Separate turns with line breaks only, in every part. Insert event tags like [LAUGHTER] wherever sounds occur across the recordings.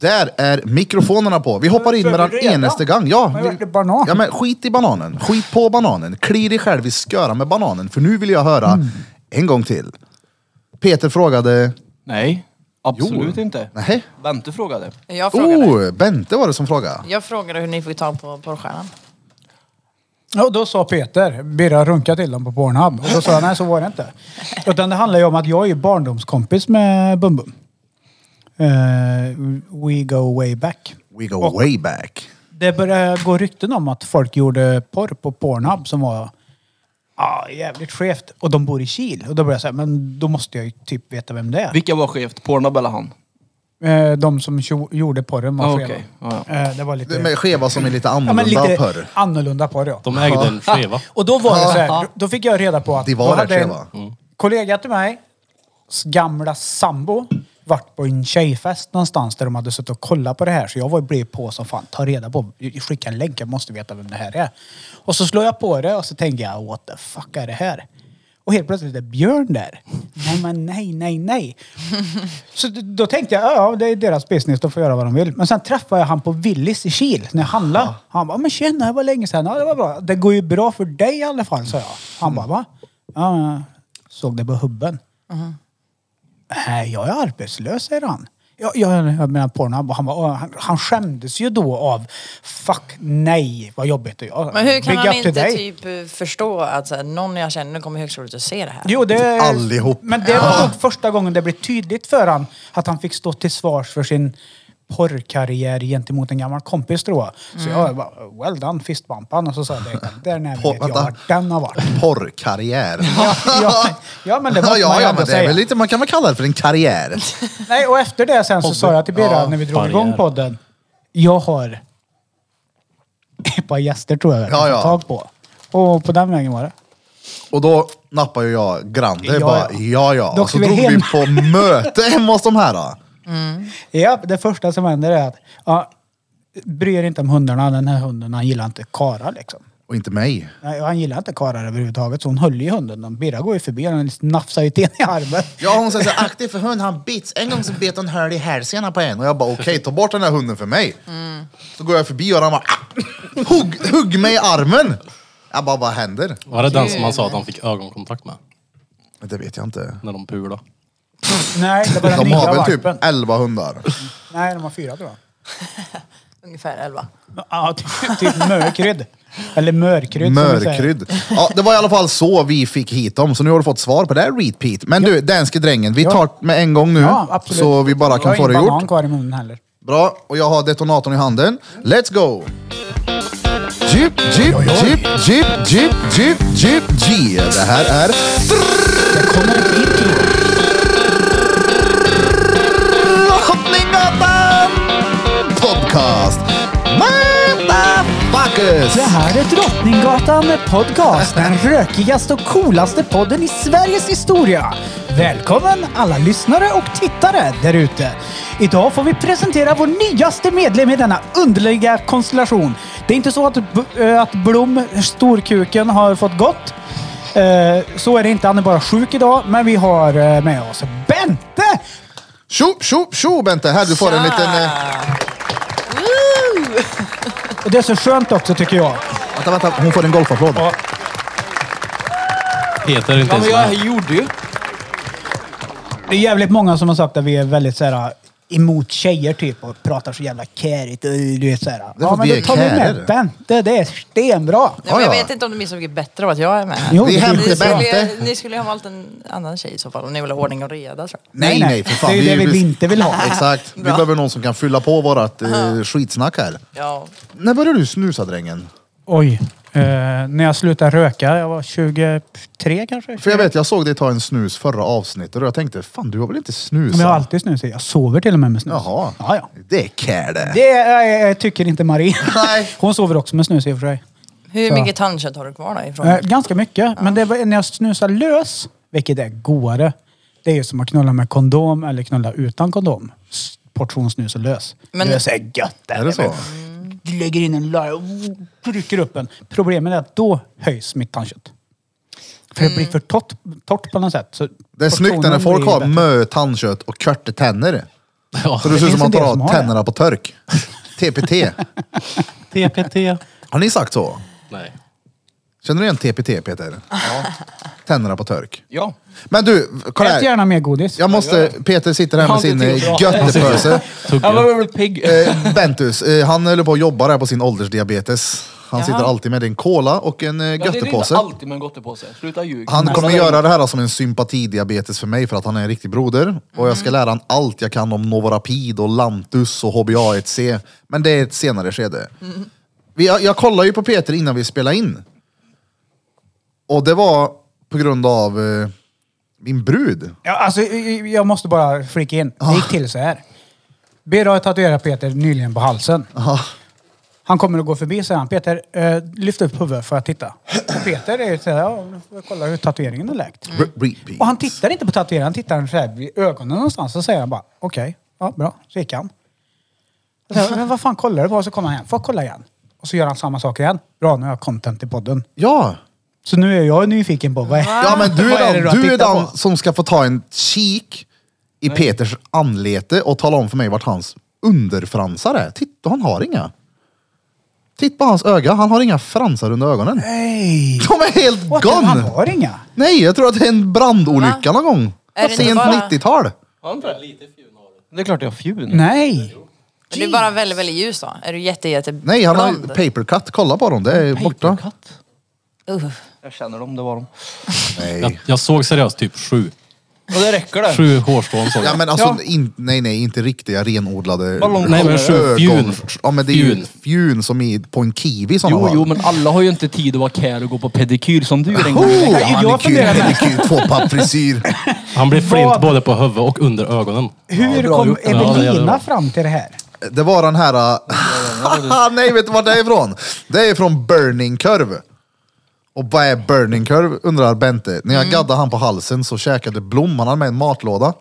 Där är mikrofonerna på. Vi hoppar in
Men
med den
för redan?
enaste gång. Ja,
Men
vi-
vart är banan?
ja, men skit i bananen. Skit på bananen. Kli dig själv i sköra med bananen. För nu vill jag höra
Mm.
en gång till. Peter frågade...
Nej, absolut inte.
Nej.
Bente frågade.
Jag frågade.
Oh, Bente var det som frågade.
Jag frågade hur ni fick tag på porrstjärnan.
Ja, då sa Peter, Birra runka till dem på Pornhub. Och då sa jag, nej så var det inte. Utan det handlar ju om att jag är ju barndomskompis med Bum Bum. Eh, we go way back.
We go way back.
Det började gå rykten om att folk gjorde porr på Pornhub som var ah, jävligt skevt. Och de bor i Kil. Och då började jag säga, men då måste jag ju typ veta vem det är.
Vilka var skevt? Pornhub eller han?
Eh, de som tjo- gjorde porren var
Ah,
skeva.
okej. Ja,
Eh, det var lite...
Det med skeva som är lite
ja, men
annorlunda
lite
porr.
annorlunda porr ja.
De ägde en skeva.
Och då var det så här, då- då fick jag reda på att...
Det var Mm.
då
rätt
hade en
skeva.
kollega till mig, s- gamla sambo, vart på en tjejfest någonstans där de hade suttit och kollat på det här. Så jag var, blev på som fan, ta reda på, skicka en länk, jag måste veta vem det här är. Och så slår jag på det och så tänker jag, what the fuck är det här? Och helt plötsligt är Björn där. Nej men nej, nej, nej. Så d- då tänkte jag, ja ja, det är deras business, de får göra vad de vill. Men sen träffade jag han på Willys i Kil när jag handlade. Han bara, men tjena, det var länge sedan. Ja, det var bra. Det går ju bra för dig i alla fall, sa jag. Han bara, va? Ja, ja. såg det på hubben.
Uh-huh.
Nej, jag är arbetslös, säger han. Jag, jag, jag menar Pornhub. Han, bara, "Åh", han, han skämdes ju då av, fuck nej, vad jobbigt det är.
Men hur kan
Big
han
up to
inte
dig.
typ eh, förstå att så här, någon jag känner nu kommer i högskolan att se det här?
Jo, det...
Typ Allihop.
Men det var nog första gången det blev tydligt för han att han fick stå till svars för sin porrkarriär gentemot en gammal kompis tror jag. Så
Mm.
jag bara, well done fistbumpan. Och så sa jag, det där när vet
Porr-
jag
vänta.
vart den har varit.
Porrkarriär.
Ja, ja, ja
[LAUGHS]
men det måste
Ja,
man
ja,
ju
ja,
ändå
men det är
säga.
väl lite, man kan väl kalla det för en karriär.
Nej, och efter det sen så sa jag till Birra
Ja,
när vi drog
barriär.
igång podden. Jag har ett par gäster tror jag
Ja,
jag
ja.
får tag på. Och på den vägen var det.
Och då nappar ju jag Grande
Ja,
bara,
ja.
ja ja.
Då
Och så
åker vi
drog vi
hem.
på möte [LAUGHS] hemma hos de här. Då.
Ja, det första som händer är att ja, bry er inte om hundarna. Den här hunden, han gillar inte karar liksom.
Och inte mig.
Nej, han gillar inte karar överhuvudtaget, så hon höll i hunden. Den Birra går ju förbi och den nafsar ju till henne i armen.
Ja hon säger så här, aktiv för hund, han bits. En gång så bet hon höl i hälsenan på en. Och jag bara okej, ta bort den här hunden för mig. Så går jag förbi och han bara, "Ah!" hugg, hugg mig i armen. Jag bara, vad händer?
Var det den som han sa att han fick ögonkontakt med?
Men det vet jag inte.
När de pulade.
[LAUGHS] Nej, det var den
De
nya
har väl typ
valpen.
11 hundar.
Nej, de har fyra tror jag.
Ungefär elva.
Ja, typ, typ mörkrydd. Eller mörkrydd som vi säger.
Mörkrydd. Ja, det var i alla fall så vi fick hit dem, så nu har du fått svar på det här repeat. Men du, danske drängen, vi tar med en gång nu.
Ja, absolut.
så vi bara kan
Jag
få
har
det
ingen
gjort.
banan kvar i munnen heller.
Bra, och jag har detonatorn i handen. Let's go! Jeep, jeep, jeep, jeep, jeep, jeep, jeep, G. Det här är... Drottninggatan Podcast! Motherfuckers!
Det här är Drottninggatan Podcast, den rökigaste och coolaste podden i Sveriges historia. Välkommen alla lyssnare och tittare där ute. Idag får vi presentera vår nyaste medlem i denna underliga konstellation. Det är inte så att, B- eh, att Blom, storkuken, har fått gått. Eh, Så är det inte, han är bara sjuk idag. Men vi har eh, med oss Bente!
Tjo, tjo, tjo Bente! Här, du får en liten... Eh,
Woo!
Och det är så skönt också tycker jag.
vänta, vänta, hon får en golfapplåd.
Peter är inte
ja,
ens
men jag
med.
gjorde ju.
Det är jävligt många som har sagt att vi är väldigt så här, emot tjejer typ och pratar så jävla kärigt. och Du vet så här.
för
Ja men
vi
då
är
tar vi
kärer.
med Bente. Det är stenbra.
Nej, men
Ja,
jag
ja.
vet inte om det blir så mycket bättre av att jag är med här.
Jo,
Vi
det är
hämtar
skitbra.
Ni skulle,
Bente.
ni skulle ju ha valt en annan tjej i så fall om ni vill ha ordning och reda. tror jag.
Nej, nej, för fan.
Det är ju det vi inte vill ha.
Exakt. Vi
Bra.
behöver någon som kan fylla på vårat eh, skitsnack här.
Ja.
När började du snusa drängen?
Oj. Eh, när jag slutade röka, jag var 23 kanske?
För jag vet, jag såg dig ta en snus förra avsnittet och jag tänkte, fan du har väl inte snusat?
Men jag har alltid snus i. Jag sover till och med med snus.
Jaha.
Ja, ja.
Det är care det.
Det eh, tycker inte Marie.
Nej.
[LAUGHS] Hon sover också med snus i och för sig.
Hur
Så.
mycket tandkött har du kvar då ifrån?
Eh, ganska mycket. Men det var, när jag snusar lös, vilket är godare, det är ju som att knulla med kondom eller knulla utan kondom. S- Portion snus och lös.
Men-
lös är gött.
Är det så?
Du lägger in en laj och trycker upp en. Problemet är att då höjs mitt tandkött. För det blir för torrt, torrt på något sätt. Så
Mm. Det är snyggt när
portionen
folk
blir
har
bättre.
mö tandkött och körte tänder.
Ja.
Så det ser ut
finns
som att
en del
man
som
tar
har det.
tänderna på
[LAUGHS]
törk. TPT.
TPT.
Har ni sagt så?
Nej.
Känner du igen TPT Peter? Tänderna på törk.
Ja.
Men du, kolla
Ät
här.
gärna mer godis.
Jag måste, Peter sitter här
Jag
med
har
sin
inte
eh,
gjort bra.
göttepöse.
Han var
Tugga.
väl pigg.
Eh, Bentus, eh, han håller på och jobbar här på sin åldersdiabetes. Han
Jaha.
sitter alltid med en cola och en eh,
Ja, det är inte
göttepåse.
alltid med en gottepåse. Sluta ljuga.
Han kommer göra det här som en sympatidiabetes för mig för att han är en riktig broder. Och jag ska
Mm.
lära han allt jag kan om Novorapid och Lantus och HBA1C. Men det är ett senare skede.
Mm.
Vi, jag, jag kollade ju på Peter innan vi spelade in. Och det var på grund av eh, min brud.
Ja, alltså, jag måste bara flika in. Det
Ah.
gick till så här. Birra har tatuerat Peter nyligen på halsen.
Ah.
Han kommer att gå förbi säger han. Peter, eh, lyft upp huvudet för att titta. Och Peter är ju så här, ja, nu får jag kolla hur tatueringen är läkt.
Re- repeat.
Och han tittar inte på tatueringen, han tittar så här vid ögonen någonstans. Så säger han bara, okej, ja, bra. Så gick han. Jag säger, Men vad fan kollar du på? Och så kommer han igen. Får jag kolla igen? Och så gör han samma sak igen. Bra, nu har jag content i podden.
Ja!
Så nu är jag nyfiken på vad
Ja men du
Vad
är
är det
den,
du har
du är
tittat
den
på?
som ska få ta en kik i Peters anlete och tala om för mig vart hans underfransar är. Titta, han har inga. Titta på hans öga, han har inga fransar under ögonen.
Nej!
De är helt
What? Han
gone!
har inga.
Nej, jag tror att det är en brandolycka någon gång.
Är det inte
Sent
bara-
90-tal.
Har han inte det? Det är klart jag har fjun.
Nej!
Men det är bara väldigt, väldigt ljus då. Är du jätte, jätte
Nej, han har
blond?
papercut. Kolla på dem, det är borta.
Papercut.
Uh.
Jag känner dem, det var dem.
Nej.
Jag, jag såg seriöst typ sju.
Och det räcker det.
Sju hårstrån såg
Ja
jag.
men alltså, in, nej nej, inte riktiga renodlade
Ballong-
Nej men sju. Fjun.
ögon. Ja men det är ju
Fjun.
fjun som i, på en kiwi sådana
Jo,
fall.
jo, men alla har ju inte tid att vara kär och gå på pedikyr som du den gången.
Oh,
i
jag
veckan.
manikyr,
funderar med-
pedikyr, tvåpappfrisyr.
Han blir flint
Vad-
både på huvudet och under ögonen.
Hur
bra
kom
gjort. Ja,
det gör det
Evelina
bra.
fram till det här?
Det var den här... äh, [LAUGHS] Nej, vet du vart det är ifrån? Det är från Burning Curve. Och vad är Burning Curve undrar Bente. När jag
Mm.
gaddade han på halsen så käkade Blom, han hade med en matlåda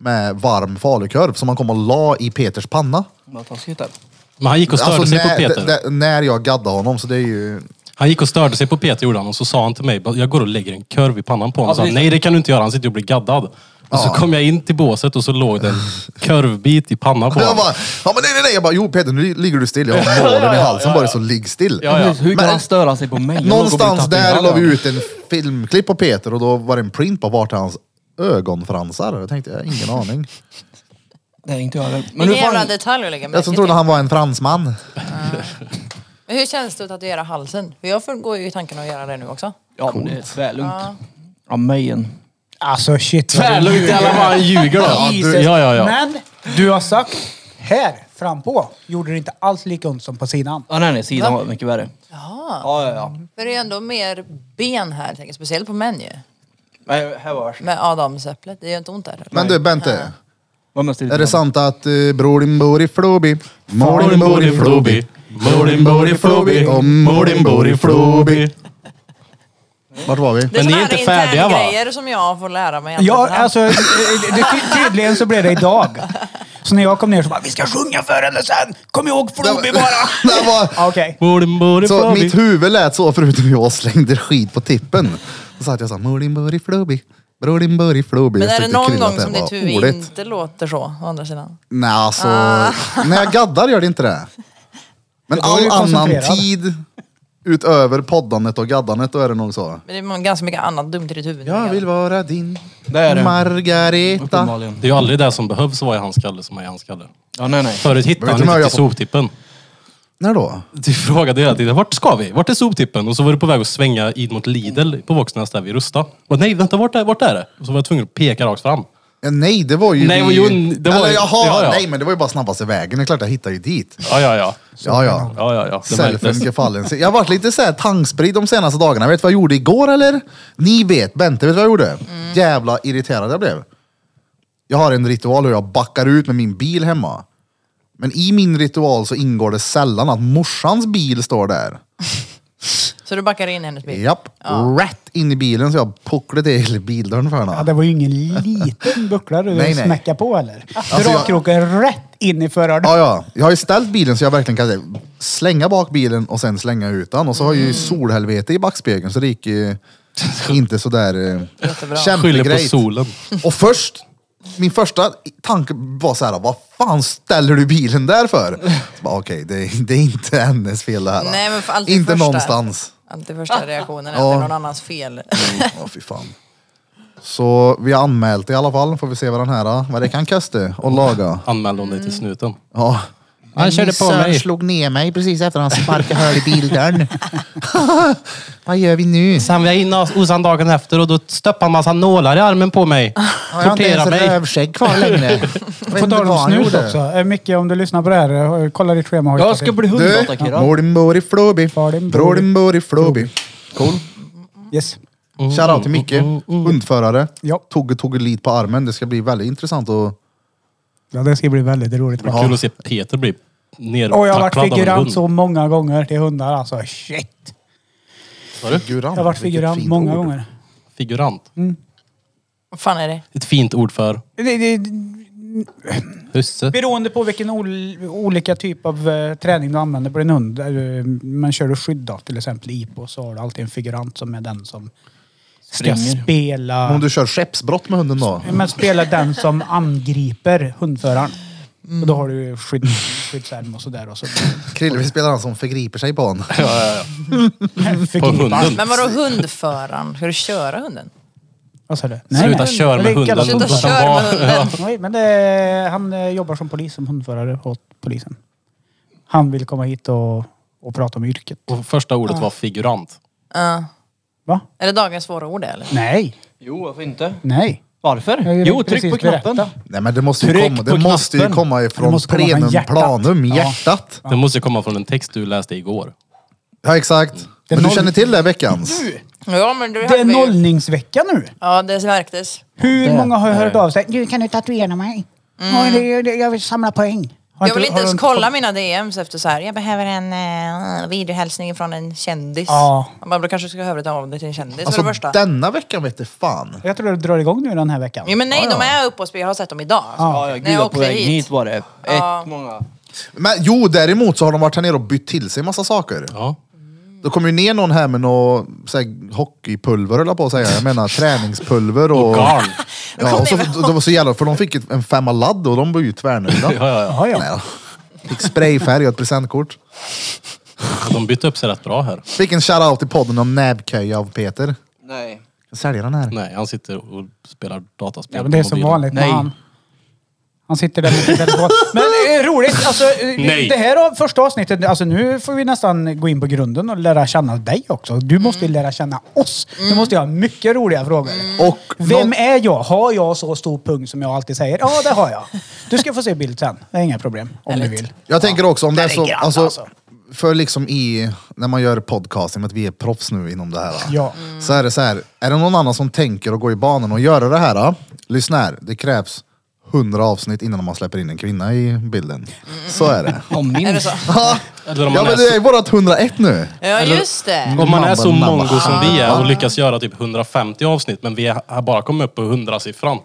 med varm falukorv som han kom och la i Peters panna. Alltså,
Vad taskigt det är.
Men han gick och störde sig på
när,
Peter.
d- d- när jag gaddade honom så det är ju...
Han gick och störde sig på Peter gjorde han och så sa han till mig, jag går och lägger en kurv i pannan på honom.
Ja,
Och sa, han,
precis.
Nej det kan du inte göra, han sitter och blir gaddad. Och så kom jag in till båset och så låg det en kurvbit i pannan på
Jag
honom.
bara, ja men nej nej nej. Jag bara, jo Peter nu ligger du still. Jag
[LAUGHS]
har målen i halsen bara så ligg still.
Ja, ja.
Hur, hur kan
Men-
han störa sig på mig? Jag låg och
Någonstans
blev
där
tatuerad.
la vi ut en filmklipp på Peter och då var det en print på vart är hans ögonfransar. Jag tänkte, jag har ingen aning.
Nej, inte jag heller. Men hur
Vilken jävla
fan...
detalj att lägga märke
Jag som trodde
till.
han var en fransman.
Men hur känns det att tatuera halsen? För jag får- går ju i tanken att göra det nu också.
Ja, men det är tvärlugnt. Ja, mig en.
Alltså shit. vad du-
Tvärlugnt i alla fall, han ljuger då. Ja,
Jesus.
ja, ja, ja.
Men du har sagt här frampå gjorde det inte alls lika ont som på sidan.
Ja, nej, nej, sidan var mycket värre.
Ja.
Ja, ja, ja.
För det är ändå mer ben här, tänker jag. speciellt på män ju.
Nej, här var värst.
Med adamsäpplet, det gör inte ont där.
Men du Bente,
Vad mest
är det
irriterande?
sant att uh, bror din bor i Floby? Mor din bor i Floby.
Mor din bor i Floby.
Och
Mor din bor i Floby.
Vart var
[LAUGHS]
vi?
Det är
Men ni är
såna här
inte färdiga, va?
interngrejer som jag får lära mig.
Ja,
efterhand.
alltså det, ty- tydligen så blev det idag. Så när jag kom ner så bara, vi ska sjunga för henne sen! Kom ihåg Floby bara!
[LAUGHS] Det var,
Okej.
Mor din bor i
så
Floby.
mitt huvud lät så förutom jag slängde skit på tippen. Så satt jag så här, mor din bor i Floby. Bror din bor i Floby.
Men
Jag
är det
försökte
någon
krilla
gång
att
som
här
ditt
var
huvud
ordet.
inte låter så, å andra sidan?
Nej, alltså. När jag gaddar gör det inte det. Men
Då är du
all annan
koncentrerad.
tid utöver poddandet och gaddandet, då är det nog så.
Men det är ganska mycket annat dumt i ditt huvud.
Jag vill vara din
Det är det.
Margareta.
Uppenbarligen.
Det är ju aldrig det som behövs vara i hans skalle som är i hans skalle.
Ja, nej, nej.
Förut hittade
Vet
han
du vad
inte
jag
till soptippen.
När då?
Du frågade hela tiden, vart ska vi? Vart är soptippen? Och så var du på väg att svänga in mot Lidl på Våxnäs där vid Rusta. Och nej, vänta, vart är, vart är det? Och så var jag tvungen att peka rakt fram.
Ja, nej, det var ju...
Nej,
vid-
jo, det var
Eller
ju-
jaha,
ja, ja.
nej men det var ju bara snabbaste vägen. Det är klart jag hittade ju dit.
Ja, ja, ja.
Ja, ja.
Ja, ja, ja. Det
Selfen
märktes.
gefallen. sig. Jag har varit lite såhär tankspridd de senaste dagarna. Vet du vad jag gjorde igår eller? Ni vet, Bente vet du vad jag gjorde? Jävla irriterad jag blev. Jag har en ritual hur jag backar ut med min bil hemma. Men i min ritual så ingår det sällan att morsans bil står där.
Så du backar in i hennes bil?
Japp, rätt in i bilen så jag pucklade till bildörren för henne.
Ja, det var ju ingen liten buckla du
Nej, nej.
smackade på eller?
jag-
Dragkroken rätt in i föraren.
Ja, ja. Jag har ju ställt bilen så jag verkligen kan slänga bak bilen och sen slänga ut den. Och så har
Mm.
jag ju solhelvete i backspegeln
[LAUGHS]
så det gick ju inte sådär eh,
Jättebra.
Skyller på
kämpegrejt.
solen.
Och först min första tanke var så här, vad fan ställer du bilen där för? Så bara, Okej, det, är- det är inte hennes fel det här.
Nej, men för alltid
inte
första.
någonstans.
Alltid första reaktionen är
Ja.
att det är någon annans fel. [LAUGHS]
Ja, fy fan. Så vi har anmält det i alla fall, får vi se vad den här, vad det kan kasta och laga.
Anmälde hon dig till snuten?
Ja.
Han
Men
körde
min
på
son
mig.
slog ner mig precis efter han sparkade hål i
[LAUGHS]
bildörren. vad gör vi nu?
Sen var jag inne hos han dagen efter och då stöppade han massa nålar i armen på mig.
Har jag inte ens rövskägg kvar
[LAUGHS]
längre?
På tal om snus också. Eh, Micke, om du lyssnar på det här, eh, kolla ditt schema. har ju
Jag
tagit
ska
in.
bli
Du,
hundattackerad.
mor din bor i Flåby.
Far din bor i-
Bror din bor i Flåby. Cool.
Yes.
Shoutout till
Oh,
Micke, hundförare.
Ja.
Togge togge lit på armen. Det ska bli väldigt intressant att...
ja, det ska bli väldigt roligt.
Det var Kul att se Peter bli
Och jag har varit
nertacklad av en
figurant
hund.
så många gånger till hundar alltså. Shit!
Figurant.
Jag har varit
vilket
figurant
fint
många
ord.
gånger.
Figurant.
Mm.
Vad fan är det?
Ett fint ord för
Det, det,
husse.
beroende på vilken ol, olika typ av eh, träning du använder på din hund. Eh, men kör du skydd då, till exempel IPO, så har du alltid en figurant som är den som ska
Springer.
spela...
Men Om du kör skeppsbrott med hunden då?
Men spela den som angriper hundföraren.
Mm.
Och då har du ju skydd, skyddsärm och sådär. Och så.
Krille, vi spelar han som förgriper sig på honom.
På
Förgripa.
hunden.
Men vadå hundföraren? Ska du köra hunden?
Vad sa du? Nej,
Sluta
nej.
köra med
Det är
hunden.
kallat
Sluta
Låt den
köra med
vara.
hunden.
Nej, men det, han eh, jobbar som polis, som hundförare åt polisen. Han vill komma hit och, och prata om yrket.
Och första ordet var figurant.
Ja.
Va?
Är det dagens svåra ord eller?
Nej,
Jo, varför inte?
nej.
Varför?
Jag vill
Jo,
precis
tryck på knappen.
berätta.
Nej men det måste ju
Tryck
komma,
på
det måste ju
knappen.
komma ifrån
måste komma från
plenum,
hjärtat.
planum,
Ja.
hjärtat.
Det måste komma från en text du läste igår.
Ja exakt.
är
Men du
noll-
känner till det här veckans?
Mm, Ja men du
Det är nollningsvecka nu.
Ja det märktes.
Hur många har hört av sig? Du, kan du tatuera mig? Oj, det- det- Jag vill samla poäng. Har
Mm. Jag vill inte
har
ens
du
kolla mina DMs efter så här. jag behöver en eh, videohälsning från en kändis.
Ja.
Jag bara, då kanske du ska höra ta av dig till en kändis för
Alltså
det första.
denna veckan vet du fan.
Jag tror det drar igång nu den här veckan.
Jo men nej, de är uppe och spelar. Jag har sett dem idag.
Ja, ja, gud,
jag
jag var
åkte
på väg
hit.
hit. var det. Ett,
Ja.
många.
Men jo, däremot så har de varit här nere och bytt till sig massa saker.
Ja.
Då kom ju ner någon här med något så här, hockeypulver höll jag på att säga. Jag menar träningspulver och...
Garn.
Ja, och så, de var så jävla, för de fick ett- en femma ladd och de var ju tvärnöjda.
[LAUGHS] Ja, ja, ja.
Jaha, ja.
Nej då. Fick sprayfärg och ett presentkort.
De bytte upp sig rätt bra här.
Fick en shoutout i podden om näbbköja av Peter.
Nej.
Jag säljer den
Mm.
här.
Nej, han sitter och spelar dataspel
Ja, men det är
på
som
mobilen.
vanligt med
Nej.
han. Han sitter där med sin telefon. Men eh, roligt, alltså, eh,
Nej.
det här av- första avsnittet, alltså, nu får vi nästan gå in på grunden och lära känna dig också. Du måste ju lära känna oss. Du måste ju ha mycket roliga frågor.
Och
Vem
någon-
är jag? Har jag så stor pung som jag alltid säger? Ja, det har jag. Du ska få se bild sen. Det är inga problem. Om du vill.
Jag tänker också om det är
det är
så,
grann,
alltså,
alltså.
för liksom i, när man gör podcasting, att vi är proffs nu inom det här.
Ja.
Så är det så här, är det någon annan som tänker att gå i banan och göra det här? Lyssna här, det krävs 100 avsnitt innan man släpper in en kvinna i bilden. Så är det.
Ja,
Är det
[LAUGHS] minst.
så?
Eller om
Ja
man
men
är
det
så,
är vårat 101 nu.
Ja just det.
Mm.
om man är så
Mamma, mamma.
mongo som vi är och lyckas göra typ 150 avsnitt men vi är- har bara kommit upp på 100-siffran.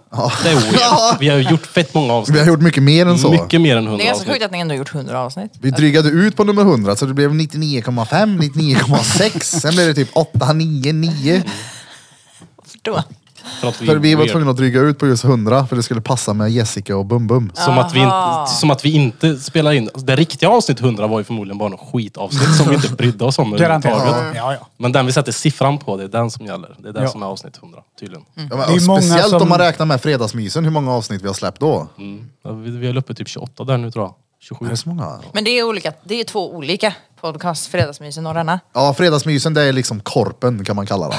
Det
[LAUGHS]
är
Ja.
weird. Vi har gjort fett många
Vi
avsnitt.
har gjort mycket mer än så.
Mycket mer än
Det
100
är ganska
avsnitt.
sjukt att ni ändå har gjort 100 avsnitt.
Vi drygade ut på nummer 100 så det blev 99,5, 99,6. Sen blev det typ 8, 9, 9.
Förstå.
För att vi,
För vi var
weird.
tvungna att dryga ut på just 100 för det skulle passa med Jessica och Bum Bum.
Som att, vi
Aha.
inte, som att vi inte spelar in. Alltså, Det riktiga avsnitt 100 var ju förmodligen bara något skitavsnitt som vi inte brydde oss om överhuvudtaget.
[LAUGHS] Garanterat. Ja, ja.
Men den vi sätter siffran på, det är den som gäller. Det är den
Ja.
som är avsnitt 100, tydligen.
Ja, men,
Det är
och
många
speciellt
som-
om man räknar med fredagsmysen, hur många avsnitt vi har släppt då.
Mm. Ja, Vi, vi är uppe typ 28 där nu tror jag. 27.
Är det så många?
Men det är, olika, det är två olika podcast, Fredagsmysen och denna.
Ja, fredagsmysen det är liksom korpen kan man kalla den.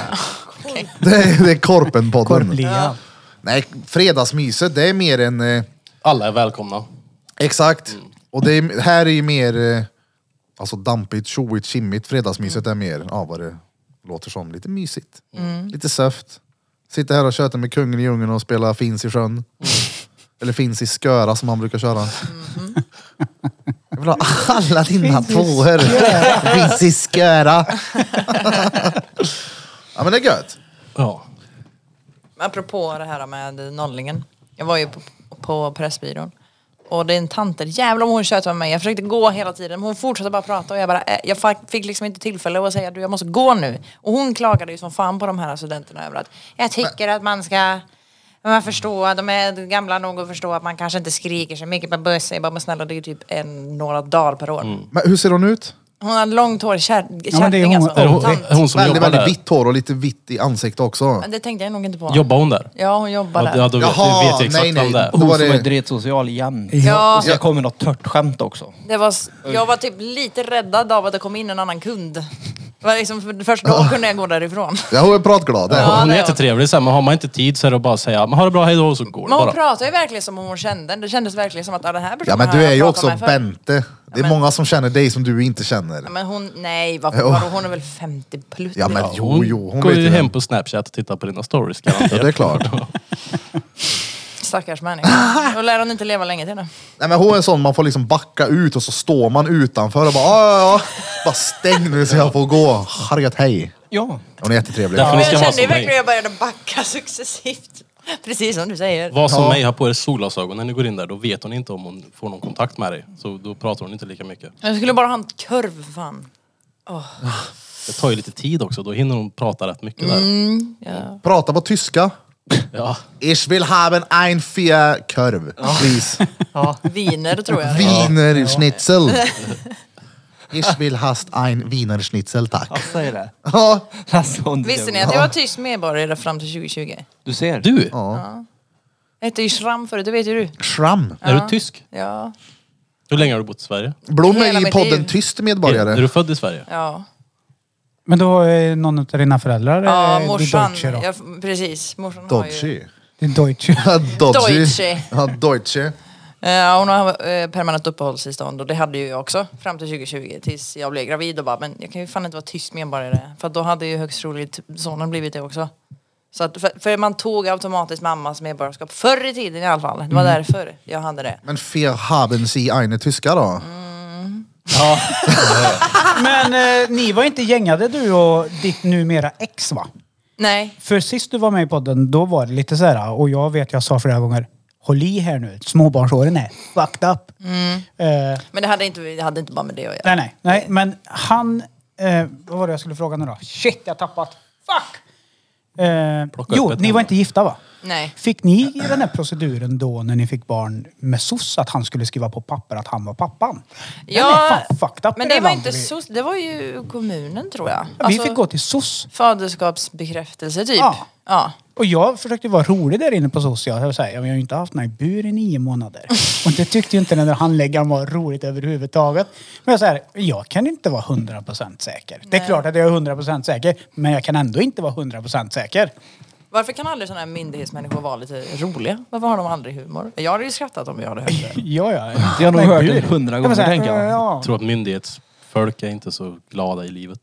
det, är, det är korpenpodden.
Korpligan.
Nej, fredagsmyset det är mer en... Eh,
Alla är välkomna.
exakt.
Mm.
Och det är, här är ju mer... Eh, alltså dampigt, tjoigt, kimmigt. Fredagsmyset
Mm.
är mer, ja vad det låter som, lite mysigt. Lite söft. Sitta här och köta med kungen i djungeln och spela Finns i
Mm.
sjön. Eller Finns i sköra som han brukar köra.
Mm-hmm.
Jag vill ha alla dina tvåor. Finns i sköra. ja men det är gött.
Ja.
Men Apropå det här med nollingen. Jag var ju på, på Pressbyrån. Och det är en tanter, jävlar om hon tjötade med mig. Jag försökte gå hela tiden men hon fortsatte bara prata och jag bara, eh, jag fa- fick liksom inte tillfälle att säga du jag måste gå nu. Och hon klagade ju som fan på de här studenterna över att jag tycker att man ska Men man förstår, de är gamla nog att förstå att man kanske inte skriker så mycket på bussen. Jag bara, men snälla det är ju typ en, några dagar per år.
Mm.
Men hur ser hon ut?
Hon har långt hår, kär,
Ja, men det är
kärring
hon-
alltså.
Är det hon,
Tant.
är hon som
väldigt,
jobbar
väldigt
där?
vitt hår och lite vitt i ansiktet också.
Men Det tänkte jag nog inte på.
Jobbar hon där?
Ja, hon jobbar
Ja,
där.
ja, då vet,
Jaha,
vet jag exakt
nej,
vem
nej.
det är.
Då
Hon
var
som
det-
är dretsocial jämt.
Ja.
Och så kommer något tört skämt också.
Det var, s- jag var typ lite räddad av att det kom in en annan kund. Det var liksom, för- först då kunde jag gå därifrån.
Ja, hon är pratglad. det är hon.
Ja,
Hon
det
är
är
jättetrevlig så här, men har man inte tid så är det bara att säga men ha det bra, hej då och så går det
Men hon
bara.
pratade ju verkligen som om hon kände en. Det kändes verkligen som att ja, den här personen
Ja, men
har
du
jag
är ju
pratat
också
med förr.
Bente. Det är
men-
många som känner dig som du inte känner.
Ja, men hon, nej vad,
Jo.
vadå, hon är väl 50 plus?
Ja, men
Ja.
jo, jo. Hon
går
vet
ju
ju
hem
vem.
på Snapchat och tittar på dina stories
Ja, det är
garanterat.
klart. [LAUGHS]
Stackars människa. Då lär hon inte leva länge till nu.
Nej, men hon är en sån man får liksom backa ut och så står man utanför och bara "Ja, ja, ja. Bara stäng nu så jag får gå. Harriet, hej.
Ja.
Hon är jättetrevlig.
Därför- Ja, ni ska
jag
vara
kände ju
som mig.
verkligen att jag började backa [LAUGHS] successivt. Precis som du säger.
Vad som mig har på er solglasögon när ni går in där, då vet hon inte om hon får någon kontakt med dig. Så då pratar hon inte lika mycket.
Jag skulle bara ha en kurv för fan.
Det tar ju lite tid också, då hinner hon prata rätt mycket där.
Ja.
Prata på tyska.
Ja.
Ich will haben ein Fia-korv, please.
Viner tror jag.
Wiener Schnitzel. Ich will hast ein Wiener Schnitzel, tack.
Alltså är det.
Ja,
Alltså, hon-
Visste ni att jag var tysk medborgare fram till 2020?
Du ser.
Du!
Jag hette ju Schramm förut, det vet ju du.
Schramm.
Är du tysk?
Ja.
Hur länge har du bott i Sverige?
Blom
Hela
är i
mitt
podden
liv.
Tyst
Är, är
medborgare.
du född i Sverige?
Ja,
Men då är någon av dina föräldrar
ja
eh,
morsan.
Deutsche då?
Ja, f- precis, morsan har ju...
Dodgy.
Det är Deutsche.
Ja, Dodgy.
Deutsche.
Ja, Deutsche.
Eh, hon har eh, permanent uppehållstillstånd och det hade ju jag också fram till 2020 tills jag blev gravid och bara men jag kan ju fan inte vara tysk medborgare för att då hade ju högst troligt sonen blivit det också. Så att, för, för man tog automatiskt mammas medborgarskap förr i tiden i alla fall. Det var
Mm.
därför jag hade det.
Men Fia haben sie eine tyska då?
Mm. Men eh, ni var inte gängade du och ditt numera ex va?
Nej,
För sist du var med i podden, då var det lite så här, och jag vet jag sa flera gånger, håll i här nu, småbarnsåren är fucked up.
Mm.
Eh,
men det hade inte, det hade inte bara med det att göra.
nej, nej, nej, men han, eh, vad var det jag skulle fråga nu då? Shit, jag har tappat, fuck! Eh,
Plocka
jo,
upp ett
ni
nummer.
var inte gifta va?
Nej.
Fick ni i den här proceduren då när ni fick barn med soc att han skulle skriva på papper att han var pappan? Den är fan fucked up i
men det var
landet
inte
vi-
så, det var ju kommunen tror jag.
Vi
Alltså,
fick gå till soc.
Faderskapsbekräftelse typ.
Ja.
ja.
Och jag försökte vara rolig där inne på social. Jag, här, jag har ju inte haft mig i bur i nio
[LAUGHS]
månader. Och det tyckte ju inte den där handläggaren var roligt överhuvudtaget. Men jag säger, jag kan inte vara 100% säker. Det är klart att jag är 100% säker, men jag kan ändå inte vara 100% säker.
Varför kan aldrig sådana här myndighetsmänniskor vara lite roliga? Varför har de aldrig humor? Jag hade ju skrattat om jag hade hört det.
Ja, ja.
Det har nog hört den hundra gånger, tänker jag.
Ja.
Jag tror att myndighetsfolk är inte så glada i livet.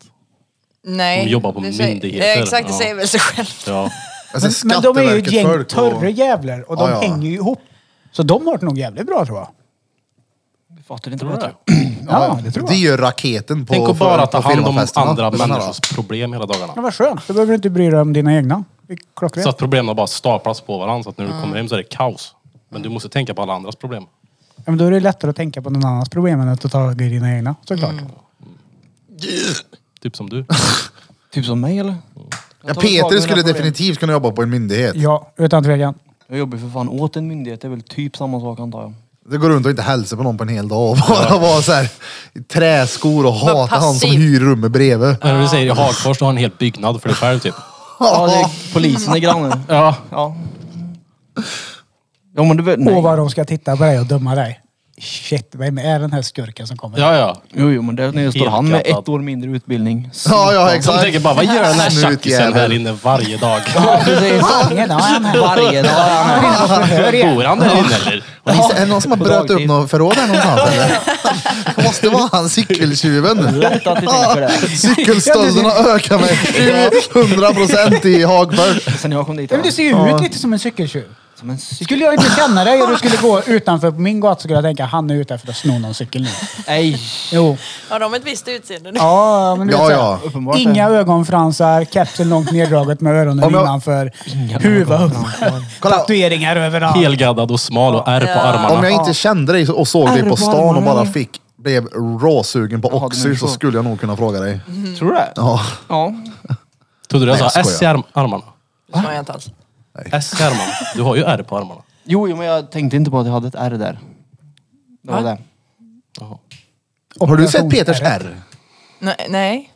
Nej.
De jobbar på
det säger-
myndigheter.
Eh, Exakt, det
Ja.
säger väl sig själv.
Ja.
Alltså,
Men, men de är ju ett gäng
Skatteverket, folk och-
törre jävlar och de
Ja, ja.
hänger ju ihop. Så de har det nog jävligt bra tror jag.
Du fattar inte
Tror
vad
du
jag
[LAUGHS] det?
tror.
Ja, det tror
Det är
jag.
ju raketen på
Tänk att bara
på-
ta
på
hand om
firmafesterna.
andra
Det menar jag.
människors problem hela
Ja,
dagarna.
vad skönt. Då behöver du inte bry dig om dina egna. Det är
Så
Klockrent.
att problemen bara staplas på varandra så att när du kommer hem så är det kaos. Men du måste tänka på alla andras problem.
Ja, men då är det lättare att tänka på någon annans problem än att ta tag i dina egna såklart.
Typ
[LAUGHS]
som du.
Typ som mig eller?
Ja,
Jag tar väl tag i
Peter
mina
skulle
problem.
definitivt kunna jobba på en myndighet.
Ja, utan tvekan.
Jag jobbar ju för fan åt en myndighet. Det är väl typ samma sak antar jag.
Det går runt och inte hälsa på någon på en hel dag och bara vara så här, i träskor och
Bara
hata han som
passiv.
hyr rummet bredvid.
När du säger i Hagfors, du har en hel byggnad för dig själv typ.
Ja, det är polisen är grannen.
Ja.
Ja. Ja men du vet, nej.
Och vad de ska titta på dig och döma dig. Shit, vem är den här skurken som kommer?
Ja, ja.
Jo, jo men där nere står han med
Helklappad.
ett år mindre utbildning.
Ja, ja
De tänker
exakt.
bara, vad gör den här
Snut
tjackisen
jävel.
här inne varje dag?
precis.
Varje dag är han här.
Varje dag är han
[LAUGHS]
här.
Bor han där inne eller?
Är det någon som har
På
bröt upp
dagtid.
något förråd här någonstans
[LAUGHS]
eller? Det måste vara han cykeltjuven.
Lätt att du tänker det.
Cykelstölderna ökar med 100 procent i Hagfors.
Sen jag kom dit.
Men du ser ju ut lite som en cykeltjuv.
Som en cykel.
Skulle jag inte känna dig och du skulle gå utanför på min gata skulle jag tänka han är ute efter att sno någon cykel nu.
Nej.
Jo.
Har de ett visst utseende nu?
Ja, men du
Ja,
vet
ja.
så här,
Uppenbart.
Inga ögonfransar, kepsen långt neddraget med öronen
Om jag-
innanför. Huvud upp.
Kolla.
Tatueringar överallt.
Helgaddad och smal och ärr på armarna.
Om jag inte kände dig och såg dig på stan och bara fick blev råsugen på
Jaha, du
Oxy
menar
så
så.
skulle jag nog kunna fråga dig.
Mm.
Mm.
Tror du det?
Ja.
Ja.
Trodde du jag
Nej,
sa
jag
S i
skojar.
arm- armarna?
Det sa jag inte alls.
S Herman. Du har ju R på armarna.
Jo, jo, men jag tänkte inte på att jag hade ett R där. Det var
Va?
det.
Jaha.
Har du sett Peters R?
Nej, nej.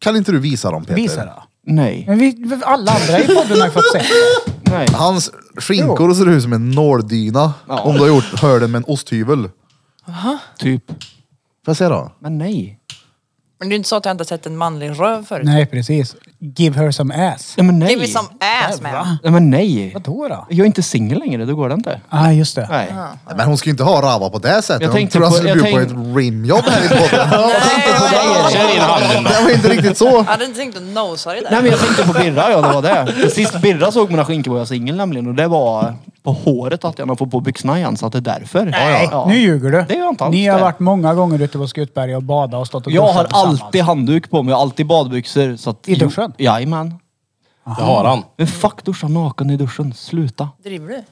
Kan inte du visa dem Peter?
Visa då.
Nej.
Men vi, alla andra i podden har ju fått se.
Nej.
Hans skinkor ser ut som en nåldyna.
Ja.
Om du har gjort hörden med en osthyvel.
Typ.
Får jag se då?
Men nej.
Men det är inte så att jag inte har sett en manlig röv förut.
Nej, precis. Give her some ass.
Nej men nej.
Give me some ass man.
Nej men nej.
Vadå då?
Jag är inte singel längre, då går det inte.
Ah, just det.
Nej.
Nej, Men hon ska ju inte ha Rava på det sättet.
Jag
Hon
tänkte
tror han
på-
skulle
jag
bjuda på
tänkte-
ett rimjobb här
[LAUGHS]
i podden.
Nej,
Kör in handen då.
Det var inte riktigt så.
Jag hade inte tänkt att nosa det
Nej
där.
men jag tänkte på Birra, ja det var det. För Sist Birra såg mina skinkor var jag singel nämligen och det var på håret att jag har fått på byxorna igen så att det är därför.
Nej,
Ja.
nu ljuger du.
Det gör jag inte alls
Ni har
det.
varit många gånger ute på Skutberga och badat och stått och
Jag
duschat
har
tillsammans.
alltid handduk på mig, jag har alltid badbyxor. Så att,
I duschen?
Jo, Jajamän.
Det har han.
Men fuck duscha naken i duschen, sluta.
Driver du?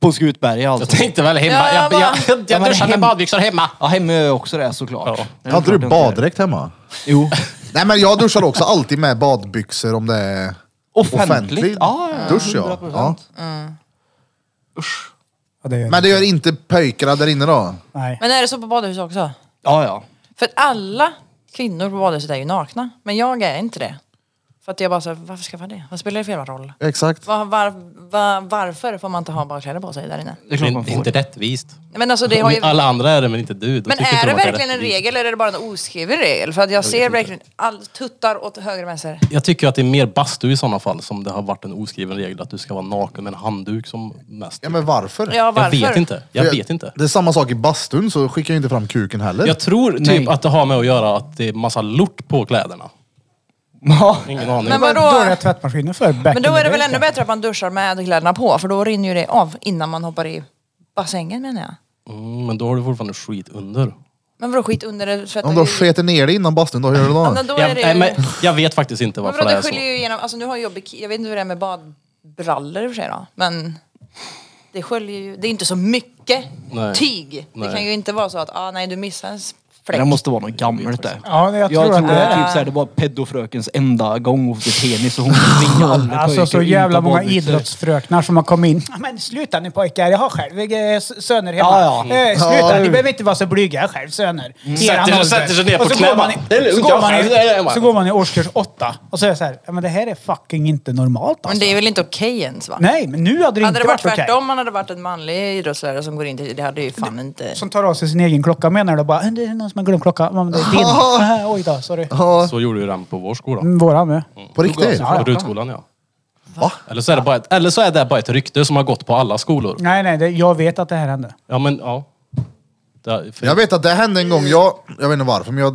På Skutberget
Jag
alltså.
tänkte väl hemma.
Ja,
Jag, jag, jag, jag,
Ja, men
duschar med
hem-
badbyxor hemma.
Ja hemma gör jag också det såklart.
Ja.
Nej,
Har inte du
klart jag gör.
baddräkt hemma?
Jo.
Nej men jag duschar också alltid med badbyxor om det är
Offentligt?
offentlig
Ja, ja, ja.
dusch. Ja.
100%.
Ja.
Ja, det gör
Men
men...
det gör inte pöjkarna där inne då?
Nej.
Men är det så på badhus också?
Ja ja.
För att alla kvinnor på badhuset är ju nakna. Men jag är inte det. För att jag bara såhär, varför ska jag vara det? Vad spelar det för jävla roll?
Exakt.
Var, var, var, varför får man inte ha badkläder på sig där inne?
Det är
Det
klart man
är
får.
inte rättvist.
Men alltså det har ju...
Alla andra är det men inte du. Då
Men
tycker
är
inte
det
de att
verkligen en
rättvist.
regel eller är det bara en oskriven regel? För att jag ser verkligen all, tuttar åt höger och vänster.
Jag tycker att det är mer bastu i sådana fall som det har varit en oskriven regel att du ska vara naken med en handduk som mest.
Ja men varför?
Ja, varför?
Jag vet inte. Jag vet inte.
Det är samma sak i bastun så skickar jag inte fram kuken heller.
Jag tror typ
Nej.
att det har med att göra att det är massa lort på kläderna.
[LAUGHS] Ja.
Ingen aning.
Men
Vad
vadå?
dåliga tvättmaskiner för back
Men
in
då
the
är det väl
day,
ännu
kanske.
bättre att man duschar med kläderna på för då rinner ju det av innan man hoppar i bassängen menar jag.
Mm, men då har du fortfarande skit under.
Men vadå skit under det tvättar
Om du har
ju-
sketit ner dig innan bastun, då gör du
Ja,
det.
men då är
Jag,
det
nej,
ju...
men jag vet faktiskt inte
Men
varför
vadå,
det är
det
så.
skiljer ju igenom, alltså nu har jag bik- jag vet inte hur det är med badbrallor i och för sig då, men det sköljer ju, det är inte så mycket
Nej.
tyg.
Nej.
Det kan ju inte vara så att, ah nej du missar en s- fläck.
Det måste vara något gammalt det.
Ja, jag,
Jag tror,
tror att det
det är
är
typ såhär, det var peddofrökens enda gång hon fick
[LAUGHS]
tennis och hon tvingade alla
Alltså
pojkar
så
att
jävla
inte ha
många
badbyxor.
idrottsfröknar som har kommit in. "Ja, Men sluta nu pojkar, jag har själv eh, s- söner hemma.
Ja, ja.
Eh, sluta,
Ja.
ni behöver inte vara så blyga, jag har själv söner. Mm.
Sätter- sätter sig ner på knä, bara, "Det är lugnt,
så, går
jag
man
själv, det är
i,
hemma."
så går man i årskurs åtta och så är det så här, ja, men det här är fucking inte normalt
Men
alltså.
det är väl inte okej ens va?
Nej, men nu hade det
hade
inte
det varit
varit okej.
tvärtom, hade det varit en manlig idrottslärare som går in till, det hade ju fan inte...
Som tar av sig sin egen klocka menar du bara, "Eh, det är någon som har glömt klockan. Men det är din. [LAUGHS] "Ah, Oj då, sorry.
Ja,
Så gjorde ju den på vår skola.
Mm, Våra med.
på riktigt.
På Rutskolan ja. Eller så, är det bara ett, eller så är det bara ett rykte som har gått på alla skolor.
Nej, nej, det, jag vet att det här hände.
Ja men ja. Det, för,
Jag vet att det hände en gång, jag, jag vet inte varför, men jag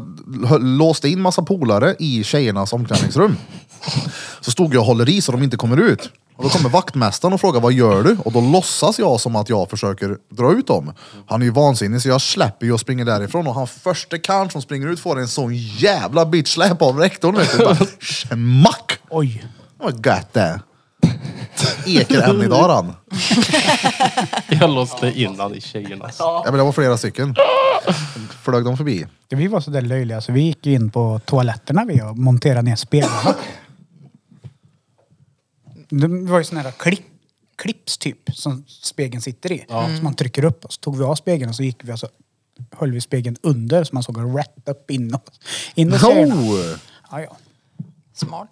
hö- låste in massa polare i tjejernas omklädningsrum. Så stod jag och håller i så de inte kommer ut. Och då kommer vaktmästaren och frågar vad gör du? Och då låtsas jag som att jag försöker dra ut dem. Han är ju vansinnig så jag släpper ju och springer därifrån och han första karln som springer ut får en sån jävla bitchsläp av rektorn. Vet du. Bara, Schmack!
Oj.
Vad gött det! Eker än idag han.
Jag låste in han i tjejernas.
Ja, men det var flera stycken. Flög de förbi.
Vi var så där löjliga så vi gick ju in på toaletterna vi och monterade ner spelarna. Det var ju såna här klipp, clips typ som spegeln sitter i. Som man trycker upp och så tog vi av spegeln och så gick vi och så höll vi spegeln under så man såg rätt upp inåt. Inåt tjejerna.
No!
Ja, ja.
Smart.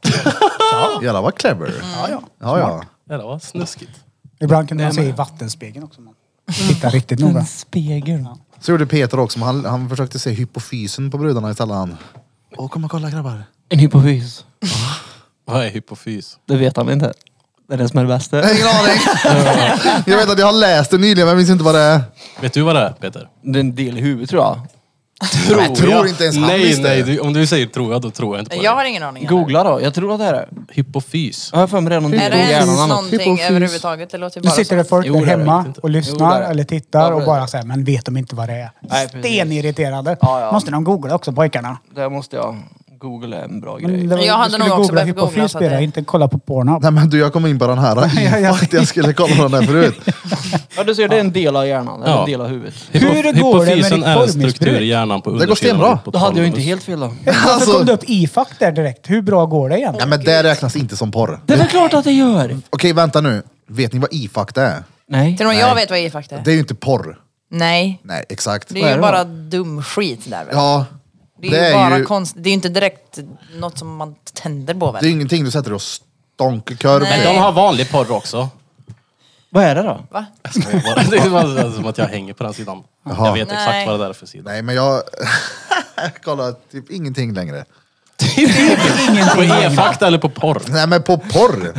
Jävlar vad clever.
Mm.
ja, ja.
Ja, ja.
Det där var snuskigt.
Ibland kunde man se i vattenspegeln också. Man tittar riktigt
Mm.
noga.
Spegeln.
Så gjorde Peter också, men han, han försökte se hypofysen på brudarna istället. Han. Åh, kom och kolla
[LAUGHS]
grabbar.
En hypofys.
Vad är hypofys?
Det vet han inte. Det är det som är det [LAUGHS] bästa.
Jag har Ingen aning. jag vet att jag har läst det nyligen, men jag minns inte vad det är.
Vet du vad det är Peter?
Det är en del i huvudet tror jag.
Tror
jag tror inte ens han
Nej,
visste
nej.
det.
Du, om du säger tror jag, då tror jag inte på
Jag
det.
har ingen aning. heller.
Googla då. Jag tror att det är det.
Hypofys.
Jag har för mig det är någon
Är
del
det
i
ens
hjärnan. annars.
någonting
Hypofys.
överhuvudtaget? Det låter ju
Nu
bara
sitter det
som...
folk
Jo,
där
det är det, jag
hemma
vet inte.
och
Jo, det är
lyssnar
det.
eller
Ja,
tittar och
precis.
bara säger men vet de inte vad det är?
Nej, precis.
Stenirriterade.
Ja, ja.
Måste de googla också pojkarna?
Det här måste jag
Google är en bra
Men
grej.
det var,
Jag
du
hade
skulle
nog också
googla
behövt
hippofrys
googla så att
Birra,
det-
inte kolla på Pornhub.
Nej men du, jag kom in på den
[LAUGHS]
här. Jag, jag skulle kolla på den där förut.
Ja, du ser, det är en del av hjärnan. eller
Ja.
En del av huvudet.
Hur går det med
Hypofysen
ditt
är en
formissbruk?
struktur i hjärnan på
går
undersidan
stenbra.
av
Då hade jag ju inte
hypothalamus.
helt fel då.
Varför
Alltså,
kom det upp IFAC där direkt? Hur bra går det
nej
egentligen?
men det räknas inte som porr.
Det är väl klart att det gör!
Okej, vänta nu. Vet ni vad IFAC det är?
Nej.
Till och med jag vet vad IFAC är.
Det är ju inte porr.
Nej.
Nej, exakt.
Det
Vad
är
är
ju
det
bara dum skit där väl?
Ja,
Det är ju bara konst. Det är ju inte direkt något som man tänder på väl?
Det är ingenting du sätter dig och stonkar korv
Nej.
Men
med.
de har vanlig porr också.
Vad är det då?
Va?
[LAUGHS]
Jag bara- Det är bara som att jag hänger på den sidan.
Jaha.
Jag vet exakt
Nej.
vad det där är för sida.
Nej, men jag [LAUGHS] kollar typ ingenting längre.
[LAUGHS] På e-fakta eller på porr.
Nej, men på porr.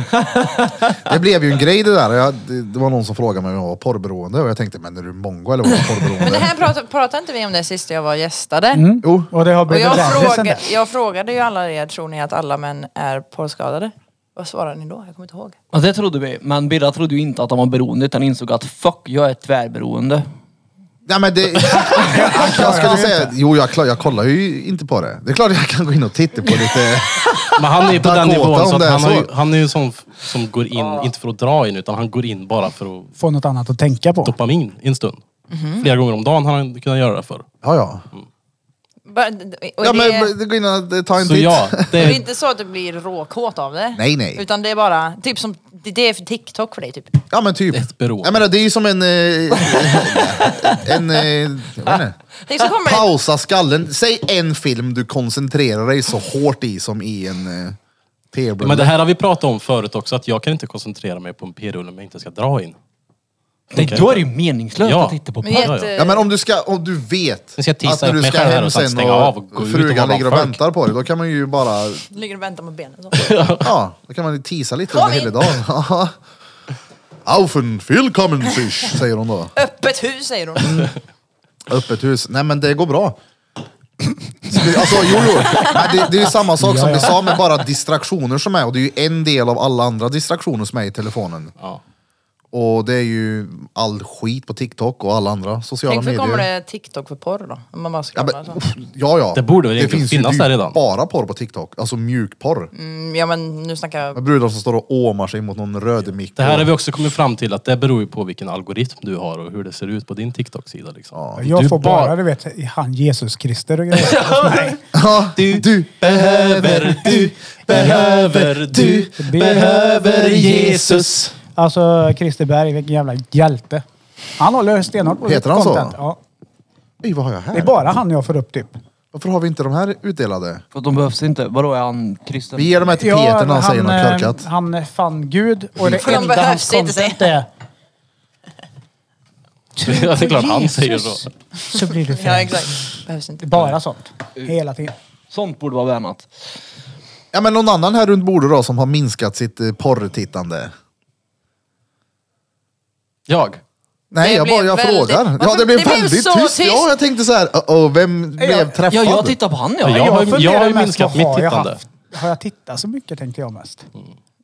Det blev ju en grej det där. Jag, det, det var någon som frågade mig om jag var porrberoende och jag tänkte, men är du mongo eller vad är
Men
[LAUGHS]
det
porrberoende?
här pratade, pratade inte vi om det sist jag var gästade?
Jo,
Och det har
Och
blivit
jag,
värre sen
fråga,
dess.
jag frågade ju alla er, tror ni att alla män är porrskadade? Vad svarade ni då? Jag kommer inte ihåg.
Ja, det trodde vi. Men Birra trodde ju inte att han var beroende utan insåg att fuck, jag är tvärberoende.
nej men [LAUGHS] det... Jag skulle säga, jo jag, klar, jag kollar ju inte på det. Det är klart jag kan gå in och titta på lite...
Men han är ju på den
Dakota,
nivån
om
så att
det är
han, har ju,
så.
han är ju sån f- som går in, inte för att dra in, utan han går in bara för att
Få något annat att tänka på.
dopamin i en stund.
Mhm.
Flera gånger om dagen har han kunnat göra det för.
Ja, ja.
Bara- d- Och
Ja,
det,
men det går in och ta en
Så
titt.
ja, det
det är
är,
inte så att du blir råkåt av det?
Nej, nej.
Utan det är bara, typ som, det det är för TikTok för dig typ.
Ja men typ.
Ett beroende.
Jag menar det är ju som en... eh, [LAUGHS] En... eh, Jag vet inte.
Tänk så kommer det,
Pausa skallen. Säg en film du koncentrerar dig så hårt i som i en eh,
men det
tebrulle.
här har vi pratat om förut också, att jag kan inte koncentrera mig på en p-rulle om jag inte ska dra in.
Det,
Okej.
Då är det ju meningslöst
Ja.
att titta på
men
porr.
det är ett,
Ja,
Ja men om du, ska, om du vet
Nu ska jag tisa
när
upp mig själv här och sen stänga av och gå ut och vara
frugan
bland
ligger och
folk.
väntar på dig, då kan man ju
[LAUGHS]
bara...
eh, ligger och väntar med benen. Så.
Ja, då kan man ju tisa lite
Kom
under
in.
hela dagen. [LAUGHS] Ja. Aufen willkommen sich, säger hon då.
Öppet hus säger hon.
Öppet hus. Nej men det går bra. Skulle- Alltså jo, jo. Men Det, det är ju samma sak som vi sa med bara distraktioner som är och det är ju en del av alla andra distraktioner som är i telefonen.
Ja.
Och det är ju all skit på TikTok och alla andra sociala
Tänk så
medier.
kommer det TikTok för porr då. Om man bara
Ja,
scrollar
men,
så.
pff, ja, ja.
Det borde väl egentligen
ju-
finnas
det är
där
ju
redan.
bara porr på TikTok, alltså mjukporr.
Mm, ja men nu snackar jag...
Med brudar som står och åmar sig mot någon röd mikro.
Det här har vi också kommit fram till att det beror ju på vilken algoritm du har och hur det ser ut på din TikTok-sida. Liksom.
Jag
Du
får
bara-
bara, du vet, han Jesus Krister och grejer.
[LAUGHS] Ja, du, du.
Behöver du, behöver du, behöver Jesus.
Alltså Christer Berg, vilken jävla hjälte. Han håller stenhårt på
Heter
sitt
han så?
content. Ja.
Oj, vad har jag
Det är
här?
bara han jag får upp typ.
Varför har vi inte de här utdelade?
För att de behövs inte. Vadå, är han kristen?
Vi ger dem här till Peter när han säger något
eh,
korkat. Mm.
han fann Gud och det
För de
enda hans
behövs inte,
content är...
[LAUGHS] Ja, det är klart han säger så.
Jesus. Så
[LAUGHS]
blir du
Ja
frälst.
exakt. Behövs inte.
Bara sånt. Hela tiden.
Sånt borde vara bannat.
Ja men någon annan här runt bordet då som har minskat sitt eh, porrtittande?
Jag?
Nej,
Det
jag, bara,
blev
jag
väldigt-
frågar. Ja,
Varför-
det blev
det blev
väldigt
så
tyst.
tyst.
Ja, jag tänkte så här, uh -oh, vem blev träffad?
Ja, jag tittar på han ja.
Ja, jag har ju-
funderar
jag har ju
mest,
minskat
vad
mitt
har jag
tittande.
haft? Har jag tittat så mycket tänkte jag mest.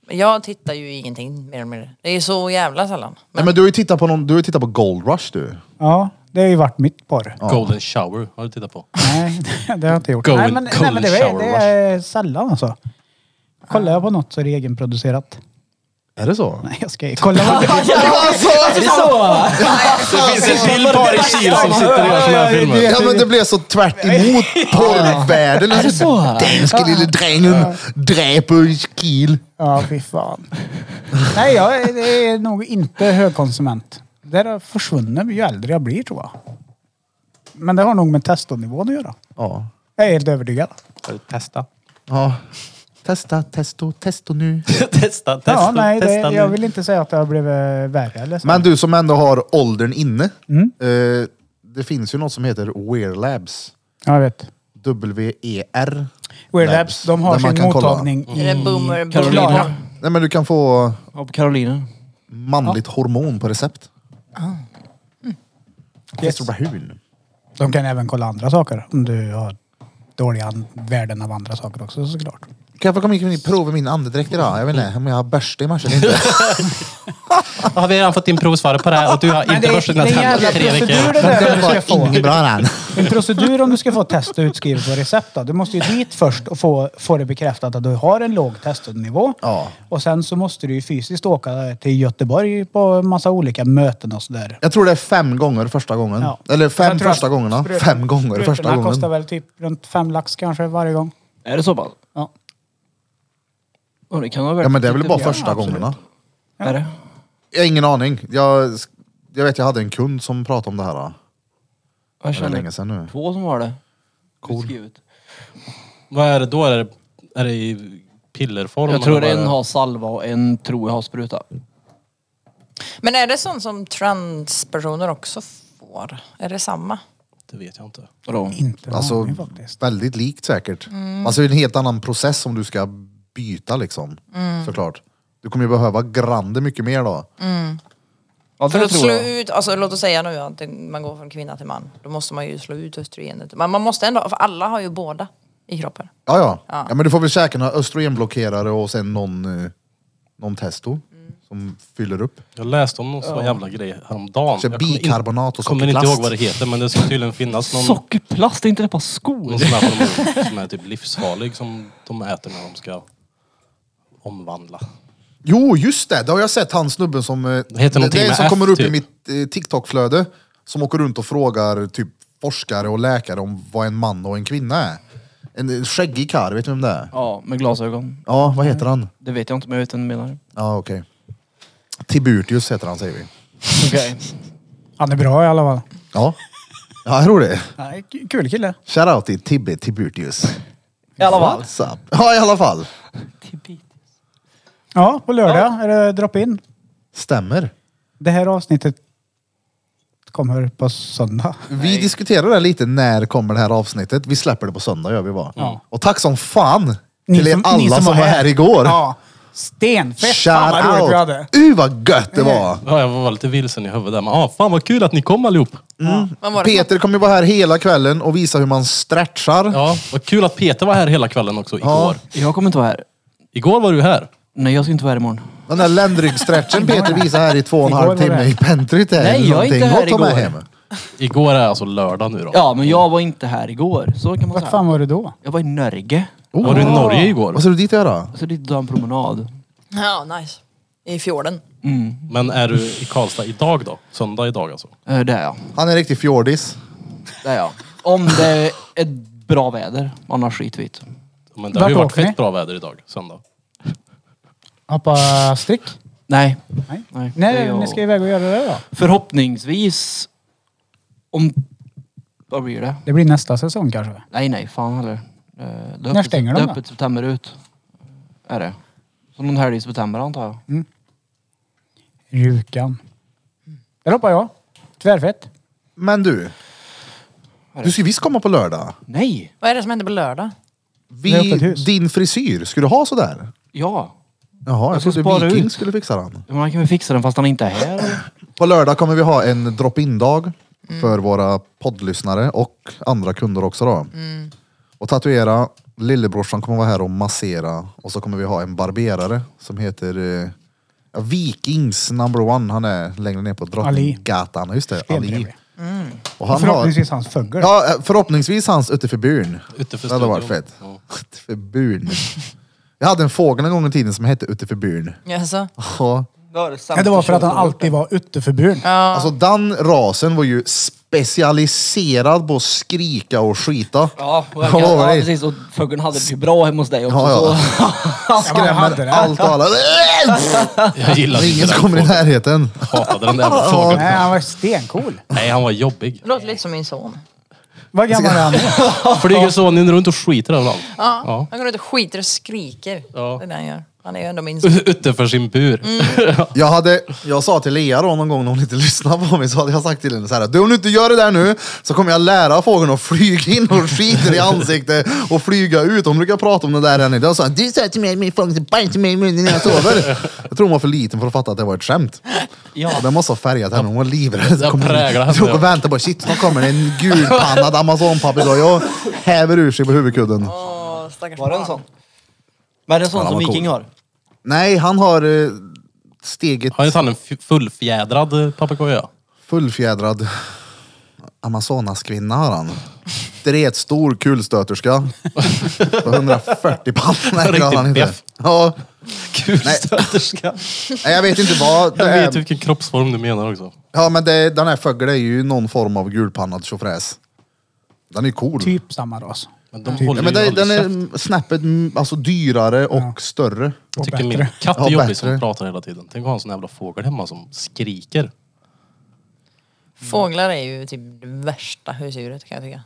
Jag tittar ju ingenting mer och mer. Det är så jävla sällan.
Nej, men du har ju tittat på, någon, du har ju tittat på Gold Rush du.
Ja, det har ju varit mitt porr.
Golden shower har du tittat på.
Alltså,
Nej, [LAUGHS] det har jag inte gjort.
Golden-
nej, men, nej, men det,
golden
är,
shower
det är sällan alltså. Kollar jag på något så är det egenproducerat.
Är det [LAUGHS] så?
Nej, jag skojar. Kolla
[LAUGHS]
vad
Alltså, [LAUGHS]
Det finns en bild på Ari Kil som sitter i alla såna här filmer.
ja, men det blev så tvärt [LAUGHS] emot porrvärlden. Är det så? Danske lille drängen dräper kill.
Ja, fy fan. Nej, jag är, det är nog inte högkonsument. Det där försvunnit ju äldre jag blir tror jag. Men det har nog med testonivån att göra.
Ja.
Jag är helt övertygad.
Testa.
ja. Testa, testo, testo nu.
Testa, testa,
ja, nej, det,
testa
jag
nu.
vill inte säga att det har blivit värre eller så.
Men du som ändå har åldern inne. Eh, det finns ju något som heter Wear Labs.
Ja, jag vet.
W-E-R.
Weird Labs, de har
E Där man
sin
kan kolla.
mottagning i...
Är det boomer,
Carolina.
boomer?
Nej men du kan få
Ja, på Carolina.
manligt hormon på recept.
Ah. Mm. Yes.
Yes.
De kan även kolla andra saker om du har dåliga an- värden av andra saker också såklart.
Kan jag få komma in och prova min andedräkt idag? Jag vet inte om jag har börste i morse
[LAUGHS]
eller inte.
Har vi redan fått in provsvaret på det här och du har
Men
inte
det är-
borstat dina
det är en
tänder i
Den
jävla procedur det där.
tre veckor?
ska jag få.
var inget bra den.
En procedur om du ska få testa utskrivet på recept. Då. Du måste ju dit först och få, få det bekräftat att du har en låg testnivå.
Ja.
Och sen så måste du ju fysiskt åka till Göteborg på en massa olika möten och sådär.
Jag tror det är fem gånger första gången.
Ja.
Eller fem
Jag tror att
första gångerna.
sprut-
Fem gånger första
sprutorna kostar
gången.
väl typ runt fem lax kanske varje gång.
Är det så pass?
Ja.
Ja, det kan ha varit
Ja men det är väl
lite
bara
mer.
första
Absolut.
gångerna.
Är det?
Jag har ingen aning. Jag, jag vet jag hade en kund som pratade om det här. då.
Jag
Det var
känner
länge sedan nu.
två som har det. Utskrivet.
Vad är det då? Är det, är det i pillerform?
Jag tror
eller vad är
en
det?
har salva och en tror jag har spruta.
Men är det sånt som transpersoner också får? Är det samma?
Det vet jag inte.
Vadå?
Inte en
Alltså
aning faktiskt.
väldigt likt säkert. Alltså det är en helt annan process om du ska byta liksom. Såklart. Du kommer ju behöva grande mycket mer då.
Ja,
För
det
att slå
tror jag.
ut, alltså låt oss säga nu att det- man går från kvinna till man. Då måste man ju slå ut östrogenet. Men man måste ändå, för alla har ju båda i kroppen.
Ja, ja. ja. men du får väl käka några östrogenblockerare och sen någon, eh, någon testo som fyller upp.
Jag läste om någon sån jävla grej häromdagen.
Så
Jag kommer in-
bikarbonat och
kommer inte
sockerplast.
ihåg vad det heter men det ska tydligen finnas någon,
Sockerplast, är inte det bara skor?
någon sån här hormon som är typ livsfarlig som de äter när de ska omvandla.
Jo, just det! Det har jag sett han snubben som... eh,
heter
det,
någonting
det är en
med
som
F,
kommer upp i
typ.
mitt eh, TikTok-flöde. Som åker runt och frågar typ forskare och läkare om vad en man och en kvinna är. En eh, skäggig karl, vet du vem det är?
Ja, med glasögon.
Ja, vad heter han?
Det vet jag inte men jag vet vem du menar.
Ja, okej. Tiburtius heter han, säger vi.
[LAUGHS] Okej.
Han är bra i alla fall.
Ja, ja jag tror det.
Nej, k- kul kille.
Shoutout till Tibbe Tiburtius.
I alla fall.
What's up? Ja, i alla fall.
Ja, på lördag är det drop-in.
Stämmer.
Det här avsnittet kommer på söndag.
Vi diskuterar det här lite, när kommer det här avsnittet? Vi släpper det på söndag gör vi bara. Och tack som fan
Ni
till er
som- ni
alla som var här igår.
Ja. Stenfett! Fan vad roligt vi hade.
Shoutout! Uh vad gött det var!
Ja, jag var lite vilsen i huvudet där men ah, fan vad kul att ni kom allihop.
Vad var det?
Peter kommer ju vara här hela kvällen och visa hur man stretchar.
Ja, vad kul att Peter var här hela kvällen också igår.
Jag kommer inte vara här.
Igår var du här.
Nej, jag ska inte vara här imorgon.
Den där ländryggstretchen Peter visade här i två och en
Igår var
halv timme
det.
i pentryt. är
Nej, jag är inte
någonting
här
att ta med
igår.
hem.
Igår är alltså lördag nu då.
Ja, men jag var inte här igår. Så kan man
Vart
säga.
fan var du då?
Jag var i Norge.
Var du i Norge igår?
Vad ska du dit göra?
Så Alltså, det är en promenad.
Ja, nice. I fjorden.
Men är du i Karlstad idag då? Söndag idag alltså?
Eh, Det är jag.
Han är en riktig fjordis.
Det är jag. Om det är bra väder. Annars skitvitt.
Men det har ju
Vart
varit
åker ni?
fett bra väder idag, söndag.
Hoppa strick?
Nej.
Nej.
Nej. det är
Nej,
jag.
ni ska iväg och göra det då.
Förhoppningsvis. Om... Vad blir det?
Det blir nästa säsong kanske.
Nej, nej. Fan heller. Eh, Det är
När
öppet-
stänger
Det
de
är
då?
öppet september ut. Är det. Så någon helg i september antar jag.
Rukan. Där hoppar jag. Tvärfett.
Men du. Du ska visst komma på lördag.
Nej!
Vad är det som händer på lördag?
Det är öppet
Vi,
hus.
din frisyr, ska du ha sådär?
Ja.
Jaha, jag
ska
trodde
spara
Viking
ut.
skulle fixa den.
Men man kan väl fixa den fast han inte är här. eller?
På lördag kommer vi ha en drop-in-dag för våra poddlyssnare och andra kunder också då. Och tatuera, lillebrorsan kommer vara här och massera och så kommer vi ha en barberare som heter eh, ja, Vikings number one. Han är längre ner på Drottninggatan. Just det, Ali.
Stentrevlig.
Och
Och
han har,
Förhoppningsvis hans fögel.
ja, eh, förhoppningsvis hans utifrån byn.
Utifrån
Det hade varit
studion.
fett.
Ja.
Utifrån byn. Jag hade en fågel en gång i tiden som hette utifrån byn.
Jaså?
Ja.
Ja, det var för att han alltid var utteförbjuden.
Alltså den rasen var ju specialiserad på att skrika och skita.
Ja,
Jag
verkligen.
lovar
ja
dig.
precis. Och fågeln hade det ju bra hemma hos dig också.
Ja,
Så.
Skrämmer allt och
[LAUGHS]
alla.
Jag gillade inte
Ingen som
den
kommer i
fågeln.
närheten.
Hatade den där jävla fågeln.
Nej, han var stencool.
Nej, han var jobbig.
Det låter lite som min son.
Vad gammal är han nu?
Flyger sonen runt och skiter överallt.
Ja. Han går runt och skiter och skriker.
Ja.
Det är det han gör. Han är ju ändå min son.
Utanför sin bur.
Mm.
Jag, hade, jag sa till Lea då någon gång när hon inte lyssnade på mig så hade jag sagt till henne så här. Du om du inte gör det där nu så kommer jag lära fågeln att flyga in och skita i ansiktet och flyga ut. Hon brukar prata om det där än idag. Hon sa du sa till mig att min fågel bajsar mig i munnen när jag sover. Jag tror hon var för liten för att fatta att det var ett skämt. Ja. Den måste ha färgat henne, hon var livrädd.
Jag präglar henne.
Stod och väntade bara, shit snart kommer det en gulpannad amazonpapegöja och häver ur sig på huvudkudden.
Åh, stackars
Var det en
barn.
sån? Men det är sånt
Ja,
som
vad
Viking
cool.
har.
Nej, han har eh, steget
Har inte han en f- fullfjädrad eh, papegoja?
fullfjädrad Amazonaskvinna har han. Dretstor kulstöterska. På 140 pannor. Nej, det har han
Riktigt
inte.
beff.
Ja,
[LAUGHS] Kulstöterska.
nej, jag vet inte vad det
Jag vet
är.
typ vilken kroppsform du menar också.
Ja, men det, den här fågeln är ju någon form av gulpannad tjofräs. Den är ju cool.
Typ samma ras.
Men de håller
Ja, men
ju
det,
aldrig
den
käft.
är snäppet mm, alltså, dyrare och större.
Jag
Och
tycker min
bättre.
katt är
Ja,
jobbig
bättre.
som pratar hela tiden. Tänk att ha en sån jävla fågel hemma som skriker.
Fåglar är ju typ det värsta husdjuret kan jag tycka.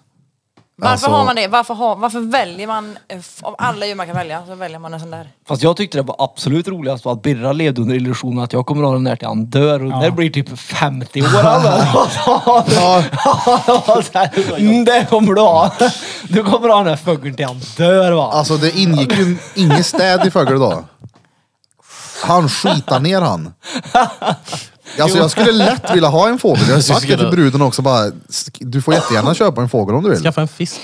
Varför
Alltså-
har man det? Varför, har, varför väljer man, eh, f- av alla djur man kan välja, så väljer man en sån där?
Fast jag tyckte det var absolut roligast var att Birra levde under illusionen att jag kommer ha den där till han dör. Och det blir typ 50 år alltså.
Ja,
Mm, det kommer du ha. Du kommer ha den här fågeln till han dör va.
alltså det ingick ju ingen städ i fågeln då. Han skitar ner han. Alltså jag skulle lätt vilja ha en fågel. Jag har sagt det till bruden också bara, sk- du får jättegärna köpa en fågel om du vill.
Skaffa en fisk.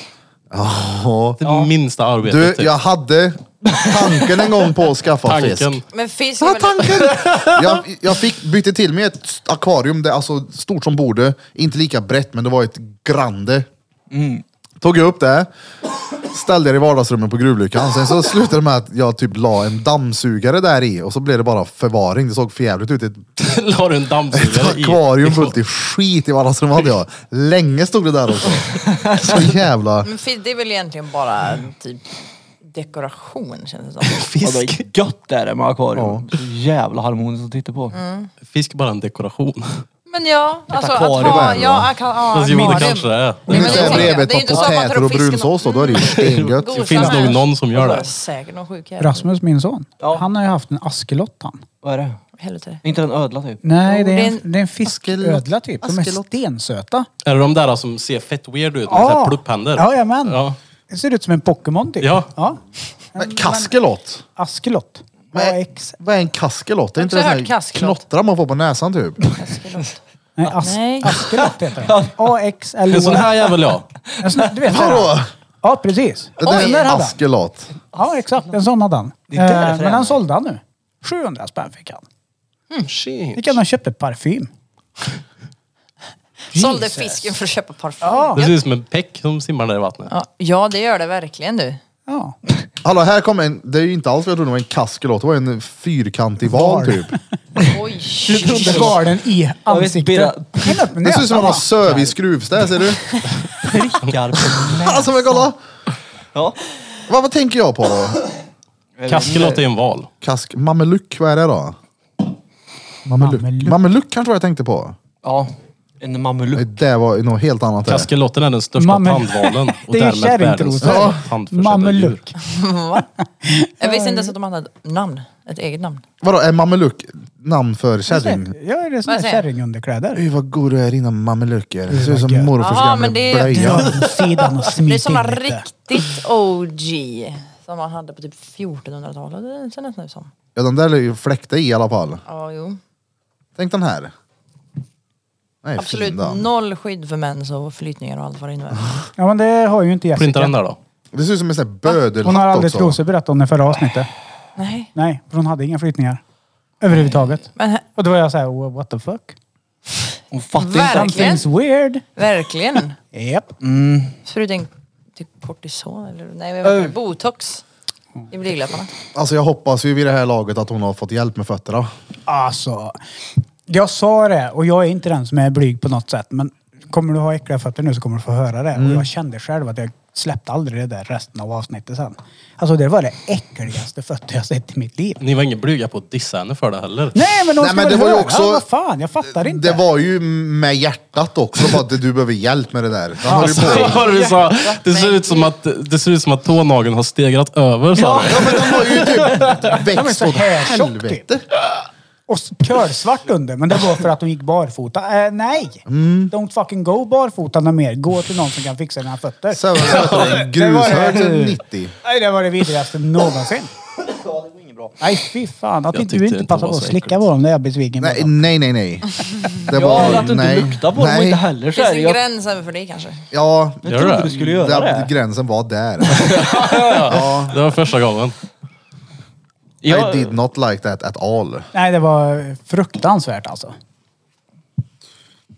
Ja.
Det minsta arbetet.
Du,
typ.
jag hade tanken en gång på att skaffa fisk.
Tanken.
Men fisk är
Ah,
väl...
tanken! Jag, jag fick bytte till mig ett akvarium, det, är alltså stort som borde. Inte lika brett, men det var ett grande. Tog jag upp det, ställde det i vardagsrummet på gruvlyckan. Sen så slutade det med att jag typ la en dammsugare där i och så blev det bara förvaring. Det såg förjävligt ut. Ett
[LAUGHS] La du en dammsugare i?
akvarium fullt i skit i vardagsrummet hade jag. Länge stod det där också. Så jävla...
Men fisk, det är väl egentligen bara
Mm.
typ dekoration
[LAUGHS]
känns det som.
Ja, det
Fisk.
är gött det är det med akvarium. Så jävla harmoniskt att titta på.
Fisk är bara en dekoration.
Men ja, alltså att
akvarium
ha...
är det
Ja,
då.
ak- ja,
Fast jo, det kanske det
akvarium.
är. Mm.
Om
men
du
det
säger
tänker jag.
bredvid
Det är
ett
inte
par
så att man tar
potäter
upp
och
fisken och-
brunsås då, då är det ju stengött.
Det finns
Gosa med.
nog någon som gör det.
Säkert någon sjuk jävel.
Rasmus, min son,
Ja.
han har ju haft en askelott han.
Vad är det?
Helvete.
Inte en ödla typ?
Nej,
Jo,
det är en,
det är en-
det är en fisködla typ. De är
Askelott.
stensöta.
Är det de där som ser fett weird ut med så här plupphänder?
Jajamän.
Ja.
Det ser ut som en Pokémon typ.
Ja.
Men kaskelott?
Askelott.
Men-
AX.
Vad är en kaskelott? Det är
Jag
inte
har
det sån
hört
här
kaskelott.
knottra man får på näsan
[LAUGHS]
typ?
Nej, as,
Nej.
Askelott heter den. AX eller
En sån här jävel ja.
En sån här, du vet.
Vadå?
Ja, precis.
Det där
Oj, där
är en
hade han.
askelott.
Ja, exakt. En sån hade han.
Det är därför
Eh, Men
han är.
han sålde han nu. 700 spänn fick han.
Shit.
Fick han han köpte parfym.
Sålde
Jesus.
fisken för att köpa parfym.
Ja.
Det ser ut som en peck som simmar där i vattnet.
Ja, ja, det gör det
[LAUGHS]
verkligen du.
Ja.
Hallå, här kom en, det är ju inte alls vad jag trodde det var en kaskelott, det var en fyrkantig val
Val.
typ.
Oj.
Skar den i
Birra-
ansiktet. Men upp med
Det ser ut som
näsan,
han har
va?
sövis skruvstäd, ser du?
Prickar
[LAUGHS]
på näsan.
Alltså men kolla!
Ja.
Vad, vad tänker jag på då?
Kaskelot är en val.
Kask, mameluck, vad är det då? Mameluck.
Mameluck.
Mameluck kanske var jag tänkte på.
Ja. En
Nej,
mameluck.
det var något helt annat. det.
Kaskelotten är den största
Mammel-
tandvalen och
Det är ju
därmed världens
kärringtrosor.
största
Ja.
tandförsedda djur.
Mameluck.
Jag visste inte ens att de hade ett namn. Ett eget namn.
Vadå, är mameluck namn för kärring?
Ja, det är såna
Vad
här
säger?
kärringunderkläder.
Fy vad god du är innan mamelucker. Det ser
vad
ut som
gött.
morfars
Ja,
gamla
men det är-
blöja.
Dra sidan och smit
Det är såna
in lite.
riktigt OG. Som man hade på typ 1400-talet. Det kändes nu som.
Ja, de där är ju fläkta i i alla fall.
Ja, jo.
Tänk den här. Nej,
Absolut
fin den.
noll skydd för mens och flytningar och allt vad
[LAUGHS]
det innebär.
Ja, men det har ju inte
Printa den
Jessica.
där då.
Det ser ut som en sån här bödelhatt
Hon har aldrig
också.
trosor berättat om det förra avsnittet.
Nej.
Nej, för hon hade inga flyttningar. Överhuvudtaget.
Men he-
Och då var jag såhär, "Wha- what the fuck?
Hon fattar inte.
Verkligen.
Something's weird. Mm.
verkligen.
Japp.
Förutom typ kortison eller nej, men vad heter det? botox i blygdläpparna.
Alltså jag hoppas ju vid det här laget att hon har fått hjälp med fötterna.
Alltså, jag sa det och jag är inte den som är blyg på något sätt. Men kommer du ha äckliga fötter nu så kommer du få höra det.
Mm.
Och jag kände själv att jag släppte aldrig det där resten av avsnittet sen. Alltså det var det äckligaste fötter jag sett i mitt liv.
Ni var inga blyga på att dissa henne för det heller.
Nej men, de
Nej,
ska
men
väl
det var ju
höra.
också-
Vad fan, jag fattar inte.
Det var ju med hjärtat också, bara att du behöver hjälp med det där. Den har ju
Alltså,
på.
vad var det vi sa? Det ser ut som att, det ser ut som att tånageln har stegrat över sa du.
Ja men den har ju typ
Den var
växt
så
åt
här typ. tjock,
helvete.
Och s- kölsvart under, men det var för att de gick barfota. Eh, nej!
Mm.
Don't fucking go barfota något mer. Gå till någon som kan fixa dina fötter.
Sen var det en grushög till 90.
Nej, det var det vidrigaste någonsin. Nej, fy fan. Att
Jag
inte du inte
tyckte inte det
passar
var
på att
så
slicka
äckligt.
på dem, det är jag besviken på.
Nej, nej, nej. nej. Det
Ja, eller att du inte
nej,
luktar på dem och
nej.
inte heller
Det finns
såhär.
en
Jag
gräns även för det kanske.
Ja,
jag trodde
det?
du skulle göra
där,
det.
gränsen var där.
Det var första gången.
I
Jag,
did not like that at all.
Nej, det var fruktansvärt alltså.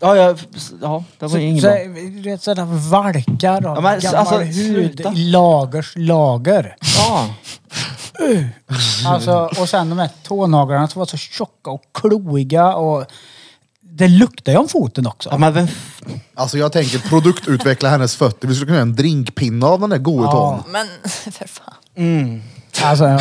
ja, jag, ja, det var inget
så,
bra.
du vet, sådana valkar av
Ja, men,
gammal
alltså,
hud
sluta.
i lagers
[LAUGHS]
lager.
Ja.
Alltså, och sen de här tånaglarna som var så tjocka och kloiga och det luktar ju om foten också.
ja, men vem... f-
Alltså jag tänker produktutveckla hennes fötter. Vi skulle kunna göra en drinkpinne av den där gode
Ja.
tån.
Men [LAUGHS] för fan.
Alltså, ja.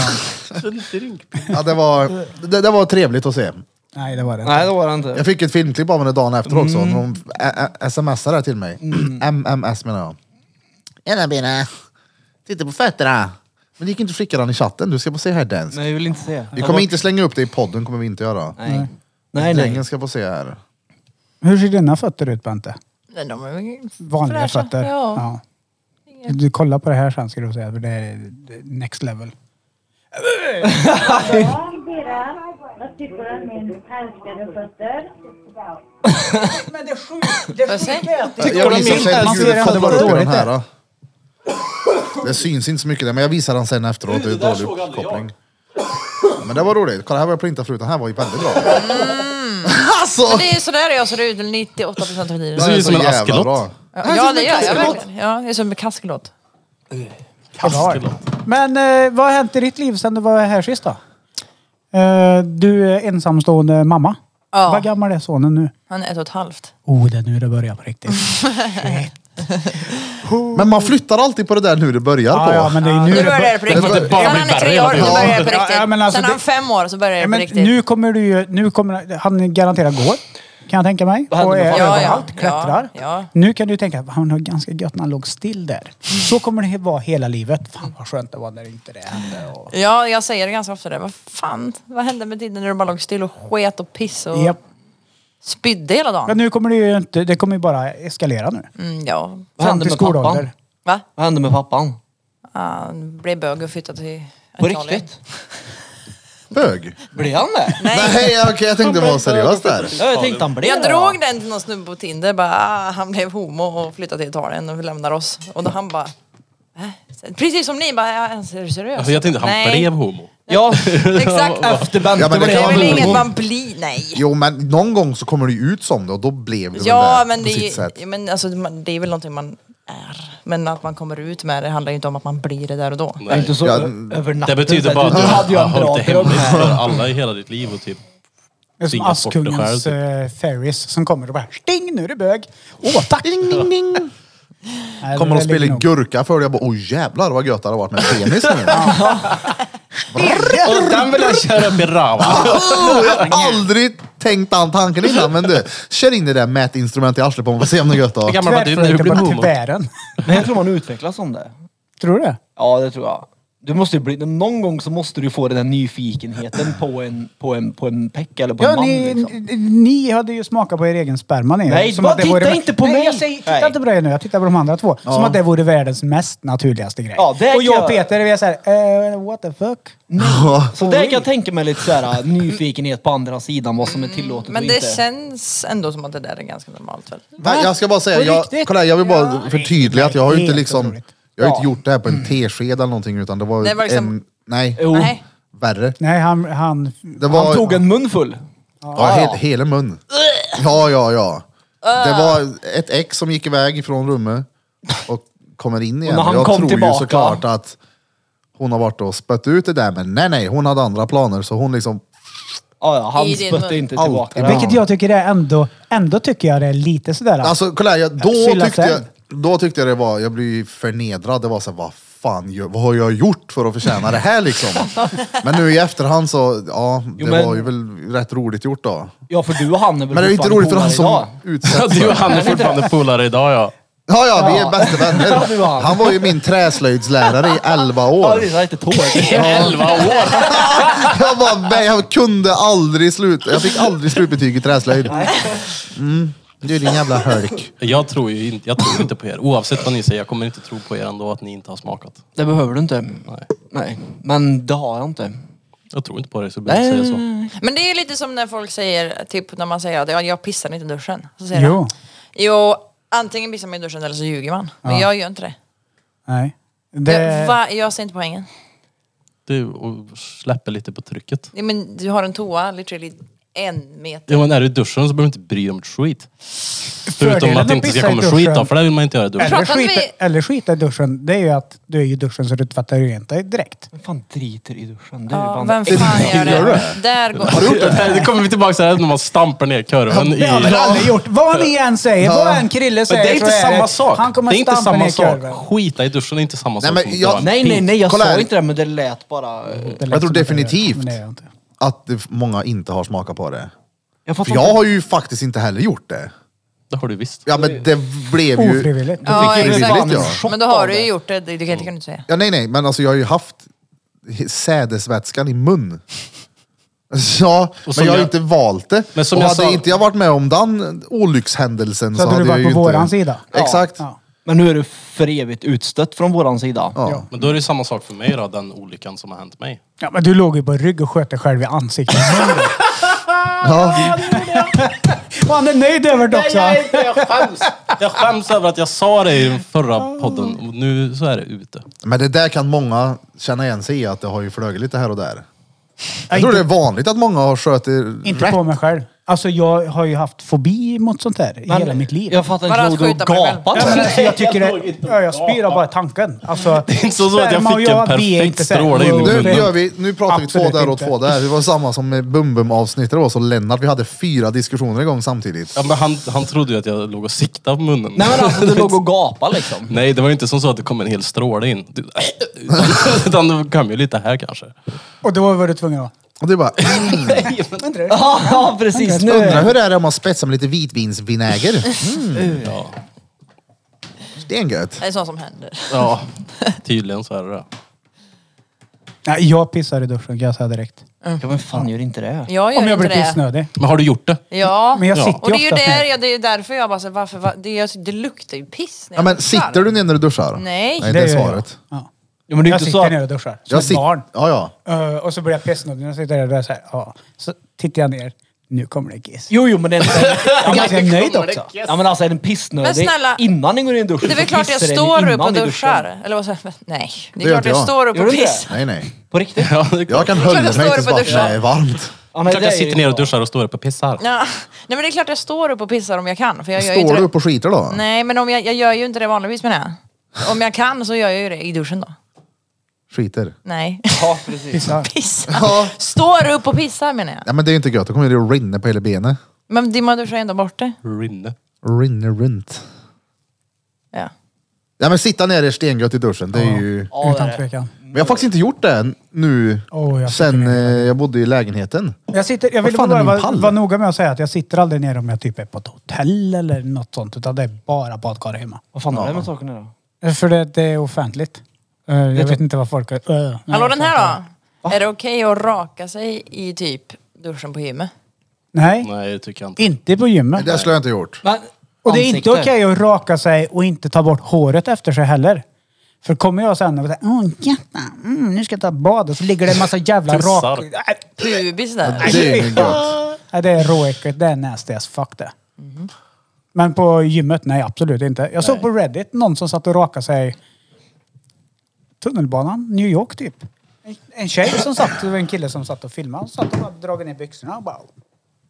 Ja, det, var, det, det var trevligt att se.
nej, det var det inte.
Nej, det var det inte.
Jag fick ett filmklipp av henne dagen efter också.
Mm.
När hon ä- ä- smsade det till mig. MMS menar jag. Tjena Bina! Titta på fötterna! Men det gick inte att skicka den i chatten. Du ska få se här dansk.
Nej, jag vill inte se.
Vi kommer inte slänga upp det i podden, kommer vi inte göra.
Nej. Nej, nej.
Ingen ska få se här.
Hur ser dina fötter ut Bente?
Nej, de är ju
Vanliga
fräscha.
fötter?
Ja.
Ja. Du kollar på det här sen ska du säga, för det är det är next level.
Ja, Bera. Vad tycker du om min älskade fötter?
Men det sjuka
Vad säger du?
Jag visar
inte ens
sen
hur det hade
varit
hur den
dåligt
här. då. Det syns inte så mycket där, men jag visar den sen efteråt. Det är dålig uppkoppling. Ja, Men det var roligt. Kolla, här var jag printad förut. Den här var ju väldigt bra. alltså!
Det är sådär jag ser ut 98% av tiden.
Det ser
är
ut som
så
en
jävla
askelott.
bra.
Ja, det gör jag verkligen. Ja, det är som en kaskelot.
Men eh, vad har hänt i ditt liv sen du var här sist då? Eh, du är ensamstående mamma.
Ja.
Vad gammal är sonen nu?
Han är ett och ett halvt.
Oh, det är nu det börjar på riktigt.
Men man flyttar alltid på det där nu det börjar
ja,
på.
ja, men det är nu
Nu
det
börjar det på riktigt.
det
Sen
bara blir
han är tre
värre
år, då
hela
börjar det på
tiden. Ja, ja, men
riktigt.
alltså
Sen han
det-
är fem år, så börjar
Ja,
det på
men
riktigt.
nu kommer du ju, nu kommer han garanterat gå, kan jag tänka mig.
Vad händer
Och är
med
farsan? Ja, ja.
överallt, klättrar.
Ja, ja.
Nu kan du tänka, han har ganska gött när han låg still där. Så kommer det vara hela livet. Fan vad skönt det var när inte det hände. Och...
Ja, jag säger det ganska ofta det. Vad fan, vad hände med tiden när du bara låg still och sket och piss och
Japp.
spydde hela
Men
dagen?
nu kommer det ju inte, det kommer ju bara eskalera nu.
Mm, ja.
Vad
Fram
hände
till
med
skolålder.
pappan?
Va?
Vad hände med pappan?
Han blev bög och flyttade till
På
Italien.
riktigt?
Bög.
Blev han det?
Nej, okej, jag tänkte vara seriös där.
Ja, jag tänkte han blev
Jag
det, va?
drog den till någon snubbe på Tinder. Bara, ah, han blev homo och flyttade till Italien och lämnar oss. Och då han bara... "Va?" Precis som ni, bara, "Ja, är du seriös?
Alltså, jag tänkte han
Nej.
blev homo.
[LAUGHS] Ja,
Exakt.
efter Bente
Ja, men det
Det
blev
är
kan
han
väl
bli
inget
homo.
man blir, nej.
Jo, men någon gång så kommer det ju ut som det och då blev det
Ja,
väl det
men,
på sitt
det,
sätt.
är- men alltså, man- det är väl någonting man är. Men att man kommer ut med det handlar ju inte om att man blir det där och då.
Det är inte så
Ja,
över
Det
natten.
betyder bara att
du,
du
du hade ju en
har
bra
hållit det
dröm
hemligt
här.
för alla i hela ditt liv och typ
Det är som
Tvingat bort det
Askungens
typ.
eh, Ferris som kommer och bara sting nu är det bög. Åh tack! Ding, ding, ding.
Kommer de spela in gurka för det? Jag bara, oj jävlar vad gött det har varit med penis nu.
Och den vill jag köra upp i röva.
Oh, jag har aldrig tänkt den tanken innan, men du. Kör in det där mätinstrumentet i arslet på mig och se om det är gött då.
[LAUGHS] Hur gammal var du när du
Tvärflöjten
blev
på
homo?
kuverten.
Men jag tror man utvecklas som det.
Tror du det?
Ja, det tror jag. Du måste ju bli, någon gång så måste du få den där nyfikenheten på en, på en, på en peck eller på en
Ja,
man.
ni,
liksom.
ni- ni hade ju smakat på er egen sperma. Ni.
Nej, bara
att det
titta
vore-
inte på
Nej,
mig.
Jag säger, titta
Nej.
inte på dig nu. Jag tittar på de andra två. Som att det vore världens mest naturligaste grej.
Ja, det
och jag och
kan jag-
Peter, vi är såhär, eh, what the fuck?
Så där kan jag tänka mig lite såhär nyfikenhet på andra sidan vad som är tillåtet
Men
och inte.
det känns ändå som att det där är ganska normalt väl?
Nej, jag ska bara säga, jag,
riktigt?
kolla, här, jag vill bara förtydliga att jag har ju inte
Helt
liksom,
otroligt.
jag har inte gjort det här på en tesked eller någonting utan det var,
Det var liksom-
en, nej,
Jo.
Nej.
värre.
Nej, han... han
Det var,
Han tog en munfull.
ja, hel, hela mun. Ja, ja, ja. Det var ett ex som gick iväg från rummet och kommer in igen.
när han
jag
kom
tror ju
tillbaka-
såklart att hon har varit och spött ut det där, men nej, nej, hon hade andra planer så hon liksom,
Ja, ja, han
I din
spötte
mun.
inte
Allt.
tillbaka.
Ja.
Vilket jag tycker är ändå... Ändå tycker jag det är lite sådär...
alltså kolla här, jag, då,
Sylla
tyckte
sen.
jag, då tyckte jag det var, jag blev ju förnedrad. Det var så här, vad fan, gör- vad har jag gjort för att förtjäna det här liksom?
[LAUGHS]
Men nu i efterhand så, ja, det
Jo, men-
var ju väl rätt roligt gjort då.
Ja, för du och han är väl
Men det är ju inte
fortfarande
roligt för han
polare
som
idag? [LAUGHS]
utsätts.
Du och han är fortfarande polare idag ja.
Ja, ja, vi är bästa
Ja, du och
vänner.
han.
Han var ju min träslöjdslärare i 11
Ja,
år.
det är inte tåg.
Elva år!
Jag bara, nej, jag kunde aldrig sluta. Jag fick aldrig slutbetyg i träslöjd. Mm. Du är din jävla hölk.
Jag tror ju inte, jag tror inte på er. Oavsett vad ni säger, jag kommer inte tro på er ändå att ni inte har smakat.
Det behöver du inte. Nej. Nej. Men det har jag inte.
Jag tror inte på det så jag behöver inte säga så.
Men det är lite som när folk säger, typ när man säger att "Ja, jag pissar inte i duschen. Så säger
Jo.
de, jo, antingen pissar man i duschen eller så ljuger man. Men jag gör inte det.
Nej.
Jag,
Det,
va, jag ser inte poängen.
det och släpper lite på trycket.
Ja, men du har en toa literally en meter.
Ja, men är du i duschen så behöver du inte bry dig om ett skit. Förutom
med
att det inte
att
ska
pissa i
komma skit då,
duschen.
för det vill man inte göra i duschen.
Eller
Pratar vi-
skita, eller skita i duschen, det är ju att du är i duschen så du tvättar ju inte direkt.
Vem fan driter i duschen? Det är
Ja,
fan
vem fan gör det? Där går...
Har du gjort [LAUGHS] det? Det kommer vi tillbaka till här när man stampar ner kurven i...
Det har väl aldrig gjort. Vad ni än säger, vad än Krille
Men
säger
det är inte
så
samma sak.
Han kommer
det är inte
stampa
samma
ner
sak.
kurven.
Skita i duschen är inte samma
Nej,
sak
men
som att
jag-
dra en
Nej, nej, nej. Jag
Kolla
sa
här.
inte det, men det lät bara...
Det lät
Jag tror
som att Liksom, det är-
definitivt.
men det är jag inte.
Att det, många inte har smakat på det.
Jag
För
fattar
jag
inte.
har ju faktiskt inte heller gjort det.
Det har du visst.
Ja men det blev ju...
Ofrivilligt.
Ja,
ju
exakt.
fan en chock
Men då har
av
du ju
det.
gjort det. Du kan inte, kan du inte säga.
Ja nej nej, men alltså jag har ju haft he- sädesvätskan i mun. Ja,
Och som
men jag har
jag-
inte valt det.
Men som
och
jag
hade
sa-
inte jag varit med om den olyckshändelsen
Så hade du
jag
varit på
ju
våran sida.
Exakt.
Ja.
Men nu är du för evigt utstött från våran sida.
Ja.
Men då är det samma sak för mig då, den olyckan som har hänt mig.
Ja, men du låg ju på rygg och sköt dig själv i ansiktet.
Ja.
Och han är nöjd över det också.
Jag skäms över att jag sa det i den förra podden och nu så är det ute.
Men det där kan många känna igen sig i, att det har ju flugit lite här och där. Jag
Ja,
tror det är
inte-
vanligt att många har sköter
Inte på mig själv. Alltså jag har ju haft fobi mot sånt här i hela mitt liv.
Jag fattar
Bara
inte.
att
Låg
skjuta
du och
på dig själv.
Ja, men
gapade?
alltså, jag tycker det, ja, jag spyr av bara tanken. Alltså, det
är inte så att jag fick en perfekt stråle in i
Nu,
munnen.
gör vi, nu pratar vi två
Absolut
där och
inte.
två där. Det var samma som med Bum Bum avsnittet det var så Lennart. Vi hade fyra diskussioner igång samtidigt.
Ja, men han, han trodde ju att jag låg och siktade på munnen.
Nej men alltså, du låg och
[LAUGHS]
gapade liksom.
Nej, det var ju inte som så att det kom en hel stråle in. Du- [LAUGHS] Utan det kom ju lite här kanske.
Och då var du tvungen att...
Och det är bara, mm,
Ja, ja, precis.
undrar
Nu.
hur är det om man spetsar med lite vitvinsvinäger? Mm. Stengött.
Det är sånt som händer.
Ja, tydligen så är det det.
Nej, jag pissar i duschen kan jag säga direkt.
Ja, men fan gör inte det?
Jag gör
Om jag
inte
blir
det.
pissnödig.
Men har du gjort det? [LAUGHS]
Ja.
Men jag
Ja.
sitter
Och det är ju
oftast ner.
där, ja, det är därför jag bara, så, här, varför, va, det, är, det luktar ju piss när
Ja,
jag
men
duschar.
sitter du ner när du duschar?
Nej.
Nej det är
gör jag.
svaret.
Ja.
Ja, men det är
Jag
inte så
sitter
att...
ner och duschar. Som
Jag
ett
sit-
barn.
Ja, ja.
Eh, och så blir jag pissnödig. När jag sitter där och är så här, ja. Så tittar jag ner. Nu kommer det kiss.
Jo, jo, men det är inte...
Jag är
[LAUGHS]
ganska nöjd också.
Ja men alltså är den pissnödig
Men snälla-
innan den går in i duschen
Det är väl
så
klart jag
pissar den
står upp
innan
och
i duschen.
duschar. Eller vad säger Nej. Det är
Det gör
klart
inte
jag
jag.
står upp
Gör
och
du inte
pissar.
Nej, nej.
På riktigt?
Ja, det är klart.
Jag kan höja mig
jag står upp
tills
och
bara,
duschar.
nej, det är varmt.
Ja, nej,
Klart
det
jag
är ju
sitter ner och
så.
duschar och står upp och pissar.
Ja. Nej men det är klart jag står upp och pissar om jag kan. För jag gör ju inte
Står du
det.
upp och skiter då?
Nej men om jag, jag gör ju inte det vanligtvis menar jag. Om jag kan så gör jag ju det i duschen då.
Skiter.
Nej.
Ja, precis.
Pissar.
Pissar. Står upp och pissar menar jag.
Ja, men det är ju inte gött, då kommer det att rinna på hela benet.
Men det- man duschar ju ändå bort det.
Rinne.
Rinner runt.
Ja.
Ja men sitta ner är stengött i duschen. Det är ju...
Ja, det är
Utan
det.
tvekan.
Men jag har faktiskt inte gjort det nu
Åh, jag tycker
sen eh, jag bodde i lägenheten.
Jag, sitter, jag
Vad
vill
fan är
bara
min
vara
pall?
vara noga med att säga att jag sitter aldrig ner om jag typ är på ett hotell eller något sånt. Utan det är bara badkar hemma.
Vad fan har det med saken då?
För det, det är offentligt. Eh, Jag vet inte vad folk... Uh,
Hallå den här då? Är det okej att raka sig i typ duschen på gymmet?
Nej,
Nej, det tycker jag inte.
inte på gymmet.
Det skulle jag inte gjort.
Men,
Och det är inte
ansikte.
okej att raka sig och inte ta bort håret efter sig heller. För kommer jag sen och säger åh jätta, mm, nu ska jag ta bad och så ligger det en massa jävla
Tussar.
rak... Nej,
Pubis där.
Det är inget gött.
Nej, det är råäckligt. Det är nasty as fuck det. Men på gymmet, nej absolut inte. Jag såg på Reddit någon som satt och rakade sig i tunnelbanan, New York typ. En- En tjej som satt, det var en kille som satt och filmade. Han satt och bara dragit ner byxorna och bara...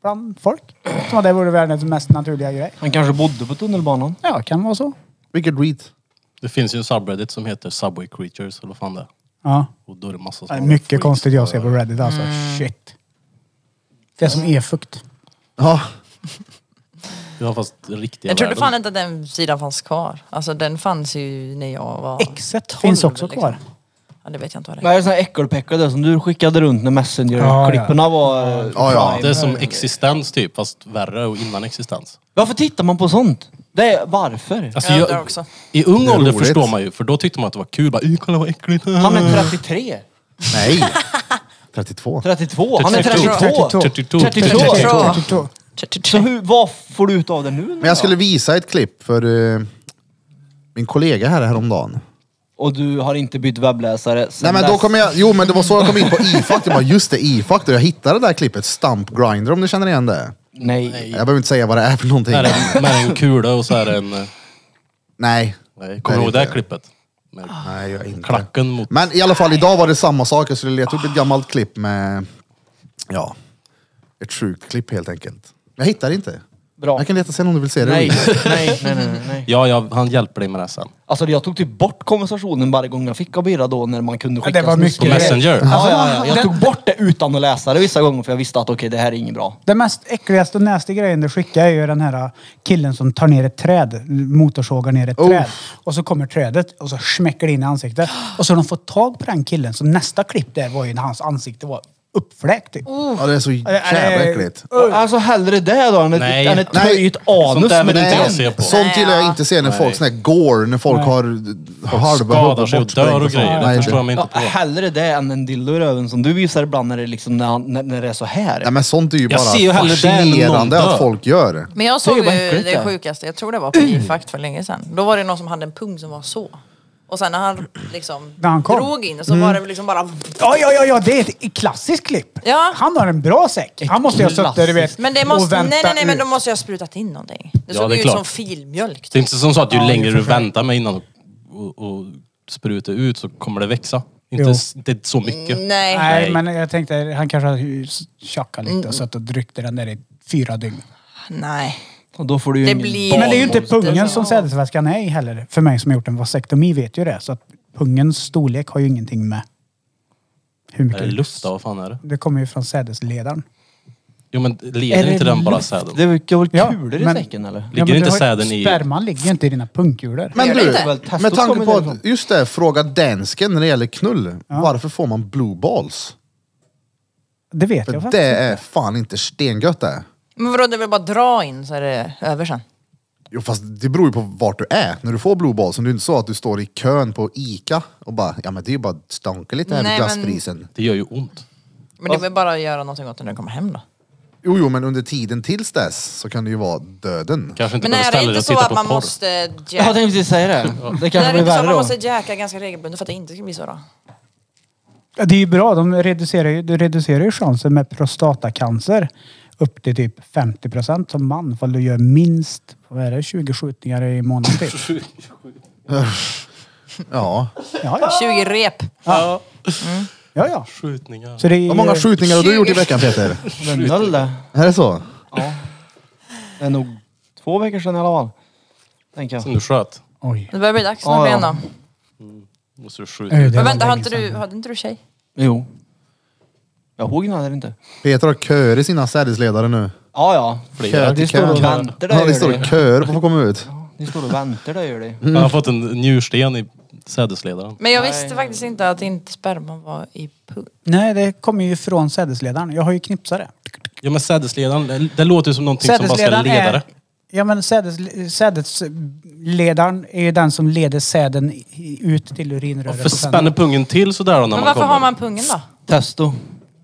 Bland folk. Som att det vore världens mest naturliga grej.
Han kanske bodde på tunnelbanan.
Ja, kan vara så.
Vilket reet.
Det finns ju en subreddit som heter Subway Creatures, eller vad fan det är.
Ja.
Och då är det massa
Det är
sådana.
mycket konstigt jag ser på Reddit alltså. Shit. Det är som e-fukt.
Ja.
Ja, fast riktiga
Jag trodde
världen.
fan inte att den sidan fanns kvar. Alltså den fanns ju när jag var...
Exet finns
tolv,
också
liksom.
kvar.
Ja, det vet jag inte vad det är.
Nej, det är sån här äckelpäckel där som du skickade runt när Messenger-klipporna var... eh,
Ja, ja.
Det är som existens typ, fast värre och innan existens.
Varför tittar man på sånt? Det är, varför?
Alltså,
Jag
jag,
undrar också.
I ung
Det är
ålder
roligt.
förstår man ju, för då tyckte man att det var kul. Bara, "Ih, kolla vad äckligt.
Han
Mm.
är 33.
Nej. [LAUGHS] 32.
32. Han är
32. 32.
32. 32.
Bra.
Tjugotvå.
Så hur, vad får du ut av det nu?
Men jag skulle visa ett klipp för eh, min kollega här häromdagen.
Och du har inte bytt webbläsare sen
Nej men då
dess.
kommer jag, jo men det var så jag kom in på E-Factor. Jag bara, Just det, E-Factor. Jag hittade det där klippet, Stump Grinder om du känner igen det.
Nej.
Jag behöver inte säga vad det är för någonting.
Med en kula och så är det en... eh,
Nej.
Nej, kommer du ihåg det här klippet? Med
Nej, jag är inte.
klacken mot...
Men i alla fall, idag var det samma sak. Jag skulle leta upp ett gammalt klipp med, ja, ett sjukt klipp helt enkelt. Jag hittar inte.
Bra.
Jag kan leta sen om du vill se det.
Nej, nej, nej, nej, nej.
Ja, ja, han hjälper dig med det sen.
Alltså jag tog typ bort konversationen varje gång jag fick av Birra då när man kunde
Ja,
skicka
det var
sms.
På
mycket.
Messenger.
Ja, ja, ja. Jag
Alltså, Den-
tog bort det utan att läsa det vissa gånger för jag visste att okej, det här är inget bra.
Den mest äckligaste och nästa grejen du skickar är ju den här killen som tar ner ett träd, motorsågar ner ett
Oh.
träd. Och så kommer trädet och så smäcker det in i ansiktet. Och så har de fått tag på den killen, så nästa klipp där var ju när hans ansikte var uppfläkt typ.
Oh.
Ja, det är så jävla
nej.
äckligt.
Alltså hellre det då än ett,
Nej.
än ett
Nej.
töjt
Sånt
anus
där
med
vill
en
inte jag
tänd.
se på.
Sånt gillar jag inte se när
Nej.
folk, sån här gore, när folk har halva
Skadar sig och
bortsprängt
dör och
sånt.
grejer.
Nej,
Det förstår jag mig
Ja,
inte på.
hellre det än en dildo i röven som du visar ibland när det, är liksom, när, han- när, när det är så här.
Nej men sånt är ju
Jag ser ju
bara
hellre det än någon
fascinerande
dör.
att folk gör. det.
Men jag såg
ju bara
ju
äckligt
det
det.
sjukaste, jag tror det var på IFACT för länge sedan. Då var det någon som hade en pung som var så. Och sen när han liksom
När han kom. Mm.
drog in så var det liksom bara...
Ja, ja, ja, ja, det är ett klassiskt klipp.
Ja.
Han har en bra säck. Han måste ju ha suttit där, du vet,
Men det
och
måste...
väntat
Nej, nej, nej, men
ut.
då måste jag ha sprutat in någonting. Det
Ja,
såg
det är
ju ut
klart.
som filmjölk.
Det är
Typ.
inte som så att ju
Ja,
längre
i och
du
för sig.
väntar med innan och, och sprutar ut så kommer det växa.
Jo.
Inte, s- inte så mycket.
Nej.
Nej,
Nej.
men jag tänkte, han kanske har tjackat
Mm.
lite och suttit och dryckte den där i fyra dygn.
Nej.
Och då får du ju
Det
en
blir-
Men det är ju inte
Barnmonster.
pungen som sädesvätskan är i heller. För mig som har gjort en vasektomi vet ju det. Så att pungens storlek har ju ingenting med hur
Är det
mycket...
luft då? Vad fan är det?
Det kommer ju från sädesledaren.
Jo men leder
det
inte den bara
luft?
säden?
Det brukar väl
Ja,
kulor i
men-
säcken eller?
Ligger
men du
inte
har ju-
säden i-
Sperman ligger ju inte i dina pungkulor.
Men
gör det
du,
inte.
Väl, testot
med tanke
kommer
på
därifrån.
att, just det, fråga dansken när det gäller knull. Varför får man blue balls?
Det vet jag
För
faktiskt.
det är fan inte stengött det.
Men vadå, det är väl bara att dra in så är det över sen.
Jo fast det beror ju på vart du är när du får blue balls. Det är inte så att du står i kön på Ica och bara, ja men det är ju bara att stanka lite här
Nej,
vid
men-
glassfrisen.
Det gör ju ont.
Men det är väl bara att göra någonting åt det när du kommer hem då.
Jo, jo, men under tiden tills dess så kan det ju vara döden.
Kanske inte
Men
behöver
är det
ställa dig
inte
och
så
titta
att
på porr.
man måste...
Jag
Jack...
tänkte precis säga det. Det
Det
kanske
är
blir
inte så att
värre
man
då.
måste jäka ganska regelbundet för att det inte ska bli så då?
Ja, Det är ju bra. De reducerar ju, du reducerar ju chansen med prostatacancer upp till typ 50 procent som man. För du gör minst, vad är det, 20 skjutningar i månaden
[LAUGHS]
typ.
Ja.
Ja, ja.
20 rep.
ja, ja.
Skjutningar.
Så det är,
Hur många skjutningar har du gjort i veckan Peter?
Men noll det.
Är det så?
Det är nog två veckor sedan i alla fall. Tänker jag.
Som du sköt.
Oj.
Det börjar bli dags
Ja,
snart igen
ja.
då.
Måste du skjuta.
Ö,
ut.
det
Men
var
vänta,
länge
hade inte
sedan.
du, hade inte du tjej?
Jo. Jag ihåg innan eller inte.
Peter har köer i sina sädesledare nu.
Ja, ja.
Flera.
Det står och väntar där
Ja,
gör
det står och
det.
köer på att få komma ut.
Ni står och väntar där gör det.
Jag har fått en njursten i sädesledaren.
Men jag
Nej.
visste faktiskt inte att inte sperman var i pung.
Nej, det kommer ju från sädesledaren. Jag har ju knipsare.
Ja men sädesledaren, det- det låter ju som någonting som bara ska leda
är...
det.
Ja, men sädes, sädesledaren är ju den som leder säden i- ut till urinröret.
Varför
och sen-
spänner pungen till sådär då när
Men
man
varför
kommer?
har man pungen då?
Testo.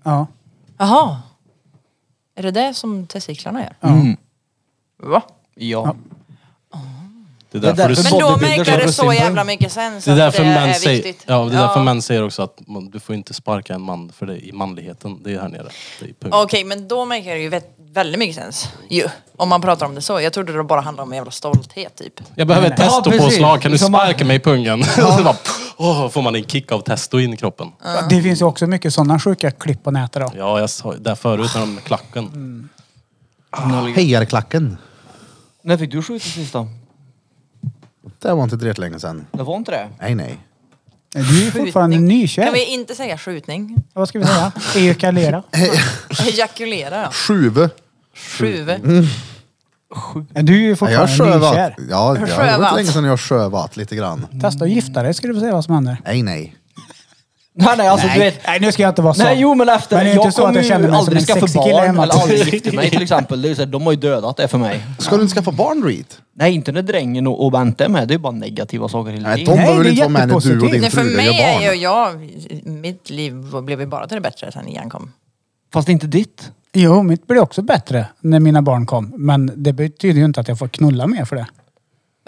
Ja.
Jaha. Är det det som testiklarna gör?
Mm.
Va? Ja.
Det är därför,
Det är därför
du,
Men då
bodybuilders
märker
har
det så
sin
jävla mycket sen så
det är
att
därför
det
män
är
säger,
viktigt.
ja, det är därför
Ja.
män säger också att man, du får inte sparka en man för det är i manligheten. Det är här nere. Det är i pungen.
Okej, men då märker det ju vä- väldigt mycket sens. Ju. Om man pratar om det så. Jag trodde det bara handlade om en jävla stolthet typ.
Jag behöver ett
nej. Ja,
testopåslag,
precis.
kan du
Som man-
sparka mig i pungen? [LAUGHS] Och så bara, åh, får man en kick av testo in i kroppen.
Det finns ju också mycket sådana sjuka klipp på nätet. Då.
Ja, jag sa där förut när de med klacken.
Mm. Hejarklacken.
När fick du skjuta sist då?
Det var inte direkt länge sedan.
Det var inte det?
Nej, nej.
Nej, Du är ju fortfarande
Skjutning.
nykär.
Kan vi inte säga skjutning? [LAUGHS]
Vad ska vi säga? Ejakulera.
Ejakulera ja.
Sjuve.
Sjuve.
Du är ju
Nej, jag har
fortfarande
sjövat.
nykär.
Ja, det har
Sjövat.
varit länge sedan jag har sjövat lite grann.
Testa att gifta dig ska du få se vad som händer.
Nej, nej.
Nej, nej, alltså du vet.
Nej, nu ska jag inte vara så.
Nej, jo men efter.
Men det är inte så att jag känner mig som en sexig kille hemma.
eller aldrig gifta
[LAUGHS]
mig till exempel. Det är så här, de har ju dödat det för mig.
Ska du inte skaffa barn, Reed?
Nej, inte när drängen och, och Bente är med. Det är bara negativa saker hela
Nej,
tiden.
Tom
Nej,
behöver
det är
inte vara med när du och
jättepositivt.
din
Nej, för
fru gör
mig är ju
barn.
jag, mitt liv blev ju bara till det bättre sen Ian kom.
Fast inte ditt.
Jo, mitt blev också bättre när mina barn kom. Men det betyder ju inte att jag får knulla mer för det.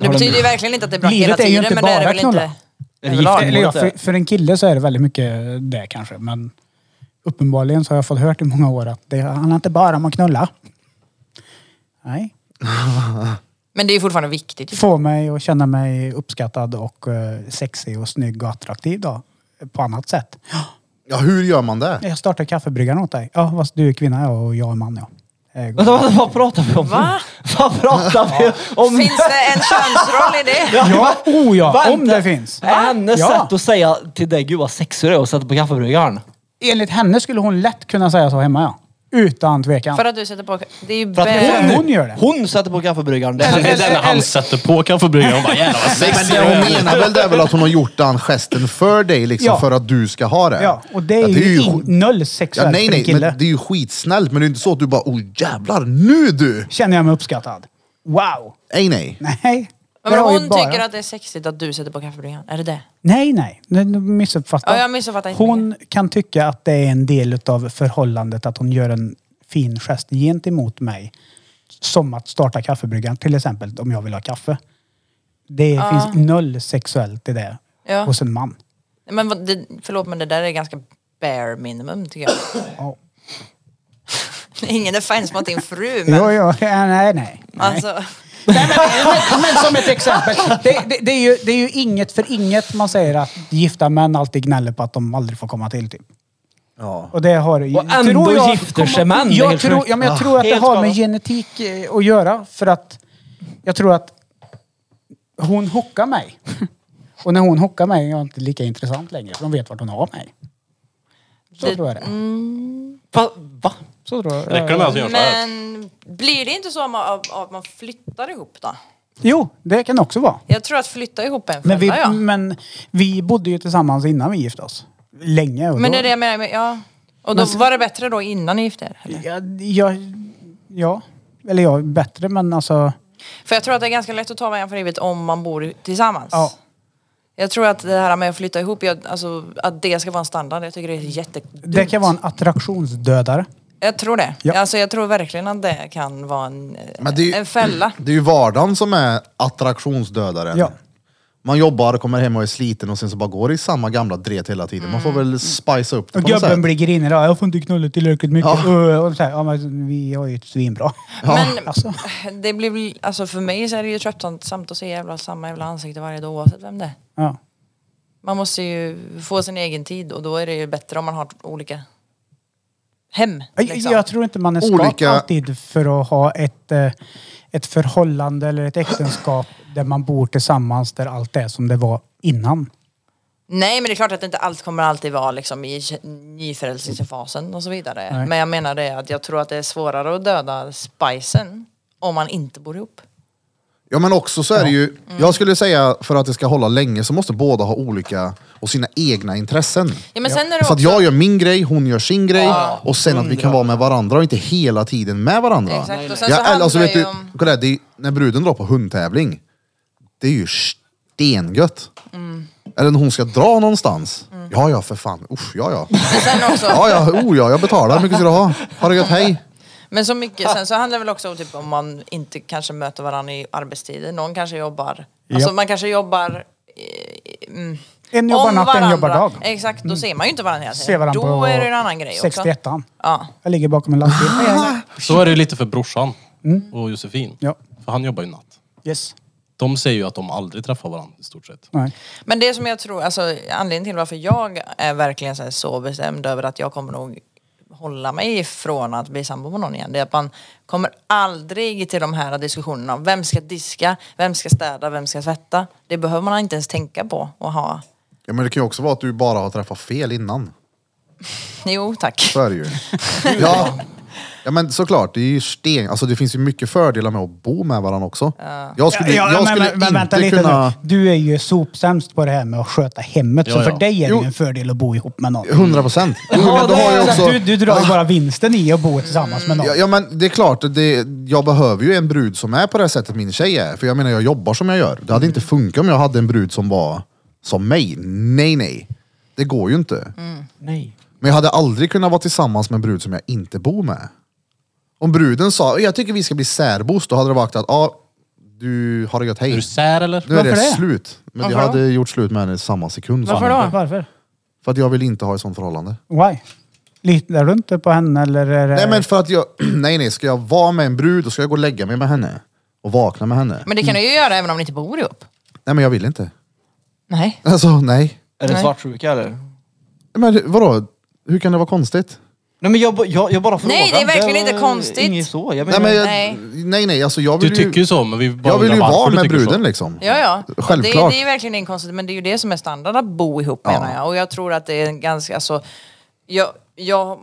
Det betyder ju verkligen inte att det är bra
Livet
hela
är ju
tiden,
inte
men det är det
bara
väl
knulla.
inte överlag.
Är det gift?
Eller ja,
målet är-
för, för en kille så är det väldigt mycket det kanske. Men uppenbarligen så har jag fått hört i många år att det handlar inte bara om att knulla. Nej.
Men det är fortfarande viktigt. ju.
Få mig att känna mig uppskattad och eh, sexig och snygg och attraktiv då. På annat sätt.
Ja, hur gör man det?
Jag startar kaffebryggaren åt dig. Ja, fast du är kvinna ja, och jag är man ja. Eh,
Vänta, vänta, vad pratar vi om?
Va?
[LAUGHS] Vad pratar vi om?
Finns det en könsroll i det?
Ja, oh ja,
Vänta.
om det finns.
Är hennes
Ja.
sätt att säga till dig, gud vad sexig du är och sätta på kaffebryggaren.
Enligt henne skulle hon lätt kunna säga så hemma ja. Utan tvekan.
För att du sätter på... Det är ju
För att
bä-
hon gör det.
Hon sätter på kaffebryggaren. Det
Det
är
är den när han sätter på kaffebryggaren. Hon bara jävlar vad
Nej, men
sexig
det
du
hon
är."
menar väl det är väl att hon har gjort den gesten för dig liksom
Ja.
för att du ska ha det.
Ja, och det är, ju in, noll sexuellt
Ja, nej,
ja,
nej,
kille.
men det är ju skitsnällt. Men det är inte så att du bara, oh jävlar, nu du!
Känner jag mig uppskattad. Wow!
Nej, nej.
Nej.
Men
Det var ju
hon
bara-
tycker att det är sexigt att du sätter på kaffebryggaren. Är det det?
Nej, nej. Nu- Nu missuppfattar
Ja, jag missuppfattar inte
Hon kan tycka att det är en del av förhållandet att hon gör en fin gest gentemot mig. Som att starta kaffebryggaren till exempel, om jag vill ha kaffe. Det finns noll sexuellt i det
Ja.
hos en man.
Nej, Men vad- det, förlåt men det där är ganska bare minimum tycker jag.
Ja.
[LAUGHS] Ingen offense mot din fru men...
Jo, jo, ja, nej, nej.
Alltså,
Nej, men, men, men som ett exempel. Det, det, det, är ju, det är ju inget för inget man säger att gifta män alltid gnäller på att de aldrig får komma till. Typ.
Ja.
Och det har ju-
Och ändå
tror jag-
gifter sig
kommer-
män, det är
Jag,
helt
tror,
sjukt.
ja, men jag tror att det
Helt
har med
galet.
genetik eh, att göra. För att jag tror att hon hockar mig. Och när hon hockar mig är jag inte lika intressant längre. För hon vet vart hon har mig. Så
Det- mm,
tror jag det.
Va? va?
Så tror jag.
Räcker det med att göra så här?
men blir det inte så att man, av- av att man flyttar ihop då?
Jo, det kan också vara.
Jag tror att flytta ihop är en
Men vi,
fälla ja.
men vi bodde ju tillsammans innan vi gifte oss. Länge. Och
Men det
då,
är det jag menar med, ja. Och då var det bättre då innan ni gifte er? eller?
Ja, jag, ja, eller jag är bättre men alltså...
För jag tror att det är ganska lätt att ta varandra för givet om man bor i- tillsammans.
Ja.
Jag tror att det här med att flytta ihop, jag, alltså, att det ska vara en standard, jag tycker det är jättedumt.
Det kan vara en attraktionsdödare.
Jag tror det.
Ja.
Alltså, jag tror verkligen att det kan vara en, eh,
Men det är ju-
en fälla.
Det är ju vardagen som är attraktionsdödaren.
Ja.
Man jobbar, kommer hem och är sliten och sen så bara går det i samma gamla dret hela tiden. Man får
Mm.
väl spicea upp det
Och
på något
gubben
sätt.
blir grinig. då. Jag får inte knulla tillräckligt mycket.
Ja.
Uh, Och så här, ja, men vi har ju ett svinbra.
Men
Alltså.
det blir, väl- alltså, för mig så är det ju tröttsamt att se jävla, samma jävla ansikte varje dag oavsett vem det är.
Ja.
Man måste ju få sin egen tid och då är det ju bättre om man har olika hem.
Jag,
Liksom.
jag tror inte man är skapt
Olika-
alltid för att ha ett, eh, ett förhållande eller ett äktenskap där man bor tillsammans där allt är som det var innan.
Nej men det är klart att inte allt kommer alltid vara liksom i k- nyförälskelsefasen och så vidare.
Nej.
Men jag menar det att jag tror att det är svårare att döda spicen om man inte bor ihop.
Ja men också så är det ju,
Mm.
jag skulle säga för att det ska hålla länge så måste båda ha olika och sina egna intressen.
Ja men sen är det
Så
också...
att jag gör min grej, hon gör sin grej och sen att vi kan vara med varandra och inte hela tiden med varandra.
Exakt, och sen så
Ja, eller, alltså,
handlar
vet
det ju
du,
om...
kolla här, det är, när bruden drar på hundtävling, det är ju stengött.
Mm.
Eller när hon ska dra någonstans. Ja, ja för fan. Usch, ja, ja.
Men sen också...
Ja, ja, oh, ja, jag betalar. Hur mycket ska du ha? Ha det gött, hej.
Men så mycket, sen så handlar det väl också om typ om man inte kanske möter varandra i arbetstider. Någon kanske jobbar, alltså man kanske jobbar eh, mm,
En jobbar
om
natt, en
varandra.
jobbar dag.
Exakt, då ser man ju inte varandra hela tiden.
Se varandra
då
på
är det en annan grej också.
61
Ja.
Jag ligger bakom en lastbil. Hej, hej.
Så är det ju lite för brorsan
Mm.
och Josefin.
Ja.
För han jobbar ju natt.
Yes.
De säger ju att de aldrig träffar varandra i stort sett.
Nej.
Men det som jag tror, alltså anledningen till varför jag är verkligen så, här så bestämd över att jag kommer nog hålla mig ifrån att bli sambo med någon igen. Det är att man kommer aldrig till de här diskussionerna om vem ska diska, vem ska städa, vem ska tvätta. Det behöver man inte ens tänka på och ha.
Ja, men det kan ju också vara att du bara har träffat fel innan.
Jo tack.
Så är det ju. Ja, ja men såklart. Det är ju sten. Alltså, det finns ju mycket fördelar med att bo med varandra också. Jag skulle,
Ja,
jag
men-
skulle
men, men, vänta
inte
lite
kunna...
nu. Du är ju sopsämst på det här med att sköta hemmet.
Ja,
så för
ja.
dig är det
Jo.
ju en fördel att bo ihop med någon.
100 procent.
Ja, det är-
du, du drar ju bara vinsten i att bo tillsammans med någon.
Ja, ja men det är klart, det, jag behöver ju en brud som är på det sättet min tjej är. För jag menar, jag jobbar som jag gör. Det hade inte funkat om jag hade en brud som var som mig. Nej, nej. Det går ju inte.
Nej.
Men jag hade aldrig kunnat vara tillsammans med en brud som jag inte bor med. Om bruden sa, jag tycker vi ska bli särbos, då hade det varit att, ja, du har det gött,
Är du
hej.
sär eller?
Nu är det,
Varför det?
slut. Men jag
Varför
hade gjort slut med henne i samma sekund.
Varför då?
Varför?
För att jag vill inte ha ett sånt förhållande.
Why? Litar du inte på henne eller? Är
[CLEARS THROAT]
det...
Nej men för att jag, nej nej, ska jag vara med en brud då ska jag gå och lägga mig med henne. och vakna med henne.
Men det kan du ju göra även om ni inte bor ihop.
Nej men jag vill inte.
Nej.
Alltså nej.
Är det
Nej.
svartsjuka eller?
Men vadå? Hur kan det vara konstigt?
Nej men jag, ba- jag, jag bara frågar.
Nej, det är verkligen
var
inte konstigt.
Inget så. Jag
Nej,
menar,
men jag,
Nej.
nej, nej, alltså jag
Du
vill ju...
tycker ju så, men vi bara
Jag vill ju
undrar varför
vara
du
med
tycker
bruden
Så.
liksom.
Ja, ja.
Självklart.
Det, det är ju verkligen inte konstigt, men det är ju det som är standard att bo ihop menar jag. Och jag tror att det är en ganska, alltså, jag, jag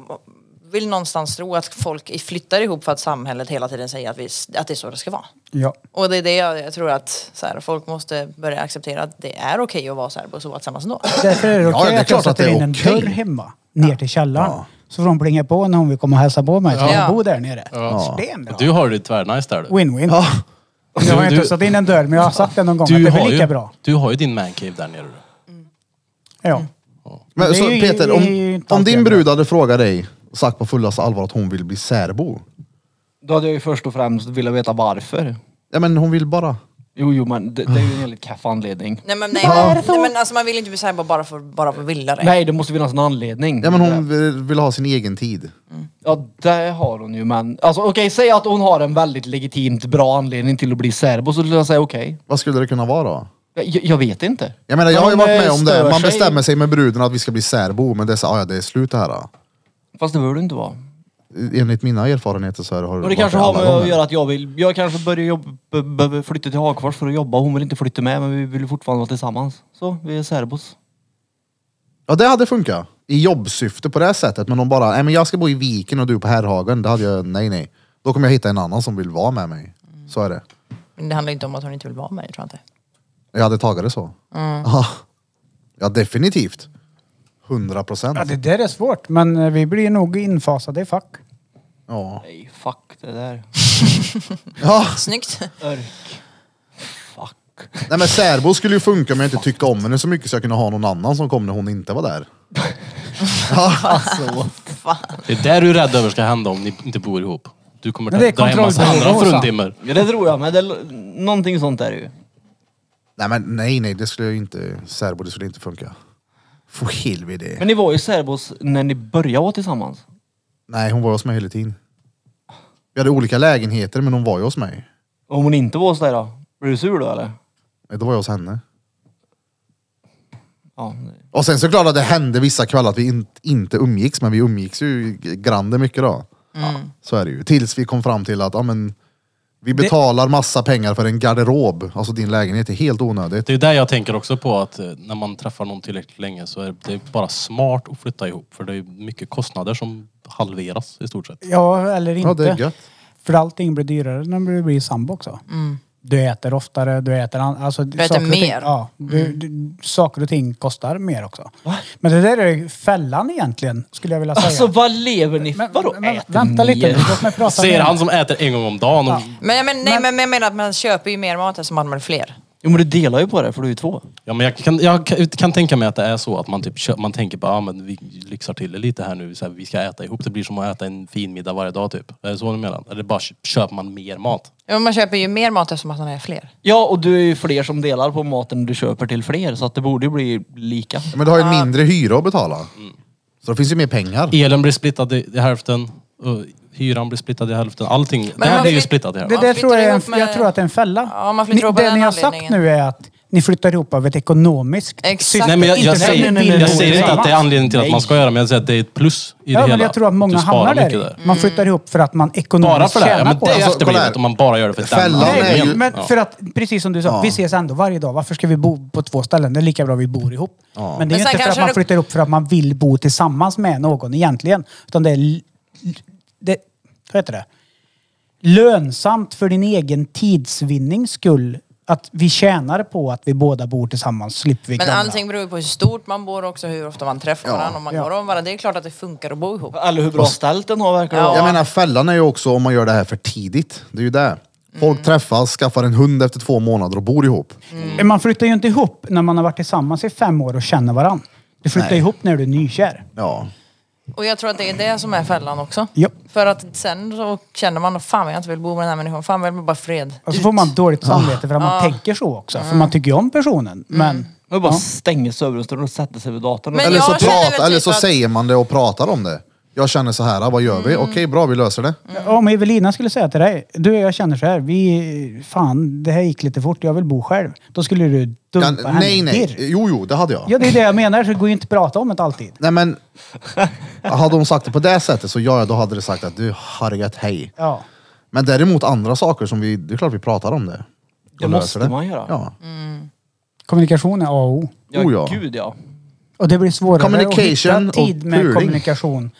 vill någonstans tro att folk flyttar ihop för att samhället hela tiden säger att, vi, att det är så det ska vara.
Ja.
Och det är det jag, jag tror att så här, folk måste börja acceptera att det är okej att vara serbo och sova tillsammans ändå.
Därför är det okej
Ja, det är
att jag
klart att
sätter
det är
in en
okej.
dörr hemma, ner till källaren. Så får de plinga på när hon vill komma och hälsa på mig. Så
Ja.
jag bor där nere.
Ja.
Det är en bra.
liksom.
Du har det tvärnice där du.
Win-win. Jag har
Du-
inte
du-
satt in en dörr, men jag har sagt det någon gång. att det
Du
är väl
har,
lika
ju,
bra.
du har ju din mancave där nere.
Mm.
Ja.
Men
Det
så
är ju-
Peter,
det är ju
om,
inte
om
alltid
din
bra.
brud hade frågat dig, sagt på fullaste allvar att hon vill bli särbo.
Då hade jag ju först och främst velat veta varför.
Ja men hon vill bara.
Jo, jo men det, det är ju en enligt kaff anledning.
Nej men, nej, men, nej, men alltså, man vill ju inte bli serbo bara för, bara för att vilja det.
Nej, det måste finnas en anledning.
Ja men hon vill, vill ha sin egen tid.
Ja, det har hon ju men... Alltså okej, säg att hon har en väldigt legitimt bra anledning till att bli serbo så skulle jag säga okej.
Vad skulle det kunna vara då?
Jag, jag vet inte.
Jag menar jag har ju
Men
varit
eh,
med om det.
stör
Man
sig-
bestämmer sig med bruden att vi ska bli särbo men det är så, ah, ja det är slut det här. Då.
Fast det behöver du inte vara.
Enligt mina erfarenheter så här har
Och det
varit
kanske har
alla
med att
gånger.
göra att jag vill... Jag kanske börjar jobba, behöver flytta till Hagfors för att jobba. Hon vill inte flytta med men vi vill ju fortfarande vara tillsammans. Så, vi är serbos.
Ja det hade funkat. I jobbsyfte på det här sättet. Men om bara, nej men jag ska bo i Viken och du på Herrhagen. Då hade jag, nej nej. Då kommer jag hitta en annan som vill vara med mig.
Mm.
Så är det.
Men Det handlar ju inte om att hon inte vill vara med jag tror jag inte.
Jag hade tagit det så. Ja. ja, definitivt. 100 procent.
ja, det där är svårt. Men eh, vi blir nog infasade i fack.
Ja.
Nej, fuck det där.
Ja.
Snyggt.
Örk. Fuck.
Nej men särbo skulle ju funka om jag inte tyckte om henne så mycket så jag kunde ha någon annan som kom när hon inte var där.
Alltså.
Det är där du är rädd över ska hända om ni inte bor ihop. Du kommer
Men det är
ta dra en massa
kontrollbehov,
andra
Rosa.
fruntimmer.
Ja det tror jag men det, l- någonting sånt är det ju.
Nej men nej nej, det skulle ju inte, särbo det skulle inte funka. För helvete.
Men ni var ju serbos när ni började vara tillsammans.
Nej hon var hos mig hela tiden. Vi hade olika lägenheter men hon var ju hos mig.
Om hon inte var hos dig då? Blev du sur då eller?
Nej, Då var jag hos henne.
Ja.
Och sen såklart att det hände vissa kvällar att vi in, inte umgicks, men vi umgicks ju grande mycket då. Så är det ju. Tills vi kom fram till att, ja men, vi betalar massa pengar för en garderob. Alltså din lägenhet är helt onödigt.
Det är där jag tänker också på att eh, när man träffar någon tillräckligt länge så är det bara smart att flytta ihop. För det är mycket kostnader som halveras i stort sett.
Ja, eller inte.
Ja, det är gött.
För allting blir dyrare när du blir sambo också. Du äter oftare, du äter... an- Alltså, du
Mm. äter
Och ting,
mer. Mm.
ja, du, du, saker och ting kostar mer också. Men det där är ju fällan egentligen, skulle jag vilja säga.
Alltså vad lever ni
Men-
Vadå
men-
äter
Vänta lite nu,
mer?
låt mig prata
Säger
mer.
han som äter en gång om dagen. Och,
Men jag, men, nej, men, men jag menar att man köper ju mer mat eftersom man har fler.
Jo men du delar ju på det för du är ju två.
ja, men jag, kan, jag kan- kan tänka mig att det är så att man, typ, kö- man tänker på ah, men vi lyxar till det lite här nu. Så här, vi ska äta ihop. Det blir som att äta en fin middag varje dag typ. Är det så du menar? Eller bara kö- köper man mer mat?
Ja, Man köper ju mer mat eftersom att man är fler.
Ja och du är ju fler som delar på maten du köper till fler så att det borde ju bli lika.
Men du har ju mindre hyra att betala. Så det finns ju mer pengar.
Elen blir splittad i, i hälften. Och hyran blir sältad i hälften. Allting. det här
man
blir ju
flytt-
splittat
Det
i hälften.
Man
där tror jag, är en,
flyttar ihop med-
jag tror att det är en fälla.
Ja, man flyttar
ni,
ihop av
det
den
ni har sagt
anledningen.
nu är att ni flyttar ihop av ett ekonomiskt
Exakt.
syfte.
Nej, men jag, jag,
Inte för
säger,
att ni vill
jag
bo
säger inte att
tillsammans.
det är anledningen till att man ska göra men jag säger att det är ett plus i det
Ja,
hela.
men jag tror att många
Du sparar
hamnar där.
mycket
Man flyttar ihop för att man ekonomiskt
Bara för det? här? Ja,
tjänar
men
på
det är ju
Alltså, kolla
efterblivet
här.
om man bara gör det för den
Fällan är
Nej,
anledningen.
ju-
men
Ja.
för att, precis som du sa, vi ses ändå varje dag. Varför ska vi bo på två ställen? Det är lika bra vi bor ihop. Men det är
Men
ju
sen
inte för att
kanske
man
det-
flyttar ihop för att man vill bo tillsammans med någon egentligen. Utan det är... l- Det, vad heter det? Lönsamt för din egen tidsvinnings skull. Att vi tjänar på att vi båda bor tillsammans. Slipper vi
Men
gamla.
allting beror ju på hur stort man bor också, hur ofta man träffar varandra, om man går om varandra. Det är klart att det funkar att bo ihop.
Eller hur bra ställt den har verkar det
Jag
vara.
menar fällan är ju också om man gör det här för tidigt. Det är ju det. Folk träffas, skaffar en hund efter två månader och bor ihop.
Man flyttar ju inte ihop när man har varit tillsammans i fem år och känner varandra. Du flyttar ihop när du är nykär.
Ja.
Och jag tror att det är det som är fällan också.
Ja.
För att sen så känner man att fan vad jag inte vill bo med den här människan, fan vad jag vill bara fred.
Alltså,
Och så får man
Ah.
dåligt samvete för att man tänker så också. För
Mm.
man tycker ju om personen. Men
Man bara stänger sovrumsdörren och sätter sig vid datorn.
Men
Eller
Eller
jag
så,
känner väl
prata,
typ
eller så
att-
säger man det och pratar om det. Jag känner så här, "Ah, vad gör vi?
Mm.
Okej, bra, vi löser det.
Om Evelina skulle säga till dig, du jag känner så här, vi, fan det här gick lite fort, jag vill bo själv. Då skulle du dumpa
Ja,
henne.
nej, nej.
dirr.
Jo, jo, det hade jag.
Ja det är det jag menar, så det går ju inte att prata om det alltid.
Nej, men hade hon sagt det på det sättet så ja, då hade det sagt att du hargat hej.
Ja.
Men däremot andra saker som vi, det är klart vi pratar om det. Och
Det
löser
måste man göra.
Ja.
Kommunikation är A och O.
Ja,
Oh, ja.
gud ja.
Och det blir svårare att
Communication
hitta
och
tid med
puling.
kommunikation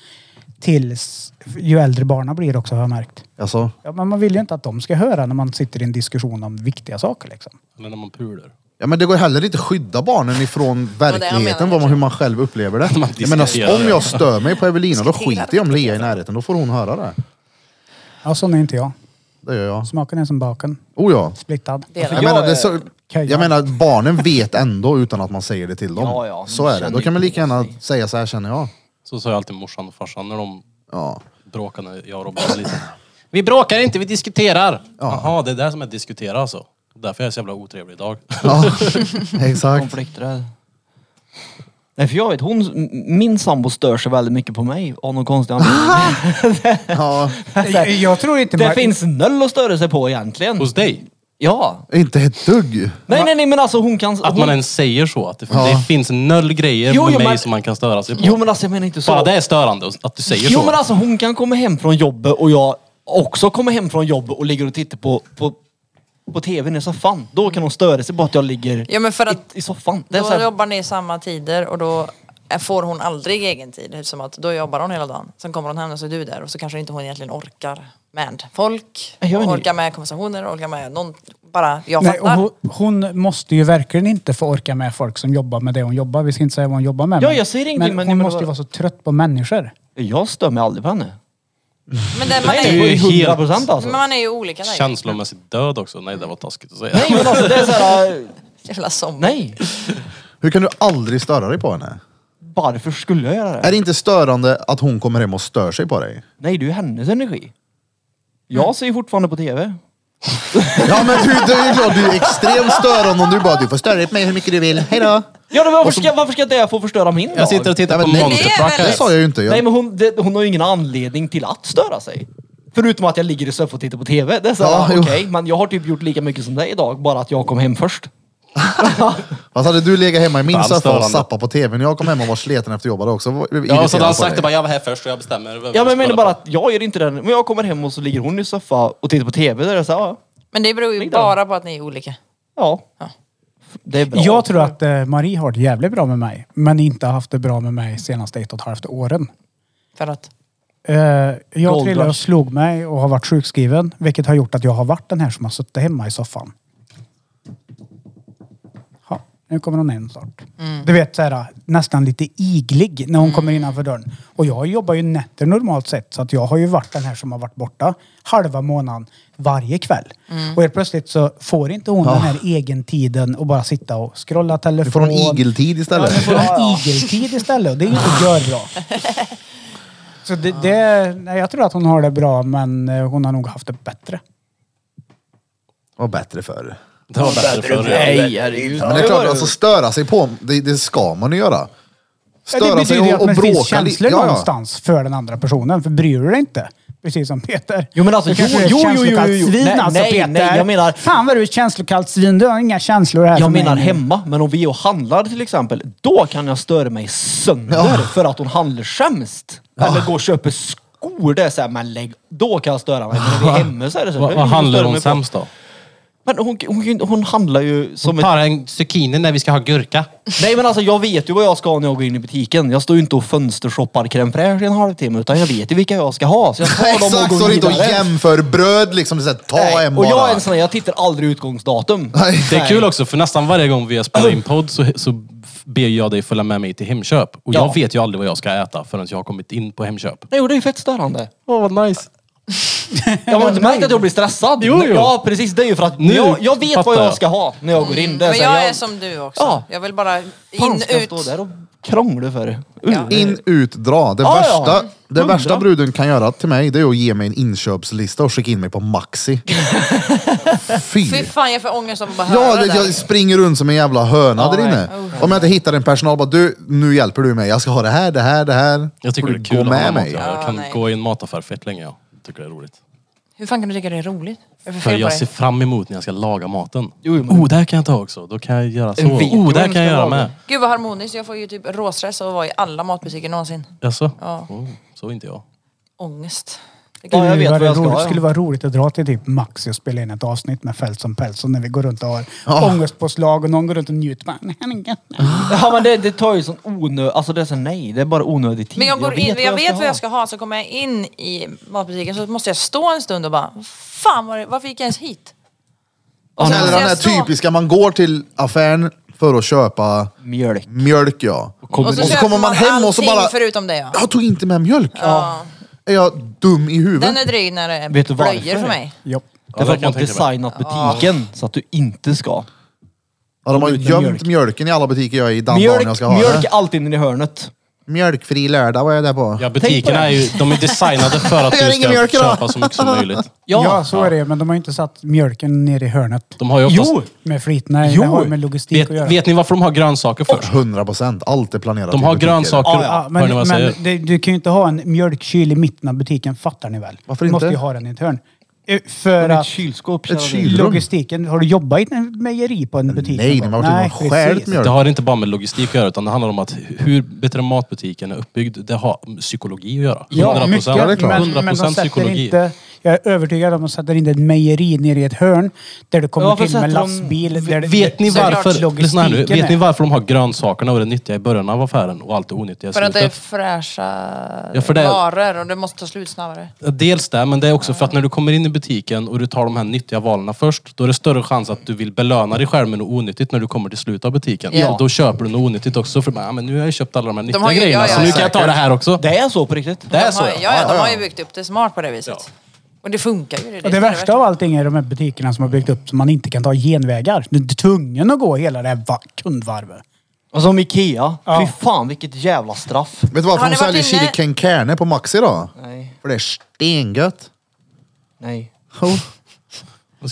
tills ju äldre barnen blir också har jag märkt.
Alltså,
Ja, men man vill ju inte att de ska höra när man sitter i en diskussion om viktiga saker liksom.
Eller när man pular.
ja, men det går heller inte att skydda barnen ifrån
jag
verkligheten,
menar.
vad man, hur man själv upplever det.
Man
jag menar,
diskuterar
om
det.
jag stör mig på Evelina, då skiter jag om Lea i närheten. Då får hon höra det.
Ja, sån är inte jag.
Det gör jag.
Smaken är som baken,
Oh ja.
splittad.
[LAUGHS]
Delad.
Jag, menar, det är så,
Kan jag-
jag menar, barnen vet ändå utan att man säger det till dem.
Ja, ja, de
så är det.
känner
Då kan man
ju
lika gärna säga så här känner jag.
Så sa jag alltid morsan och farsan när de [LAUGHS]
Ja.
bråkade, när jag och Robin var liten. Vi bråkar inte, vi diskuterar! Jaha, det är det som är diskutera alltså. Därför är jag så jävla otrevlig idag. [LAUGHS]
ja. [LAUGHS] Exakt.
Konflikträdd. Nej för jag vet, hon, m- min sambo stör sig väldigt mycket på mig av någon konstig
Ah,
anledning.
Ja.
Jag, jag tror inte...
Alltså, det
man-
finns noll att störa sig på egentligen.
Hos dig?
Ja.
Inte ett dugg.
Nej nej nej men alltså hon kan...
Att
hon,
man ens säger så. Att det,
Ja.
det finns noll grejer
Jo,
med
jo,
mig
men-
som man kan störa sig på.
Jo men alltså jag menar inte så.
Bara det är störande att du säger
Jo
så.
men alltså hon kan komma hem från jobbet och jag också kommer hem från jobbet och ligger och tittar på, på, på tvn i soffan. Då kan hon störa sig på att jag ligger
Ja, men för att-
i, i soffan. Det är
Då
så här,
jobbar ni samma tider och då är- får hon aldrig egen tid. Som att då jobbar hon hela dagen. Sen kommer hon hem och så är du där och så kanske inte hon egentligen orkar med folk.
Jag vet inte.
Orkar med konversationer, orkar med någon. Bara, jag
Nej, och
fattar.
hon, hon måste ju verkligen inte få orka med folk som jobbar med det hon jobbar. Vi ska inte säga vad hon jobbar med.
Ja, jag säger ingenting,
men
men
hon
jag
måste ju
menar-
vara så trött på människor.
jag stör mig aldrig på henne.
Men det, man,
Nej,
är,
ju
nej, på
helt-
100 procent alltså.
men man är ju olika där. ju.
Känslomässigt död också. Nej, det var taskigt att säga.
Nej men alltså det är så här,
Jävla zombie.
nej.
Hur kan du aldrig störa dig på henne?
Varför skulle jag göra det?
Är det inte störande att hon kommer hem och stör sig på dig?
Nej, det är ju hennes energi. Jag ser ju fortfarande på tv.
Ja men du, det är ju klart du är extremt störande om du bara du får störa dig på mig hur mycket du vill, hejdå!
Ja, men varför, ska, varför ska det få förstöra min dag?
Jag sitter och
Nej,
tittar
men
på
nej,
Monster
det är
Truck
väl-
Det
här.
sa jag ju inte.
Nej,
Jag,
men hon, det, hon har ju ingen anledning till att störa sig. Förutom att jag ligger i soffan och tittar på tv. Det är så här,
Ja,
ah, okej,
jo.
men jag har typ gjort lika mycket som dig idag, bara att jag kom hem först.
alltså, hade du legat hemma i min
Fan,
soffa och
störande.
zappat på tvn och jag kom hem och var sleten efter jobbet också. var- blev
Ja, och så hade
irriterad
han
på
sagt det
dig.
bara, jag var här först och jag bestämmer. vad vi
Ja, men jag
ska
menar
spela
bara
på."
att jag gör inte det. Men jag kommer hem och så ligger hon i soffan och tittar på tv. Där är det så här, ah,
Men det beror ju
Middag.
bara på att ni är olika.
ja, det är bra.
Jag tror att eh, Marie har det jävligt bra med mig, men inte har haft det bra med mig senaste ett och ett halvt åren.
För att
Eh, jag
Gold
trillade och
rush.
slog mig och har varit sjukskriven, vilket har gjort att jag har varit den här som har suttit hemma i soffan. Ja, nu kommer hon in snart.
Mm.
Du vet så här, nästan lite iglig när hon kommer innanför dörren. Och jag jobbar ju nätter normalt sett, så att jag har ju varit den här som har varit borta halva månaden varje kväll.
Mm.
Och helt plötsligt så får inte hon den här egen tiden och bara sitta och scrolla telefon.
Du får någon igeltid istället.
Ja, nu får de igeltid istället och det är ju inte görbra.
[LAUGHS]
Så det, det, nej, jag tror att hon har det bra men eh, hon har nog haft det bättre.
Det var bättre förr.
Det var bättre förr. ja.
Nej, herregud.
Men det är klart, alltså störa sig på, det, det ska man ju göra.
Ja, Det
Störa sig
betyder ju
och,
att
och
det finns
bråka lite.
känslor
Ja, ja.
någonstans för den andra personen. För bryr du dig inte, precis som Peter.
Jo, men alltså,
du kanske
jo,
är ett
jo, jo, jo,
känslokallt
jo.
svin
Nej,
alltså
nej,
Peter.
nej, jag menar-
Fan vad du är ett känslokallt svin, du har inga känslor
Alltså,
här för
Jag menar
mig.
hemma, men om vi är och handlar till exempel, då kan jag störa mig sönder för att hon handlar sämst. Eller går och köper skor, det är såhär, men lägg... Då kan jag störa mig. Men när vi är hemma så är det så här,
Vad
det är
vad
ingen
handlar
större
hon
mig på.
sämst då?
Men hon, hon, hon, handlar ju som ett...
Tar en zucchini när vi ska ha gurka.
Nej men alltså jag vet ju vad jag ska ha när jag går in i butiken. Jag står ju inte och fönstershoppar crème fraîche i en halvtimme utan jag vet ju vilka jag ska ha. Så jag
[LAUGHS]
tar dem
Exakt,
och
så
går
det är inte
vidare.
och jämför bröd liksom. Det är så här, ta
Nej,
en
Och jag är
bara.
en sån här, jag tittar aldrig utgångsdatum.
[LAUGHS] Nej.
Det är kul också, för nästan varje gång vi spelar
Alltså-
in podd så, så ber jag dig följa med mig till Hemköp. Och
Ja.
jag vet ju aldrig vad jag ska äta förrän jag har kommit in på Hemköp.
Nej, och det är ju fett störande.
Åh, vad nice.
Jag har inte märkt att jag blir stressad.
Jo, jo.
Ja, precis. Det är ju för att
Nu
jag, jag vet
fattar
vad jag
jag.
ska ha när jag går in. Det
Mm, Men
så här,
jag är som du också.
Ja.
Jag vill bara in,
Fan, ska jag
ut.
stå där och krångla för? Uh.
In, ut, dra. Det,
Ja, ja.
värsta, det
Hundra.
värsta bruden kan göra till mig det är att ge mig en inköpslista och skicka in mig på Maxi. Fy.
Fy fan jag får ångest av att bara höra
Ja,
det
det,
där.
jag springer runt som en jävla höna där inne. Om jag inte hittar en personal, bara du, nu hjälper du mig. Jag ska ha det här, det här, det här.
Jag tycker
Får
det
du
är kul
Gå
att handla
med
mat.
mig.
Jag
Ja,
kan
nej.
gå i en mataffär fett länge. Jag tycker det är roligt.
Hur fan kan du tycka det är roligt? Vad är för
För
fel på
jag ser
dig?
fram emot när jag ska laga maten.
Jo, jo, men-
Oh, där kan jag ta också. Då kan jag göra så.
En video
Oh, där
man
kan jag
ska
göra
laga.
med.
Gud vad harmoniskt, jag får ju typ råstress av att vara i alla matbutiker någonsin.
Jaså?
Ja.
Oh, så är inte jag.
Ångest. Det
Ja,
kan-
jag vet
det,
vad jag ska
roligt,
ha, ja.
skulle vara roligt att dra till typ Maxi och spela in ett avsnitt med Fält som päls och när vi går runt och har ångestpåslag och någon går runt och njuter. Bara, "Nej, nej, nej, nej."
Ja men det, det tar ju sån onödig, alltså det är så nej, det är bara onödig tid.
Men jag går in, jag vet vad jag
ha.
ska ha så kommer jag in i matbutiken så måste jag stå en stund och bara Fan var det, varför gick jag ens hit? Och sen
Eller
måste
den där
jag stå-
typiska, man går till affären för att köpa
Mjölk.
mjölk ja.
Och så, kommer man hem och så bara... förutom det ja.
Jag tog inte med mjölk. Är jag dum i huvudet?
Den är dryg när det är
Vet du varför?
blöjor för mig.
Jo.
det är för
det kan jag
att man
tänka mig.
designat butiken
Ah.
så att du inte ska.
Ja, de har ju
Med
gömt
mjölk.
mjölken i alla butiker jag är i den dagen jag
Mjölk,
ska ha
mjölk är
det.
alltid inne i hörnet.
Mjölkfri lördag, vad är det på?
Ja,
Tänk på
butikerna
det.
är ju de är designade för att
Jag
du
har ingen
ska
mjölk idag.
köpa så mycket som möjligt.
Ja, så är det men de har ju inte satt mjölken nere i hörnet.
De har ju oftast...
Jo!
Med flit. Nej,
Jo.
det har ju med logistik att göra.
Vet, vet ni varför de har grönsaker först?
100 procent, allt är planerat
De
i
har
butiker.
grönsaker...
Ja,
Ja,
Hör ni
men
vad jag
men
säger?
det, du kan ju inte ha en mjölkkyl i mitten av butiken, fattar ni väl?
Varför
Du måste
inte?
ju ha den i ett hörn. Eh, För
Men ett
att
kylskåp
Ett
kära
kyl-
vän.
logistiken, har du jobbat i en mejeri på en butik?
Nej,
någon
de har
gång?
varit inne och
precis.
stjält mjölk.
Det har inte bara med logistik att göra utan det handlar om att hur bättre matbutiken är uppbyggd, det har psykologi att göra.
Ja,
100%,
mycket.
Ja, det är klart.
Men, men de
100%
sätter
psykologi.
inte, jag är övertygad om att de sätter inte ett mejeri nere i ett hörn där du kommer
Ja, varför
till med
sätter de-
lastbil. där det-
Vet ni,
där
Såklart
varför, lyssna här nu,
logistiken
vet ni
är.
varför de har grönsakerna och det nyttiga i början av affären och allt det onyttiga i
För att det är
slutet?
fräscha
Ja, för det-
varor och det måste ta slut snabbare.
Dels det, men det är också för att när du kommer in i butiken och du tar de här nyttiga valen först, då är det större chans att du vill belöna dig själv med något onyttigt när du kommer till slutet av butiken.
Ja.
Och då köper du något onyttigt också för att ja, men nu har jag köpt alla de här nyttiga
har ju-
grejerna
ja, ja,
så nu
ja,
kan jag ta det här också.
Det är så på riktigt.
Det är
De
så
har,
ja.
ja, ja, de har ju byggt upp det smart på det viset. Och det funkar ju. Det, är
Och
som
det
är
värsta av allting är de här butikerna som har byggt upp som man inte kan ta genvägar. Du är tvungen att gå hela det här va- kundvarvet.
Och som Ikea.
Ja.
Fy fan vilket jävla straff.
Vet du varför
Har
de
ni varit
säljer
inne-
chili con carne på Maxi då?
Nej,
För det är stengött.
nej.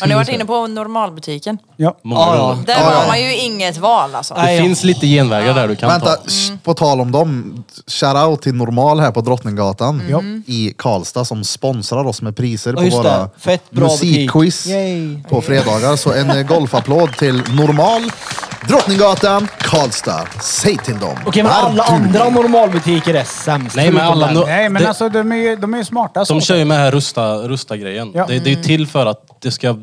Har ni varit inne på normalbutiken?
Ja.
Många
Ja, ja.
roller.
Där
Ja, ja.
har man ju inget val alltså.
Det finns lite genvägar där du kan
Vänta,
ta.
sh- på tal om dem. Shoutout till Normal här på Drottninggatan i Karlstad som sponsrar oss med priser
Ja,
på
just
våra
det. Fett bra
musikquiz
butik. Yay.
på fredagar. Så en eh, golfapplåd till Normal, Drottninggatan, Karlstad. Säg till dem.
Okej men alla
Artur.
andra normalbutiker är sämst.
Nej, men
förutom
alla
den.
no-
Nej, men
Det-
alltså de är ju, de är ju smarta.
De
så.
kör ju med här rusta, rusta grejen.
Ja.
Det, det är
Mm.
ju till för att det ska,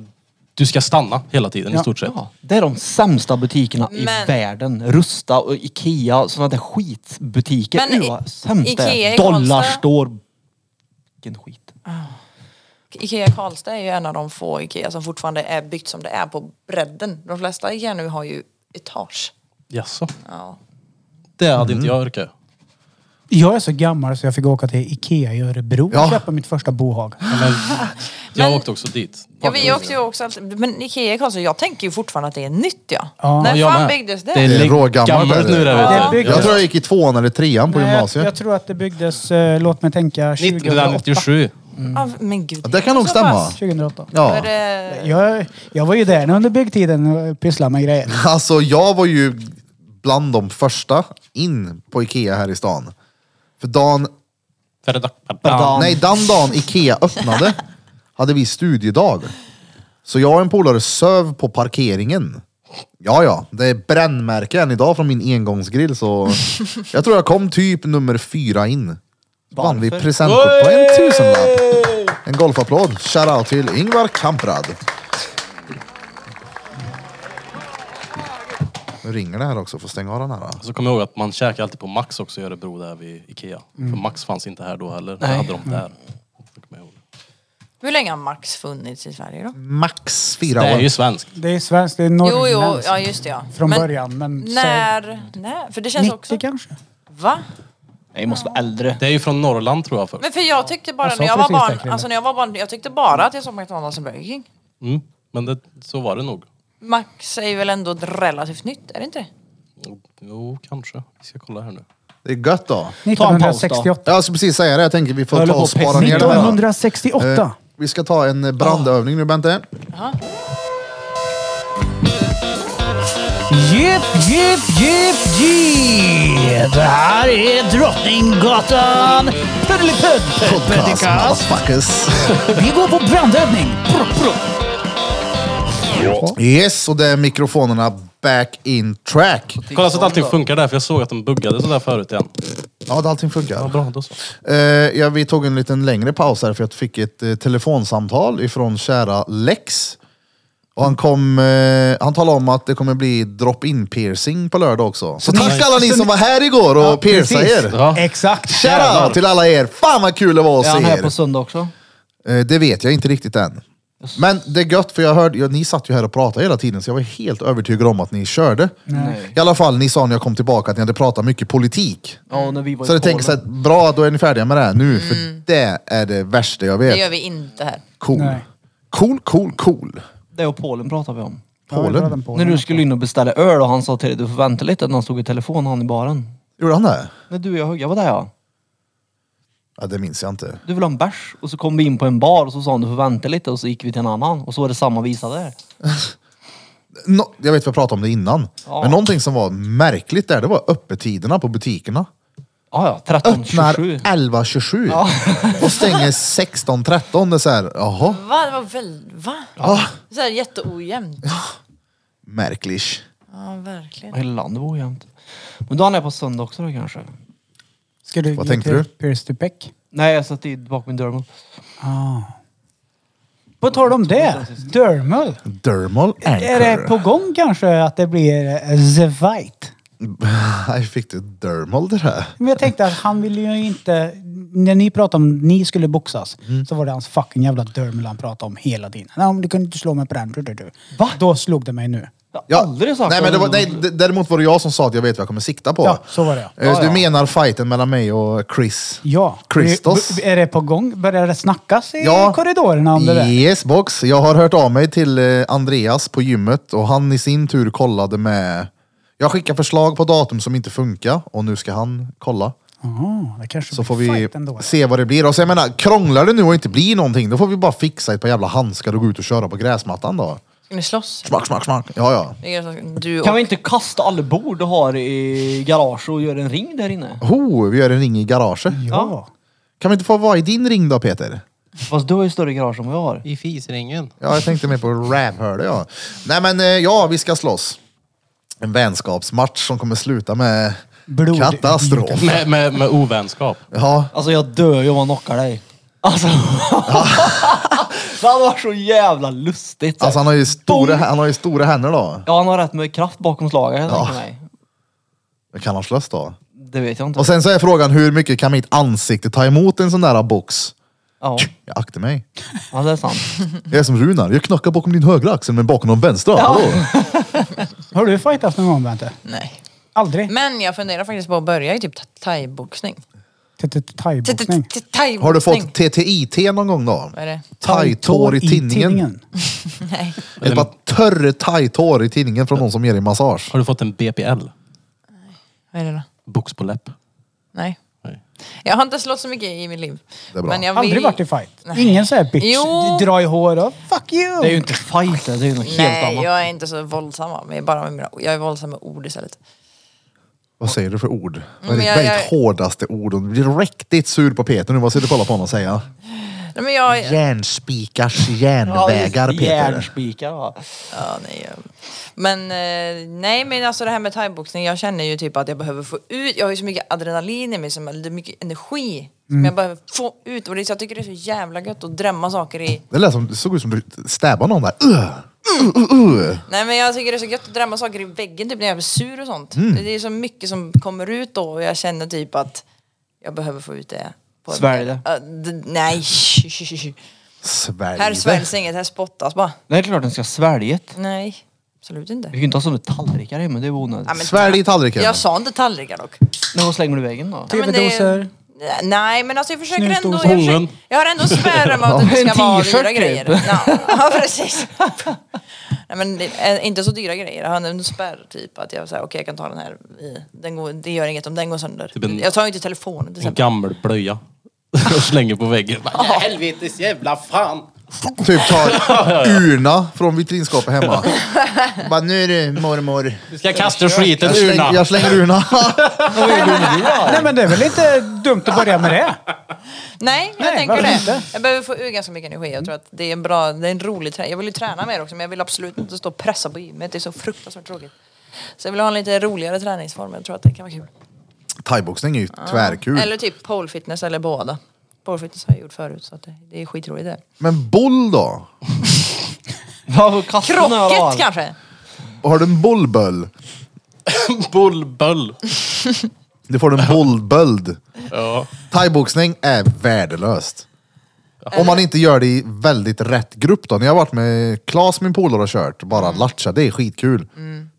du ska stanna hela tiden i stort sett.
Ja, det är de sämsta butikerna i
Men-
världen. Rusta och Ikea, sådana där skitbutiker.
Men
Uy,
i-
vad sämst det
Ikea
är.
i
Dollarstore. Vilken skit.
Ikea Karlstad är ju en av de få Ikea som fortfarande är byggt som det är på bredden. De flesta Ikea nu har ju etage.
Jaså?
Ja.
Det hade inte jag orkat.
Jag är så gammal så jag fick åka till Ikea i Örebro
Ja.
och köpa mitt första bohag.
Men jag
Men-
åkte också dit.
Ja, vi åkte ju också alltid, men Ikea i Karlstad, jag tänker ju fortfarande att det är nytt ja.
Ja.
När
jag
fan
med.
byggdes det?
Det är
Det är
Lägg-
rågammalt.
gammalt
är det.
nu det,
Ja.
vet du.
byggt-
eh, Jag tror jag gick i tvåan eller trean på
Nej, Jag,
gymnasiet.
jag tror att det byggdes, eh, låt mig tänka, 2008.
1997.
Ja, men gud.
Ja, det kan nog
Så
stämma.
pass.
2008.
Ja.
För, eh,
Jag, jag var ju där under byggtiden och pysslade med grejer.
Alltså jag var ju bland de första in på Ikea här i stan. För dagen
Pardon.
Nej, den dagen Ikea öppnade hade vi studiedag. Så jag och en polare söv på parkeringen. Ja, ja, det är brännmärke än idag från min engångsgrill så jag tror jag kom typ nummer fyra in. Vann vi presentkort på en tusenlapp. En golfapplåd. Shoutout till Ingvar Kamprad. Nu ringer det här också, får stänga av den här. då.
Så kommer jag ihåg att man käkade alltid på Max också i Örebro där vid Ikea. För Max fanns inte här då heller. Mm. Nej. Mm. hade de där. Så kommer jag ihåg.
Hur länge har Max funnits i Sverige då?
Max fyra
Det är
år.
ju svenskt.
Det är svenskt, det är norrländskt.
Jo, jo, ja just det ja.
Från början, men
När, när? För det känns
90
också...
kanske?
Va?
Nej, det måste vara äldre.
Det är ju från Norrland tror jag först.
Men för jag tyckte bara
Jag sa
när jag var
precis det,
barn,
Chrille.
alltså när jag var barn, jag tyckte bara att jag såg McDonalds och Burger King.
Mm. Men det, så var det nog.
Max är ju väl ändå relativt nytt, är det inte det?
Jo, kanske. Vi ska kolla här nu.
Det är gött då.
Ta en paus då.
1968.
Jag skulle precis säga det, jag tänker vi får
Höll
ta
på
och
att
spara
pissa.
ner det här.
1968!
Eh, Vi ska ta en eh, brandövning nu Bente.
Jipp, jipp, jipp, jipp! Det här är Drottninggatan Puddelipud Podcast.
motherfuckers.
Vi går på brandövning.
Yes, och det är mikrofonerna back in track.
Kolla Typ så att allting funkar där, för jag såg att de buggade sådär förut igen.
Ja, det- allting funkar.
Ja, bra, då så.
Eh, ja, vi tog en liten längre paus här för jag fick ett eh, telefonsamtal ifrån kära Lex. Och han, kom, eh, han talade om att det kommer bli drop-in piercing på lördag också. Så tack alla ni som var här igår och piercade er.
Ja.
Exakt.
Kära till alla er. Fan vad kul det var att
Är han
se
här på
er.
söndag också?
Eh, det vet jag inte riktigt än. Men det är gött för jag hörde, ja, ni satt ju här och pratade hela tiden så jag var helt övertygad om att ni körde. I alla fall, ni sa när jag kom tillbaka att ni hade pratat mycket politik.
Ja, när vi var
Så
i
jag tänker såhär,
Polen.
bra då är ni färdiga med det här nu, för det är det värsta jag
Mm. Det
vet.
gör vi inte här.
Cool.
Nej.
Cool, cool, cool.
Det och Polen pratar vi
Mm.
om.
Polen.
När du skulle in och beställa öl och han sa till dig du får vänta lite när han stod i telefon han i baren.
Gjorde han det?
När du och jag högg, var där ja.
Ja, det minns jag inte.
Du vill ha en bärs? Och så kom vi in på en bar och så sa han du får vänta lite och så gick vi till en annan och så var det samma visa där.
Nå- jag vet vi har pratat om det innan. Men någonting som var märkligt där, det var öppettiderna på butikerna.
Ja, ja, 13,
Öppnar
27.
11.27 och stänger 16.13. Det är såhär, jaha,
Va? Det var väl... Va? Så här jätteojämnt.
märkligt.
Ja, verkligen.
Hela landet var ojämnt. Men då är han är på söndag också då kanske?
Ska du
Vad
ge
tänkte
till
du?
Pierce to Peck?
Nej, jag satt i bakom min dörr.
På tal om det, Dermal.
Dermal
Är det
[LAUGHS]
på
anchor.
gång kanske att det blir eh, The White?
Jag fick du dermal det där?
Men jag tänkte att han ville ju inte... När ni pratade om ni skulle boxas
Mm.
så var det hans fucking jävla Dermal han pratade om hela tiden. Nej, men du kunde inte slå mig på den. Du, du, du.
Va?
Då slog det mig nu.
Jag har aldrig sagt
nej, men det var, nej,
det.
d- däremot var det jag som sa att jag vet vad jag kommer sikta på.
Ja, så var det, ja.
Eh,
Ja,
Du
ja.
menar fighten mellan mig och Chris?
Ja.
Christos?
Är- Är det på gång? Börjar det snackas i
Ja.
korridorerna om det där?
Yes box. Jag har hört av mig till eh, Andreas på gymmet och han i sin tur kollade med... Jag skickade förslag på datum som inte funkar och nu ska han kolla.
Jaha, Ah, det kanske
Så
blir
får vi
fight ändå.
se vad det blir. Och så jag menar, krånglar det nu och inte blir någonting, då får vi bara fixa ett par jävla handskar och gå ut och köra på gräsmattan då.
Ska ni slåss?
Smack, smack, smack. Ja, ja.
Det är så- Du och...
Kan vi inte kasta alla bord du har i garaget och göra en ring där inne?
Ho, vi gör en ring i garaget.
Ja.
Kan vi inte få vara i din ring då Peter?
Fast du har ju större garage än vad jag har.
I fisringen.
Ja, jag tänkte mer på rävhörde ja. Nej men eh, ja, vi ska slåss. En vänskapsmatch som kommer sluta med
Blod.
katastrof.
Med, med, med ovänskap.
Ja,
Alltså jag dör ju om han knockar dig. [LAUGHS] Alltså. det hade varit så jävla lustigt.
alltså han har ju stora,
Boom.
han har ju stora händer då.
Ja han har rätt med kraft bakom slaget jag tänker mig.
Kan han slåss då?
Det vet jag inte.
Och sen så är frågan hur mycket kan mitt ansikte ta emot en sån där box?
Ja,
Jag aktar mig.
ja det är sant.
Jag är som Runar, jag knackar bakom din högra axel men bakom den vänstra. Hallå?
Har du fightats någon gång Bente?
Nej.
Aldrig?
Men jag funderar faktiskt på att börja i typ ta- thaiboxning.
Till- till Thaiboxning?
Ta- ta- ta- thaiboxning.
Har du fått TTIT någon gång då?
Vad är det?
Tajtår i tinningen.
Nej.
Ett par törre tajtår i tinningen från någon som ger dig massage.
Har du fått en BPL?
Vad är det då?
Box på läpp.
Nej.
Nej.
Jag har inte slått så mycket i mitt liv.
Det är bra.
Men jag vill...
Aldrig varit i fight?
Nej.
Ingen så här bitch,
Jo.
dra i hår och fuck you!
Det är ju inte fight det, det är ju något helt
Nej,
annat.
jag är inte så våldsam. Men bara med mina... Jag är våldsam med ord istället.
Vad säger du för ord? Vad är
men
ditt
jag-
väldigt
jag-
hårdaste ord? Du blir riktigt sur på Peter nu. Vad ska du kolla på honom och säga?
Nej, men jag...
Järnspikars
Ja,
järnvägar
just det,
Peter.
Järnspikar va.
Ja, nej. jag- Men eh, nej, men alltså det här med thaiboxning. Jag känner ju typ att jag behöver få ut. Jag har ju så mycket adrenalin i mig, som, eller mycket energi. Som
Mm.
jag behöver få ut. Och det, jag tycker det är så jävla gött att drämma saker i.
Det lät som, det såg ut som du stäbbade någon där. Uh, Ugh! uh.
Nej men jag tycker det är så gött att drämma saker i väggen typ när jag blir sur och sånt.
Mm.
Det, det är så mycket som kommer ut då och jag känner typ att jag behöver få ut det. På
Svälj det.
Ja, d- nej. [LAUGHS] Sh, sh, sh, sh.
Svälj
Här
det.
sväljs inget, här spottas bara.
Det är klart den ska svälja det.
Nej, absolut inte.
Vi kan ju inte ha sådana tallrikar hemma, det är onödigt.
Ja, men-
Svälj i tallriken.
Jag sa inte tallrikar dock.
Men vad slänger du i väggen då?
Ja, men det-
TV-doser.
Nej men alltså jag försöker ändå. Jag,
Snusdoser.
försöker,
Ungen.
jag har ändå spärrat mig att det
En
inte ska vara
t-shirt
dyra
typ.
grejer. Ja, [LAUGHS] ja precis. Nej men det är inte så dyra grejer. Jag har ändå en spärr typ att jag säger okej jag kan ta den här. i- Den går, det gör inget om den går sönder.
Typ en-
Jag tar ju inte telefonen till
En [LAUGHS]
exempel.
gammal blöja. Och slänger på väggen. Helvetes jävla fan!
Typ tar urna från vitrinskåpet hemma. Bara, nu är det mormor.
Du ska kasta skiten
Jag
ur
slänger,
[LAUGHS]
jag slänger urna. [LAUGHS]
Nej men det är väl inte dumt att börja med det?
Nej, jag
Nej,
tänker
varför
det.
inte?
Jag behöver få ur ganska mycket energi. Jag tror att det är en bra, det är en rolig träning. Jag vill ju träna mer också men jag vill absolut inte stå och pressa på gymmet. Det är så fruktansvärt tråkigt. Så jag vill ha en lite roligare träningsform. Jag tror att det kan vara kul.
Thaiboxning är ju tvärkul.
Eller typ pole fitness eller båda. Pole fitness har jag gjort förut så att det, det är skitroligt det.
Men boll då?
Krocket kanske?
Har du en bollböll?
Bullböll.
Du får en bollböld.
Ja.
Thaiboxning är värdelöst. Om man inte gör det i väldigt rätt grupp då. När jag har varit med Klas, min polare, och kört, bara latcha, det är skitkul.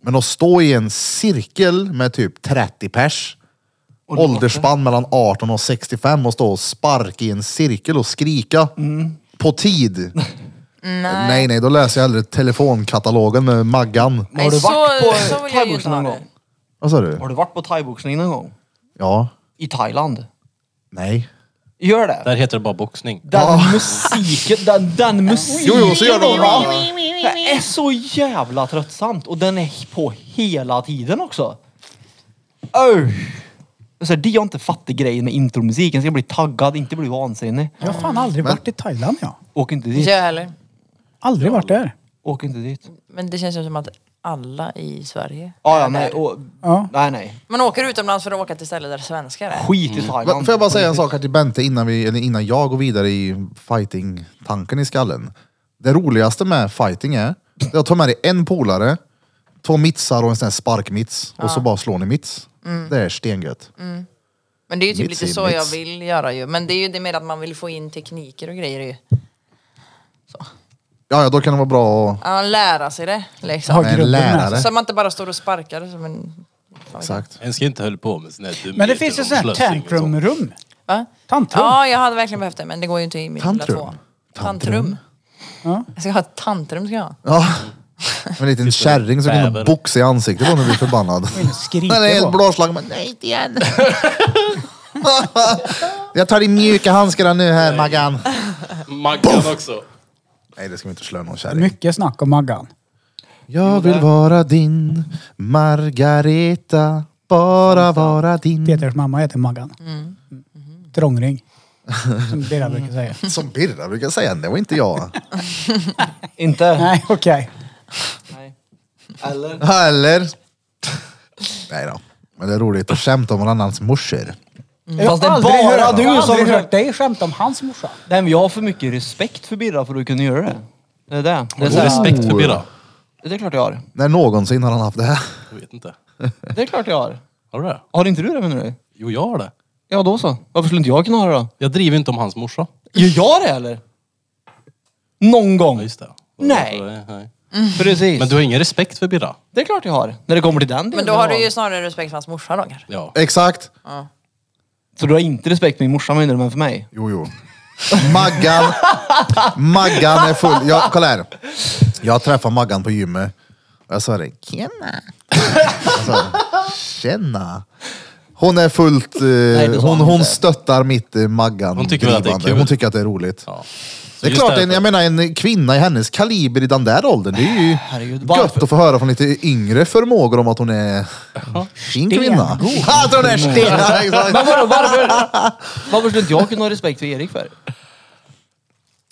Men att stå i en cirkel med typ 30 pers, åldersspann mellan 18 och 65 och stå och sparka i en cirkel och skrika på [LAUGHS] tid. Nej. nej, då läser jag hellre telefonkatalogen med Maggan.
Nej,
Har du
så-
varit
så vill jag ju
på thaiboxning någon
inte ha
gång?
Vad sa du?
Har du varit på thaiboxning någon gång?
Ja.
I Thailand?
Nej.
Gör det?
Där heter det bara boxning.
Den musiken, den, den musiken!
Jo, jo, så gör de
va? Det är så jävla tröttsamt och den är på hela tiden också. Öh. Så här, det jag inte fattar grejen med intromusiken, ska bli taggad, inte bli vansinnig.
Jag har fan aldrig varit i Thailand jag.
Åk inte dit,
Inte jag heller.
Aldrig varit där.
åk inte dit.
Men det känns ju som att alla i Sverige
Ah, ja,
är
nej,
där.
och,
Ja.
nej, nej.
Man åker utomlands för att åka till ställen där svenskar är.
Skit i Thailand.
Va- Får jag bara säga en sak här till Bente innan, vi, eller innan jag går vidare i fighting-tanken i skallen. Det roligaste med fighting är att jag tar med dig en polare, två mittsar och en sån här sparkmits och så bara slår ni mitts. Det är stengött.
Men det är ju typ
Mitts
lite
i
så jag
mitts.
vill göra ju. Men det är ju det med att man vill få in tekniker och grejer ju.
Ja, ja, då kan det vara bra att...
Ja, lära sig det liksom.
Ha
med en
grunden med
lärare.
sig.
Så att man inte bara står och sparkar som en...
Exakt.
Jag ska inte hålla på med såna här dumheter
Men det finns ju
om
sådana här
slösning och sånt.
tantrumrum.
Va?
Tantrum.
Ja, jag hade verkligen behövt det men det går ju inte i min
Tantrum.
lilla två. Tantrum.
Ja.
Jag ska ha ett tantrum ska jag ha.
Ja. Med en liten kärring som kunde
bäver.
boxa i ansiktet på när du blir förbannad.
skriker
Den är helt
på.
blåslagen. men Nej, inte igen. jag tar i mjuka handskarna nu här, Maggan.
liksom. Maggan också.
Nej, det ska vi inte slå någon kärring.
Mycket snack om Maggan.
Jag vill vara din Margareta, bara vara din.
Peters mamma heter Maggan. Mm. Trångring. Som Birra brukar säga.
Som Birra brukar säga, det var inte jag.
Inte?
Nej, okej.
Nej. Eller?
[LAUGHS] Eller? Nej då. Men det är roligt att skämta om varandras morsor.
Jag har
Fast det är
aldrig
bara
hört-
du
jag har
som
aldrig
försöker-
hört dig skämta om hans morsa.
Nej, men jag har för mycket respekt för Birra för att kunna göra det. Det är det. Det är, så här,
Respekt för Birra.
det är klart jag har.
När någonsin har han haft det här?
Jag vet inte.
Det är klart jag har.
Har du det?
Har inte du det menar du?
Jo, jag har det.
Ja, då så. Varför skulle inte jag kunna ha det då?
Jag driver inte om hans morsa.
Gör jag det eller? Någon
Ja,
gång.
just det.
Nej.
Nej.
Precis.
Men du har ingen respekt för Birra?
Det är klart jag har. När det kommer till den delen.
Men då har
jag
du ju snarare respekt för hans morsa då kanske.
Ja.
Exakt.
Så du har inte respekt för min morsa menar du, men för mig?
Jo, jo. Maggan. Maggan är full. Jag, kolla här. Jag träffade Maggan på gymmet. Och jag sa det. Tjena. Jag sa, Tjena. Hon är fullt... Eh,
det sa
hon,
hon
hon
inte.
stöttar mitt eh, Maggan
Hon tycker väl att det är
drivande.
kul.
Hon tycker att det är roligt.
ja.
Det är
Just
klart, en,
därför.
jag menar en kvinna i hennes kaliber i den där åldern, det är ju
Herregud,
gött
varför?
att få höra från lite yngre förmågor om att hon är fin kvinna. Att hon är [LAUGHS] sten-
Men
exakt.
vadå, varför? Varför skulle inte jag kunna ha respekt för Erik för?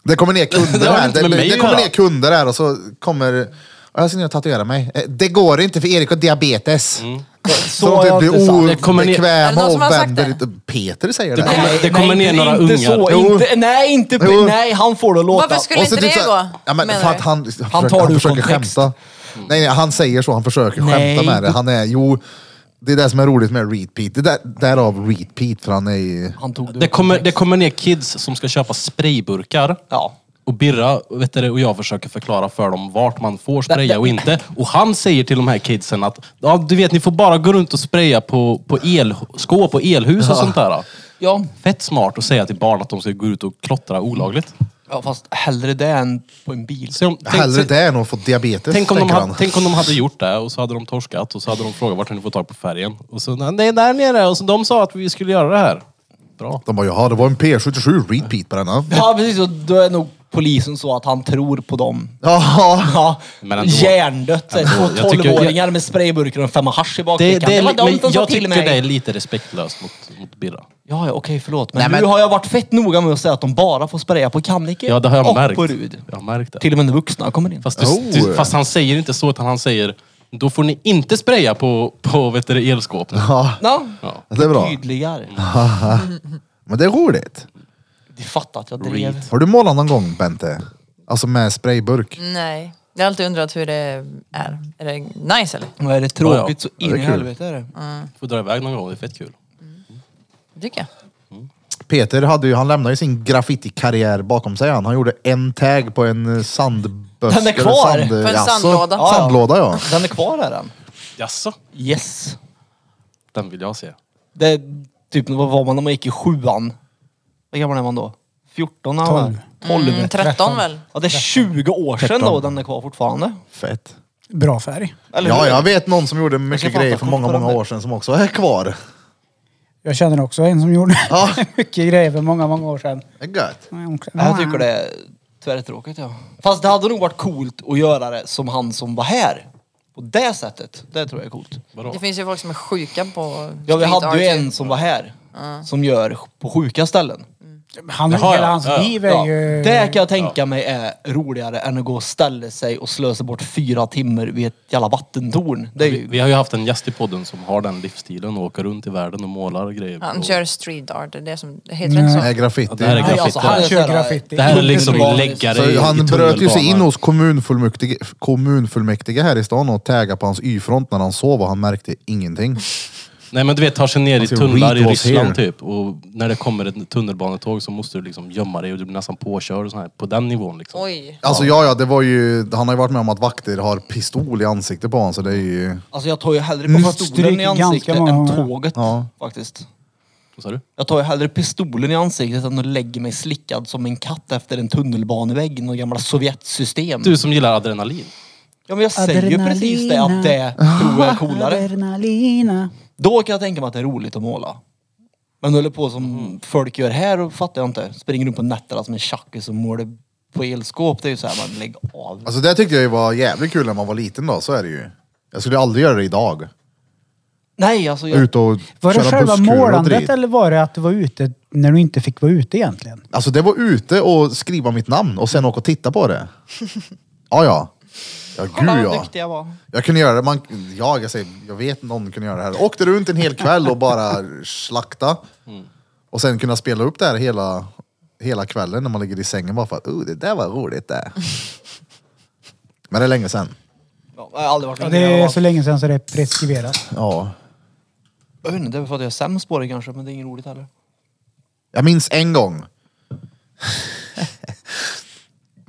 Det kommer ner
[LAUGHS] Det
kunder
har
här.
inte
Det,
med mig
det
att
kommer
göra.
ner kunder här och så kommer... "Ja, Jag ska ner och tatuera mig. "Eh, Det går inte för Erik har diabetes. Så
har
hon typ
jag
blir
inte sagt.
Mm. Det kommer ner-
Är det
obekväm
någon
och
som har sagt
vänder
det?
lite. Peter säger det.
Det kommer- det
Nej,
kommer
nej,
ner några
inte
ungar.
Så,
Jo.
inte, nej, inte,
Jo.
nej, han får det att låta.
Varför skulle
Och så
inte
typ
det
så här-
gå?
Ja, men
menar
för
du?
att han, han, försöker,
tar det
han
ur
försöker
kontext.
skämta. Nej, nej, han säger så, han försöker
Nej.
skämta med det. Han är, jo, det är det som är roligt med repeat. Det där, därav repeat, för han är ju...
Han tog det.
Det kommer, det kommer ner kids som ska köpa sprayburkar.
Ja.
Och Birra vet du, det, och jag försöker förklara för dem vart man får spraya och inte. Och han säger till de här kidsen att ja, du vet, ni får bara gå runt och spraya på, på elskåp och elhus och sånt där.
Ja.
Fett smart att säga till barn att de ska gå ut och klottra olagligt.
ja, fast hellre det än på en bil.
Så om, tänk,
Hellre
tänk,
det än att få diabetes,
tänk, om de
tänker
hade,
han.
tänk om de hade gjort det och så hade de torskat och så hade de frågat vart har ni fått tag på färgen? Och så nej, det är där nere och så de sa att vi skulle göra det här. Bra.
De bara, jaha, det var en P77 repeat på den. ja."
Ja, precis. Och då är nog polisen så att han tror på dem.
Ja,
Ja,
Men ändå.
hjärndött. så här,
Ändå.
Två
Jag tycker-
tolvåringar med sprayburkar och en femma hasch i
Det,
bakfickan.
det, är
var
li-
de som
men
sa
jag
till
tycker
mig.
det är lite respektlöst mot, mot Birra.
Ja, ja, okej, förlåt. Men,
Nej, men-
nu har jag varit fett noga med att säga att de bara får spraya på Kannike
Ja, det har jag
och
märkt.
på Rud.
Jag har märkt det.
Till och med när vuxna kommer in.
Fast, du,
Oh.
du, fast han säger inte så, utan han säger då får ni inte spraya på, på vet du, elskåp.
ja,
Ja,
Ja.
det är bra.
tydligare.
Ah. Men det är roligt.
Du fattar att jag drev.
Har du målat någon gång Bente? Alltså med sprayburk?
Nej. Jag har alltid undrat hur det är. Är det nice eller?
Vad är det tråkigt så
Ja,
in
det
i
är kul.
helvete är det.
Får dra iväg någon gång, det är fett kul.
Tycker jag.
Peter hade ju, han lämnade ju sin graffitikarriär bakom sig. Han, han gjorde en tag på en eh, sandböska.
Den är
eller
kvar.
sand-
På
en
Jaså?
sandlåda.
Ja, ja.
Sandlåda ja.
Den är kvar här den.
Jaså?
Yes.
Den vill jag se.
Det är typ, vad var man när man gick i sjuan? Vad gammal är man då? 14? när man
Tolv.
är? 12.
Mm, 13 väl?
Ja, det är 20 år sedan då den är kvar fortfarande.
Fett.
Bra färg.
Eller
Ja,
hur?
jag vet någon som gjorde
Jag
mycket
ska
grejer
fatta
för många, många
fortfarande.
år sedan som också är kvar.
Jag känner också en som gjorde
Ja.
[LAUGHS] mycket grejer för många, många år sedan.
Det är gött.
Ja, Jag tycker det är tvärtråkigt ja. Fast det hade nog varit coolt att göra det som han som var här. På det sättet. Det tror jag är coolt.
Vadå?
Det finns ju folk som är sjuka på
Ja, vi
street
hade ju
art.
en som var här. Som gör på sjuka ställen.
Han,
Jaha,
hela
ja.
hans
Ja, ja.
liv är
Ja,
ju...
det kan jag tänka mig är roligare än att gå och ställa sig och slösa bort fyra timmar vid ett jävla vattentorn. Det är
Vi,
ju...
vi har ju haft en gäst i podden som har den livsstilen och åker runt i världen och målar grejer.
Han
Och-
kör street art, det är det som, det heter inte
Det är
så?
graffiti.
det här är
Nej, alltså,
graffiti.
han
Jag
kör
kör graffiti.
Det här är liksom
Tunnelbanan.
läggare i,
Så
i
han bröt ju sig in
tunnelbanan.
hos kommunfullmäktige, kommunfullmäktige här i stan och taggade på hans Y-front när han sov och han märkte ingenting.
Nej men du vet, tar sig ner i
Alltså,
tunnlar i
read was
Ryssland
here.
typ. Och när det kommer ett tunnelbanetåg så måste du liksom gömma dig och du blir nästan påkörd och sån här. På den nivån liksom.
Oj.
Alltså ja, ja, det var ju, han har ju varit med om att vakter har pistol i ansiktet på honom så det är ju...
Alltså jag tar ju hellre
Mm.
pistolen
Stryker
i
ganska
ansiktet
många
än
gånger.
tåget
Ja.
faktiskt.
Vad sa du?
Jag tar ju hellre pistolen i ansiktet än att lägga mig slickad som en katt efter en tunnelbanevägg i något gamla Sovjetsystem.
Du som gillar adrenalin.
Ja men jag säger ju precis det att det tror jag
[LAUGHS]
är coolare.
Adrenalina.
Då kan jag tänka mig att det är roligt att måla. Men håller på som folk gör här och fattar jag inte. Springer runt på nätterna som en tjackis och målar på elskåp. Det är ju såhär, man lägg av.
Alltså det tyckte jag ju var jävligt kul när man var liten då, så är det ju. Jag skulle aldrig göra det idag.
Nej alltså. Jag,
Ut och
Var det
köra
själva
busskur och
målandet
drit.
eller var det att du var ute när du inte fick vara ute egentligen?
Alltså det var ute och skriva mitt namn och sen åka och titta på
[LAUGHS]
det. Ja, ja. Ja,
Kolla
gud
vad
ja.
duktig jag var.
Jag kunde göra det, man, jag, jag, säger, jag vet någon kunde göra det här. Åkte runt en hel kväll och bara slakta. Och sen kunna spela upp det här hela, hela kvällen när man ligger i sängen bara för att oh, det där var roligt
[LAUGHS]
det. Men det är länge sen.
Ja, jag har aldrig varit
Ja,
med
det
jag
är
var-
så länge sedan så det är preskriberat.
Ja.
Jag vet inte, det är för att jag är sämst på det kanske men det är inget roligt heller.
Jag minns en
[LAUGHS]
gång.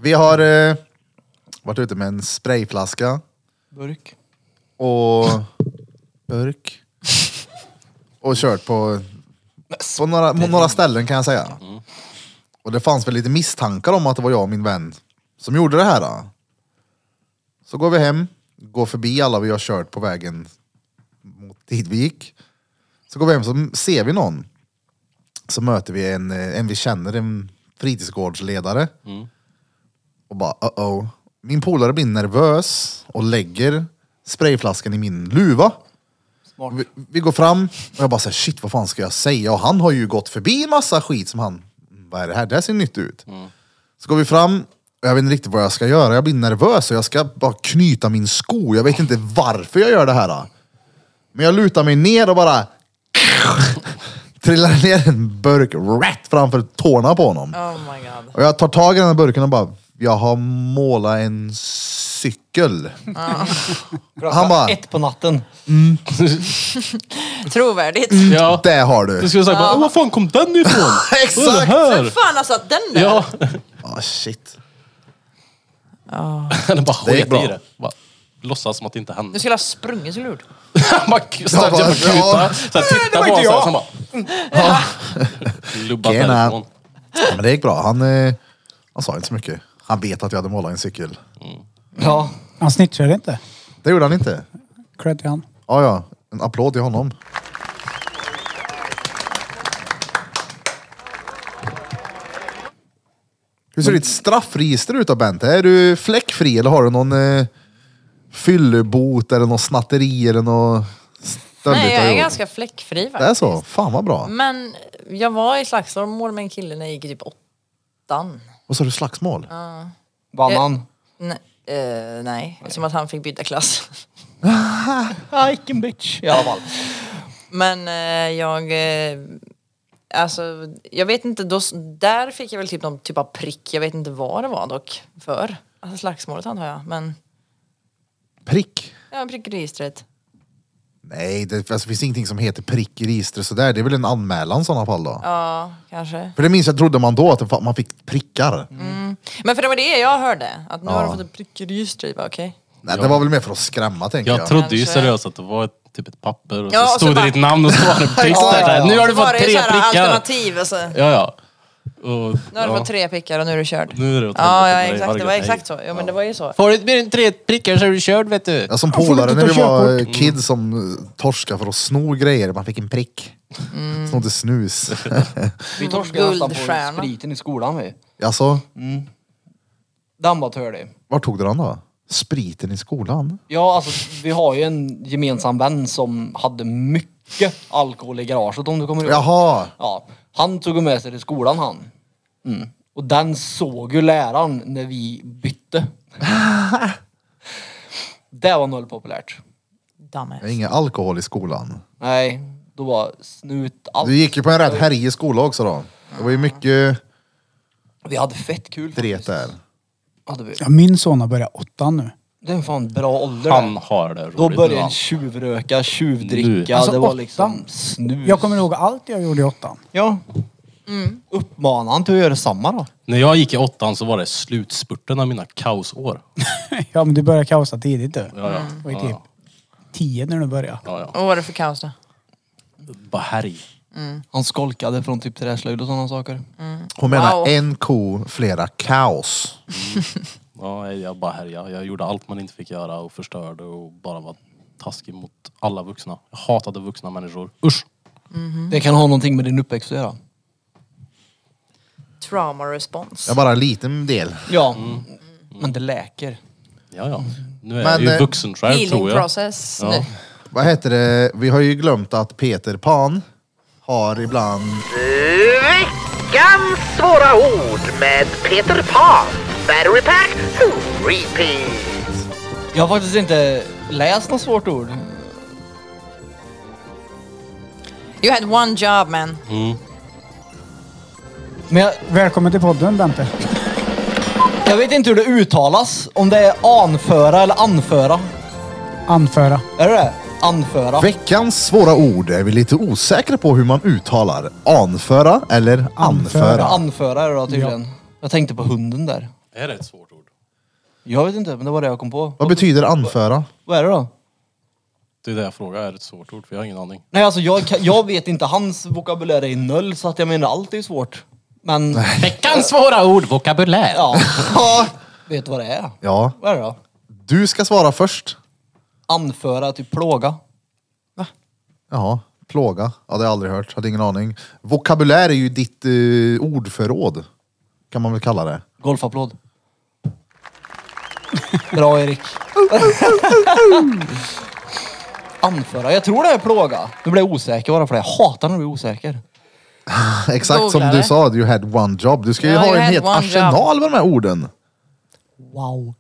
Vi har eh, varit ute med en sprayflaska
Burk.
och burk. Och kört på, på några, på några ställen kan jag säga. Och det fanns väl lite misstankar om att det var jag och min vän som gjorde det här. Då. Så går vi hem, går förbi alla vi har kört på vägen mot dit vi gick. Så går vi hem så ser vi någon. Så möter vi en, eh, en vi känner, en fritidsgårdsledare. Och bara uh oh. Min polare blir nervös och lägger sprayflaskan i min luva.
Smart.
Vi, vi går fram och jag bara såhär, shit vad fan ska jag säga? Och han har ju gått förbi en massa skit som han, vad är det här? Det här ser nytt ut. Så går vi fram och jag vet inte riktigt vad jag ska göra. Jag blir nervös och jag ska bara knyta min sko. Jag vet inte varför jag gör det här. då. Men jag lutar mig ner och bara [LAUGHS] trillar ner en burk rätt framför tårna på honom.
Oh my god.
Och jag tar tag i den här burken och bara, jag har målat en cykel. Han bara,
Ett på natten.
Trovärdigt.
Mm.
Ja.
det har du.
Du skulle sagt bara, var fan kom
[LAUGHS]
den ifrån?
Exakt!
Vad är det här?
Vem fan har satt den där?
Ja. [LAUGHS]
Ah shit.
Eller bara
Det gick
sket
bra.
i det. Bara, låtsas som att det inte hände.
Du skulle ha sprungit så lurt.
[LAUGHS] Man ställde
bara,
sig på
ja.
kutan, så här, tittade på
inte
honom så här,
jag.
sen bara... "Ah." Lubbat
Tjena.
därifrån.
Ja, men det gick bra. Han, eh, han sa inte så mycket. Han vet att jag hade målat en cykel.
Ja.
Han snitchade inte.
Det gjorde han inte.
Cred till han.
Ja, ja. En applåd till honom. Hur ser ditt straffregister ut då Bente? Är du fläckfri eller har du någon eh, fyllebot eller någon snatteri eller något stöldigt?
Nej,
du
jag
har
är
gjort?
ganska fläckfri
Det är
faktiskt.
så? Fan vad bra.
Men jag var i slagsmål med en kille när jag gick i typ åttan.
Och så har du slagsmål?
Vann
Eh,
han?
Nej, eh, nej, som att han fick byta
[LAUGHS]
klass. Ah,
Vilken bitch. I alla fall.
Men eh, jag... Eh, alltså, jag vet inte. Då, s- där fick jag väl typ någon typ av prick. Jag vet inte vad det var dock för. Alltså slagsmålet antar jag. Men
Prick?
ja, prickregistret.
Nej, det alltså, finns ingenting som heter prick i registret sådär. Det är väl en anmälan i sådana fall då?
Ja, kanske.
För det minns jag trodde man då, att det fa- man fick prickar.
Mm. Men för det var det jag hörde. Att nu har du fått ett prickregister. Jag bara, Okej.
Nej, det var väl mer för att skrämma tänker jag.
Jag trodde ju
Kanske.
seriöst att det var ett, typ ett papper och
Ja, och
så
så
stod det
bara-
ditt namn och så
[LAUGHS]
var det prick där. så här, Nu har du
Då Alltså, var
fått
det ju
tre
så här
prickar.
Alternativ. Alltså. Nu
Ja, ja. Och,
har du
ja.
fått tre prickar och nu är du körd.
Nu är det åt
Ja, ja
helvete för dig.
exakt. Det var
Ha det gött.
exakt så. Ja, men det var ju så.
Får du mer än tre prickar så är du körd vet du.
Ja, som
får
polare
inte
när vi
ta
var eh, kids som eh, torskade för att sno grejer. Man fick en prick. Snodde snus.
Vi torskade nästan på
Guldstjärna.
spriten i skolan vi.
alltså,
Den var törlig.
var tog du den då? Spriten i skolan?
Ja, alltså vi har ju en gemensam vän som hade mycket alkohol i garaget om du kommer ihåg.
Jaha!
Ja, han tog med sig till skolan han. Mm. Och den såg ju läraren när vi [LAUGHS] bytte. det var noll populärt.
Dumbass.
Det är Ingen alkohol i skolan.
Nej, då var snut allt.
Du gick ju på en rätt härjig skola också då. Det var ju mycket
Vi hade fett kul
dret där.
Hade vi.
Ja, min son har börjat åttan nu.
Det är fan bra ålder
Han
det.
har det roligt
Då
nu,
började
han.
en tjuvröka, tjuvdricka,
Alltså,
det var
åtta.
liksom snus.
Jag kommer ihåg allt jag gjorde i åttan.
Ja. Uppmana han till att göra samma då.
När jag gick i åttan så var det slutspurten av mina kaosår.
Ja men du började kaosa tidigt du.
Ja,
Mm.
ja.
Det var ju
Ja,
typ
ja.
tio när du började.
Ja, ja.
Och Vad var det för kaos då?
Bara härj.
Han skolkade från typ träslöjd och sådana saker.
Hon menar
Wow.
en ko, flera kaos.
Ja, jag bara härjade. Jag gjorde allt man inte fick göra och förstörde och bara var taskig mot alla vuxna. Jag hatade vuxna människor. Usch!
Det kan ha någonting med din uppväxt att göra.
Trauma response.
Ja, bara en liten del.
Ja, men det läker.
Ja, ja. Nu är
Men,
jag
eh,
ju vuxen själv
Healing
tror jag.
process
Ja.
nu.
Vad heter det? Vi har ju glömt att Peter Pan har ibland
Veckans svåra ord med Peter Pan. Battery pack, repeat.
Jag har faktiskt inte läst något svårt ord.
You had one job man.
Men jag,
Välkommen till podden Bente.
jag vet inte hur det uttalas. Om det är anföra eller anföra.
Anföra.
Är det det Anföra.
Veckans svåra ord är vi lite osäkra på hur man uttalar. Anföra eller anföra.
Anföra är det då tydligen. Jag tänkte på hunden där.
Är det ett svårt ord?
Jag vet inte, men det var det jag kom på.
Vad betyder anföra?
Vad är det då?
Det är det jag frågar. Är det ett svårt ord? För jag har ingen aning.
Nej, alltså jag, kan- jag vet inte. Hans vokabulär är noll, så att jag menar allt är ju svårt. Men
Veckans svåra ord! Vokabulär!
ja, vet du vad det är?
Ja,
Vad är det då?
du ska svara först.
Anföra, typ plåga.
Jaha, plåga. Ja, det har jag aldrig hört. Hade ingen aning. Vokabulär är ju ditt eh, ordförråd. Kan man väl kalla det. [LAUGHS]
Golfapplåd. Bra Erik. Anföra. Jag tror det är plåga. Nu blir jag osäker bara för det. Jag hatar när du blir osäker.
Exakt som du
Googlare.
sa, you had one job. Du ska ju
Ja,
ha
you
en
had
helt
one
arsenal med de här orden.
Wow.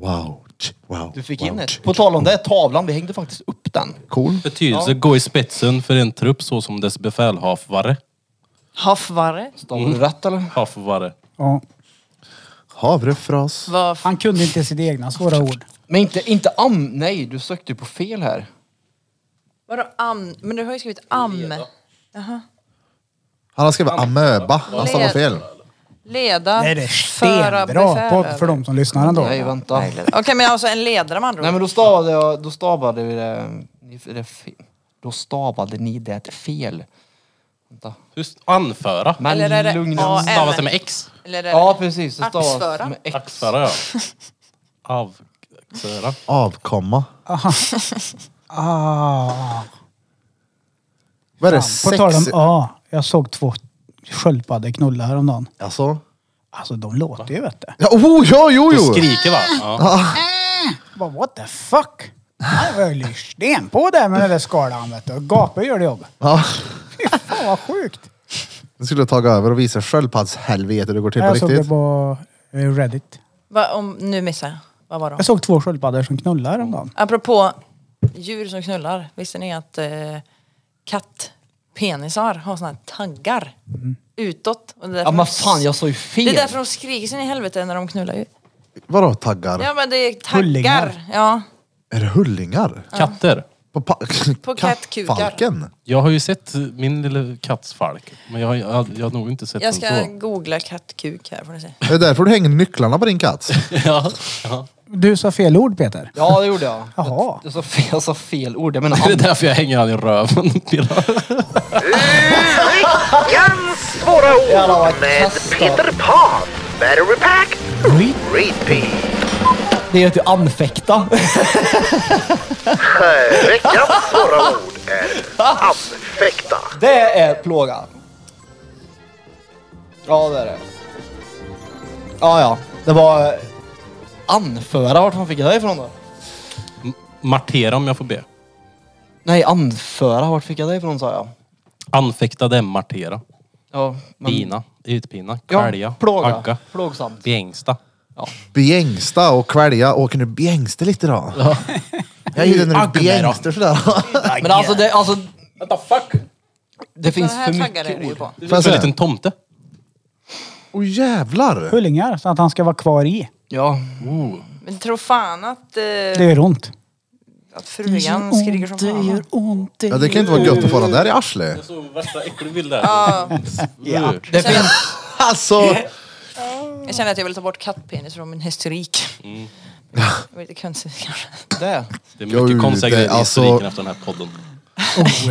Wow. tch, wow.
Du fick
wow,
in
tch.
det. På tal om det, tavlan. Vi hängde faktiskt upp den.
Cool.
Betydelse, gå i spetsen för en trupp så som dess befälhavare.
Haffvare.
Stavar
Mm.
du rätt eller?
Havare.
Ja.
Havrefras.
Vad
Han kunde inte sitt egna svåra ord.
Men inte, inte am... Nej, du sökte ju på fel här.
Vadå am? Men du har ju skrivit am.
Han har skrivit amöba. Han stavar fel.
Leda.
Nej det är
föra,
stenbra
befäl
podd
över.
för de som lyssnar ändå.
Nej, vänta.
Okej men alltså en ledare med andra
Nej,
ord.
men då stavade jag... Då stavade vi det... Ni, det fe- då stavade ni det fel. Vänta.
Just anföra.
Men
Eller är det
lugna-
A, M?
Stavas det med X?
Eller är det-
Ja, precis. Det stavas
Axföra.
med X.
Axföra
[LAUGHS]
ja. Avxöra.
Avkomma.
Ah.
Vad är det?
På tal om
Sex...
A. Jag såg två sköldpaddor knulla häromdagen.
Alltså?
Alltså de låter ju vet du.
Ja, oh, ja, jo,
Du
jo!
skriker va? Ja.
Bara, what the fuck? Nej, Jag höll ju sten på där med den där skalan vet du. Gapar gör det jobbet.
Ja.
Fy fan vad sjukt.
Nu skulle jag ta över och visa sköldpaddshelvete hur det går till på
Jag såg det
riktigt.
på eh, Reddit.
Va, om, nu missade jag. Vad var det?
Jag såg två sköldpaddor som knullade häromdagen.
Apropå djur som knullar. Visste ni att eh, kattpenisar har såna här taggar utåt? Och det är därför
Ja men
de-
fan jag sa ju
Det är
fel.
därför de skriker sin i helvete när de knullar ju.
Vadå taggar?
Ja men det är taggar.
Hullingar.
Ja.
Är det hullingar?
Katter.
På, pa-
På kattkukar.
kattfalken?
Jag har ju sett min lilla kattsfalk. Men jag har, jag, har- jag har nog inte sett
Jag ska
den så.
googla kattkuk här får ni se.
Är det därför du hänger nycklarna på din
[LAUGHS]
katt?
[LAUGHS] Ja. ja.
Du sa fel ord Peter.
Ja det gjorde jag.
Jaha.
Jag sa fel, jag sa fel ord. Jag menar
Det är därför jag hänger han i röven. [LAUGHS]
Veckans svåra
Jävlar,
ord
vad
med
kasst då.
Peter Pan. Battery pack. Repeat.
det är att anfäkta.
Veckans svåra ord är anfäkta.
Det är plåga. Ja det är det. Ja ja, det var eh, anföra. Vart fan fick jag det ifrån då?
Martera om jag får be.
Nej anföra, vart fick jag det ifrån sa jag?
Anfäkta det är martera.
Ja,
Pina. Utpina.
Ja,
Kvälja.
plåga.
Agga.
Plågsamt.
Bjängsta.
Bjängsta och kvälja. Åker nu bjängste lite då? Jag gillar när du
Agg med då.
bjängster sådär. [LAUGHS]
Men alltså det, alltså,
What the fuck?
det finns
här
för
taggar är
mycket
det ju
ord.
på.
Det
Får jag
finns
se?
en liten tomte.
Åh jävlar!
Hullingar, så att han ska vara kvar i.
Ja.
Men tro fan att,
Det
eh,
gör ont.
att frugan skriker som fan. va?
ont.
Ja, det kan inte vara gött att få den där i arslet.
såg värsta äckelbild där. [LAUGHS] Ja.
Det finns,
Alltså!
Jag känner att jag vill ta bort kattpenis från min historik. Det var [LAUGHS] lite konstigt kanske.
det.
Det är mycket konstiga
Gud, det-
grejer i
alltså-
historiken efter den här podden.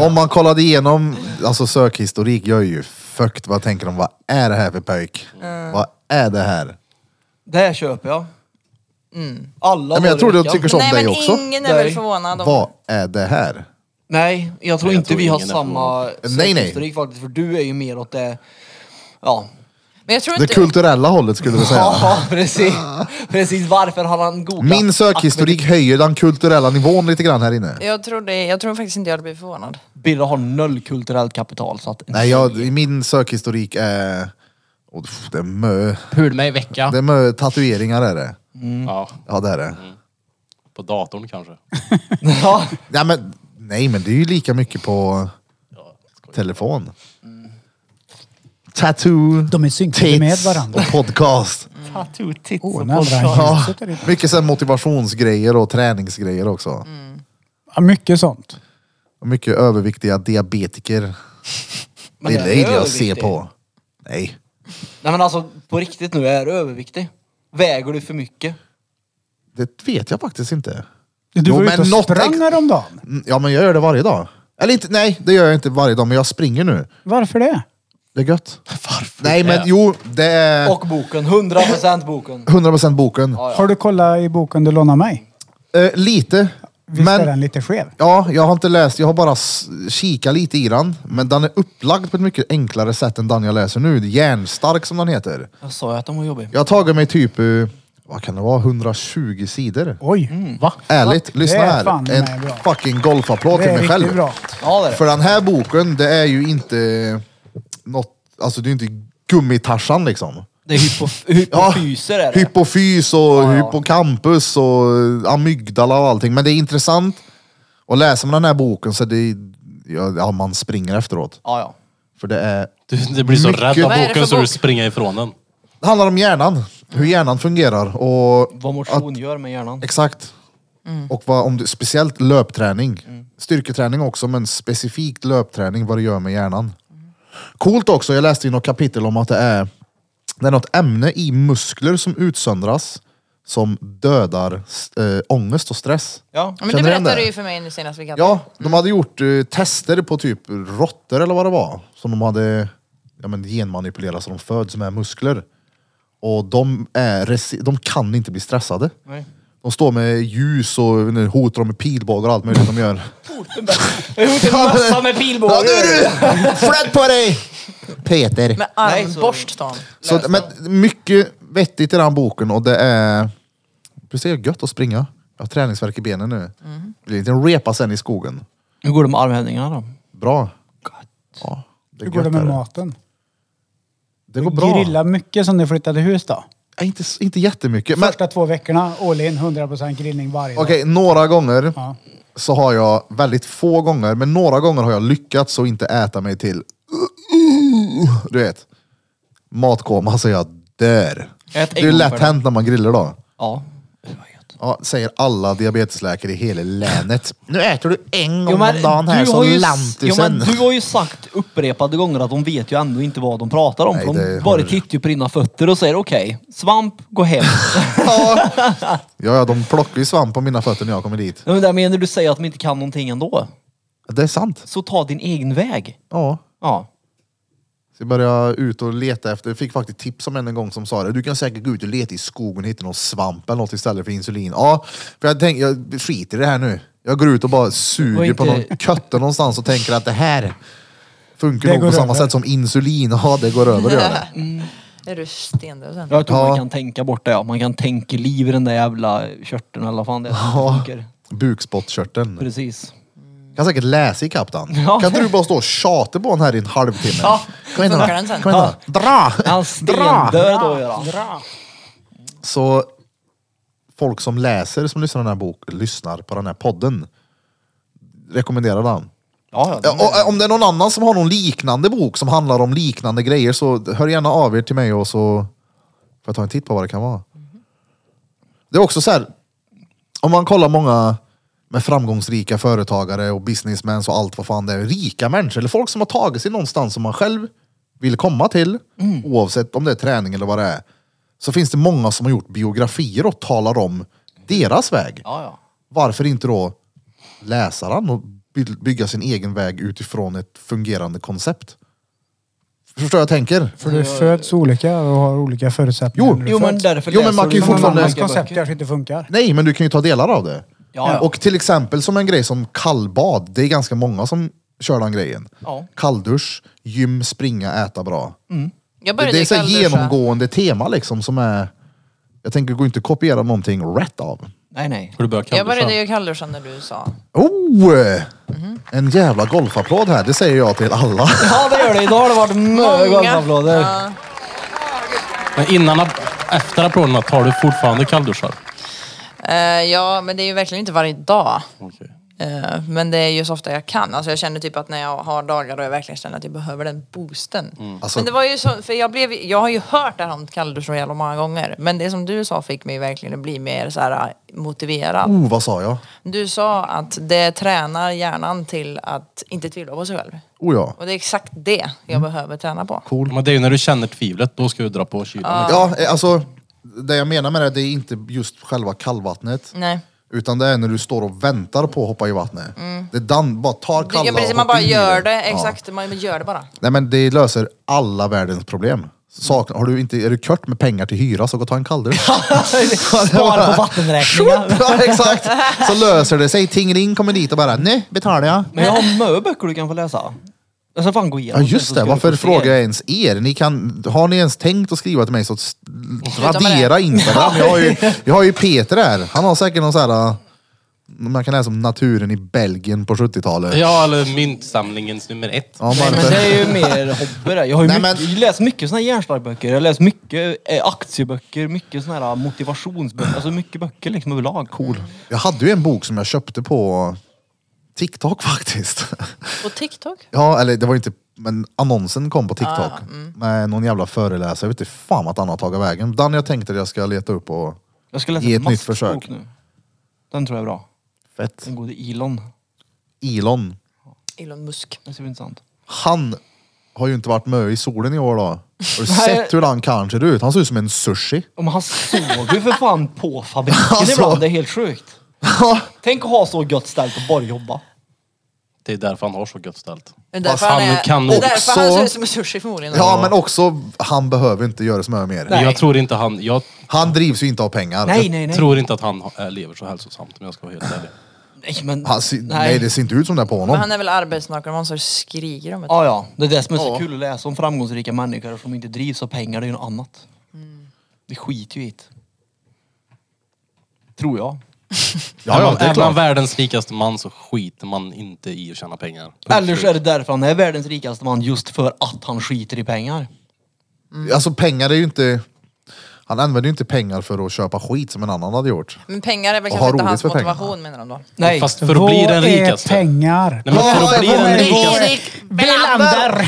Om man kollade igenom alltså sökhistorik gör ju fukt. Vad tänker de? Vad är det här för pöjk?
Mm.
Vad är det här?
Det köper jag. Mm. Alla
Nej, men jag
dagar
tror
i
du
veckan.
tycker så om
Nej
dig
men
också.
ingen är
Nej.
väl förvånad om...
Vad är det här?
Nej, jag tror
Nej, jag
inte
tror
vi har
ingen är
samma
Nej, nej.
historik faktiskt. För du är ju mer åt det... Ja.
Men jag tror
Det
inte...
kulturella hållet skulle du säga?
[LAUGHS] Ja, precis. precis. Varför har han googlat?
Min sökhistorik höjer den kulturella nivån lite grann här inne.
Jag tror, det, jag tror faktiskt inte jag hade blivit förvånad.
Birre har noll kulturellt kapital. Så att
Nej, jag, min sökhistorik är... Åh, pff, det är mö,
Pul mig i vecka.
det är mö tatueringar är det.
Mm.
Ja,
Ja, det är det.
på datorn kanske.
ja,
Ja, men, nej, men det är ju lika mycket på telefon. Tattoo,
De är synkade med
tits
varandra.
och podcast.
Åh, en andra
Ja,
ljuset är det.
mycket så här motivationsgrejer och träningsgrejer också.
Ja, mycket sånt.
Och mycket överviktiga diabetiker.
Men
det
är
gillar jag att se
överviktig.
på. Nej.
Nej men alltså på riktigt nu, är du överviktig? Väger du för mycket?
Det vet jag faktiskt inte.
Du
Jo,
var
men
ute och
något
sprang
ex-
häromdagen.
Mm, Ja, men jag gör det varje dag. Eller inte, nej, det gör jag inte varje dag, men jag springer nu.
Varför det?
Det är gött. Varför? Nej, men jo, det är
Och boken, 100% boken.
100% boken.
Har du kollat i boken du lånade mig?
Eh, lite.
Visst är
Men,
den lite skev?
ja, jag har inte läst, jag har bara s- kikat lite i den. Men den är upplagd på ett mycket enklare sätt än den jag läser nu. Järnstark som den heter.
Jag sa ju att den var jobbig.
Jag har tagit mig typ, eh, vad kan det vara, 120 sidor.
Oj,
Mm.
Va?
Ärligt, lyssna
är
här.
fan
En
med bra.
fucking golfapplåd
det
till
är
mig själv.
riktigt bra.
Ja det är
För
det.
den här boken, det är ju inte något, alltså det är inte gummitarsan liksom.
Det
[LAUGHS]
är hypo, hypofyser är det.
Hypofys och
ja.
hippocampus och amygdala och allting. Men det är intressant. Och läser man den här boken så det, ja, ja, man springer efteråt.
ja, ja.
För det är,
Du, du blir så
Mycket.
rädd av
Vad är det
boken
för
så du
bok?
springer ifrån den.
det handlar om hjärnan. Hur hjärnan fungerar. Och
Vad motion gör med hjärnan.
Exakt. Och vad, om du, speciellt löpträning. Styrketräning också, men specifikt löpträning, vad det gör med hjärnan. Coolt också, jag läste i något kapitel om att det är, det är något ämne i muskler som utsöndras som dödar eh, ångest och stress.
Ja.
Ja, Men
Känner
du
du igen
berättade
det?
ju för mig nu senast vi
Ja, de hade gjort eh, tester på typ råttor eller vad det var. Som de hade ja, men genmanipulerat så de föds med muskler. Och de, är, resi- de kan inte bli stressade.
Nej.
De står med ljus och nu hotar de med pilbågar och allt möjligt de gör.
Jag har gjort en massa med pilbåge.
Ja, nu är du! Flätt på dig! Peter.
Med
Nej, så-
armborst tar han.
Så, men mycket vettigt i den vettigt och det är... Precis, det är gött att springa. Jag har träningsvärk i benen nu. Mm. Blir en liten repa sen i skogen.
Hur går det med armhävningarna då?
Bra. Ja, det är
Hur går det
gött
med
är
maten?
Det går bra.
Grilla mycket som ni flyttade hus då?
Ja, Inte, inte jättemycket. Men,
Första två veckorna, all in, 100% grillning varje dag.
Okej, några gånger
Ja.
så har jag, väldigt få gånger, men några gånger har jag lyckats att inte äta mig till, du vet, matkoma så jag dör.
Ät
det
en
är
gång
lätt
per dag.
hänt när man grillar då.
Ja.
Ja, säger alla diabetesläkare i hela länet. Nu äter du en gång
Jo, men
om dagen här
du
så
har ju- jo, men
lantisen.
Du har ju sagt upprepade gånger att de vet ju ändå inte vad de pratar om.
Nej,
för
det
de
har
bara
du rätt.
tittar ju på dina fötter och säger okej, svamp,
[LAUGHS]
gå hem.
Ja, ja, de plockar ju svamp på mina fötter när jag kommer dit.
Nej, men där menar du säger att de inte kan någonting ändå.
Det är sant.
Så ta din egen väg.
Ja.
Ja.
Så jag började ut och leta efter, jag fick faktiskt tips om en en gång som sa det. Du kan säkert gå ut och leta i skogen och hitta någon svamp eller något istället för insulin. Ja, för jag tänkte, jag skiter i det här nu. Jag går ut och bara suger
Och
på någon
inte-
kötte någonstans och tänker att det här funkar
Det
nog på
går
samma
över.
sätt som insulin. Ja, det går över det gör det.
Är du stendöv sen?
Jag tror
Ja.
man kan tänka bort det ja. Man kan tänka liv i den där jävla körteln eller vad fan det är som
Ja.
funkar.
Bukspottkörteln.
Precis.
Kan säkert läsa ikapp den.
Ja.
Kan inte du bara stå och tjata på den här i en halvtimme?
Ja.
Kom igen
Funkar den sen?
Kom igen då. Dra!
Han stendör då Göran.
Så folk som läser, som lyssnar, på den här bok, lyssnar på den här podden rekommenderar den.
Ja,
Ja,
ja.
och eh, om det är någon annan som har någon liknande bok som handlar om liknande grejer så hör gärna av er till mig och så får jag ta en titt på vad det kan vara. Det är också så här, om man kollar många med framgångsrika företagare och businessmans och allt vad fan det är. Rika människor eller folk som har tagit sig någonstans som man själv vill komma till.
Mm.
Oavsett om det är träning eller vad det är. Så finns det många som har gjort biografier och talar om deras väg
ja, ja.
varför inte då läsa den och by- bygga sin egen väg utifrån ett fungerande koncept? Förstår jag tänker?
För du föds olika och har olika förutsättningar.
Jo,
när du
Jo men
föds.
därför
Jo, men
läser
man kan ju
du
Som någon
fortfarande-
många
annans
böcker.
koncept kanske inte funkar.
Nej, men du kan ju ta delar av det.
Ja, ja.
Och till exempel som en grej som kallbad, det är ganska många som kör den grejen.
Ja.
Kalldusch, gym, springa, äta bra.
Jag
Det,
började
det är
i
så här
kallduscha.
genomgående tema liksom som är... Jag tänker gå inte kopiera någonting rätt av.
Nej nej.
Har du börjat
Jag började
kallduscha?
ju kallduscha när du sa.
Oh!
Mhm.
En jävla golfapplåd här, det säger jag till
[LAUGHS]
alla.
Ja det gör det. Idag har det varit mycket golfapplåder.
Ja.
Men innan, efter applåderna tar du fortfarande kallduschar?
Eh, ja, men det är ju verkligen inte varje dag.
Okej.
Eh, Men det är ju så ofta jag kan. Alltså jag känner typ att när jag har dagar då jag verkligen känner att jag behöver den boosten.
Alltså-
men det var ju så, för jag, blev, jag har ju hört det här om kalldusch så jävla många gånger. Men det som du sa fick mig verkligen att bli mer så här eh, motiverad.
Oh, vad sa jag?
Du sa att det tränar hjärnan till att inte tvivla på sig själv.
Oh ja.
Och det är exakt det jag behöver träna på.
Men det är ju när du känner tvivlet, då ska du dra på kylan.
Ja, eh, alltså det jag menar med det, det är inte just själva kallvattnet.
Nej.
Utan det är när du står och väntar på att hoppa i vattnet. Det är dan, bara tar
Du,
kalla
ja, Mm. precis,
och
man bara
hoppar i
gör det,
Ja.
exakt. Man gör det bara.
Nej men det löser alla världens problem. Saknar, har du inte, är du kört med pengar till hyra så gå och ta en
[LAUGHS]
kalldusch.
Spara på vattenräkningen.
ja, exakt! Så löser det sig. Tingling kommer dit och bara, nej betalar jag.
Men jag har mycket böcker du kan få läsa. Jag ska fan gå
Ja
igenom
just
sen
det,
så ska
varför
du få se.
frågar jag ens er? Ni kan, har ni ens tänkt att skriva till mig så s-
med det.
radera
[LAUGHS]
Instagram. Jag har, ju, jag har ju Peter här, han har säkert någon sån här, äh, man kan läsa om naturen i Belgien på 70-talet.
Ja, eller myntsamlingens nummer ett.
Ja,
Nej, men
varför?
det är ju mer hobby det. Jag har ju
Nej,
mycket,
men-
jag läst mycket såna här hjärnstarkböcker. Jag har läst mycket eh, aktieböcker, mycket såna här motivationsböcker. Alltså mycket böcker liksom överlag. Cool.
Jag hade ju en bok som jag köpte på TikTok [LAUGHS] faktiskt.
På TikTok?
Ja, eller det var ju inte, men annonsen kom på TikTok. Med någon jävla föreläsare, jag vet inte fan vart han har tagit vägen. Den jag tänkte att jag ska leta upp och...
Jag ska läsa
Ge
en
ett nytt
maskbok
försök.
nu. Den tror jag är bra.
Fett.
Den gode Elon.
Elon.
Elon Musk.
Det ser väl intressant.
Han har ju inte varit med i solen i år då. Har du
Nej.
sett hur han kan ser ut? Han ser ut som en sushi.
Om han sov ju för fan på fabriken
Alltså.
ibland. Det är helt sjukt. Tänk att ha så gött ställt och bara jobba.
Det är därför han har så gött ställt.
Det är
Fast
därför
han
han, är,
kan
det är
också-
därför han ser ut som en sushi förmodligen.
Ja, men också, han behöver inte göra så mycket mer.
Nej.
Jag tror inte han... Jag
Han drivs ju inte av pengar.
Nej, nej,
eh,
nej.
tror inte att han ha- lever så hälsosamt om jag ska vara helt ärlig.
Nej men...
Han, ser- nej, det ser inte ut som det på
Men
honom.
han är väl arbetsnarkoman så det skriker om det.
Ja, ja. Det är det som är så
Ja.
kul att läsa om framgångsrika människor som inte drivs av pengar, det är ju något annat. Vi skiter ju i det. Tror jag.
Ja, ja, det är
är man
klart.
världens rikaste man så skiter man inte i att tjäna pengar. Punkt
Eller så är
slut.
det därför han är världens rikaste man, just för att han skiter i pengar.
Alltså pengar är ju inte... Han använder ju inte pengar för att köpa skit som en annan hade gjort.
Men pengar är väl
Och
kanske
ha
inte
roligt
hans
för pengarna.
motivation menar de då.
Nej,
Fast för att bli den rikaste.
Vad är pengar?
Nej, men för, att bli den rikaste,
Belander!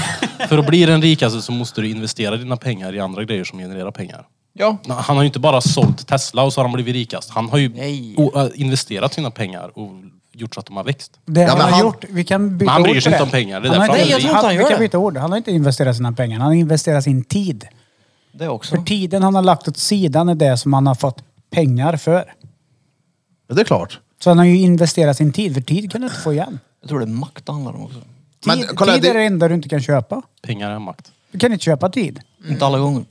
för att bli den rikaste så måste du investera dina pengar i andra grejer som genererar pengar.
ja.
Nej, Han har ju inte bara sålt Tesla och så har han blivit rikast. Han har ju
Nej.
o- äh, investerat sina pengar och gjort så att de har växt.
Det
Ja,
han
men
har
han-
gjort, vi kan byta
Men han bryr
ord
sig
till
inte om pengar, det är
Han har
därför
han är Nej, jag rik. tror inte han
vi
gör
kan
det.
byta ord. Han har inte investerat sina pengar, han har investerat sin tid.
Det
För
också.
tiden han har lagt åt sidan är det som han har fått pengar för.
Men Det är klart.
Så han har ju investerat sin tid, för tid kan du inte få igen.
Jag tror det är makt det handlar om också.
Mm.
Tid,
Men kolla,
tid
det-
är det enda du inte kan köpa.
Pengar är makt.
Du kan inte köpa tid.
Inte alla gånger.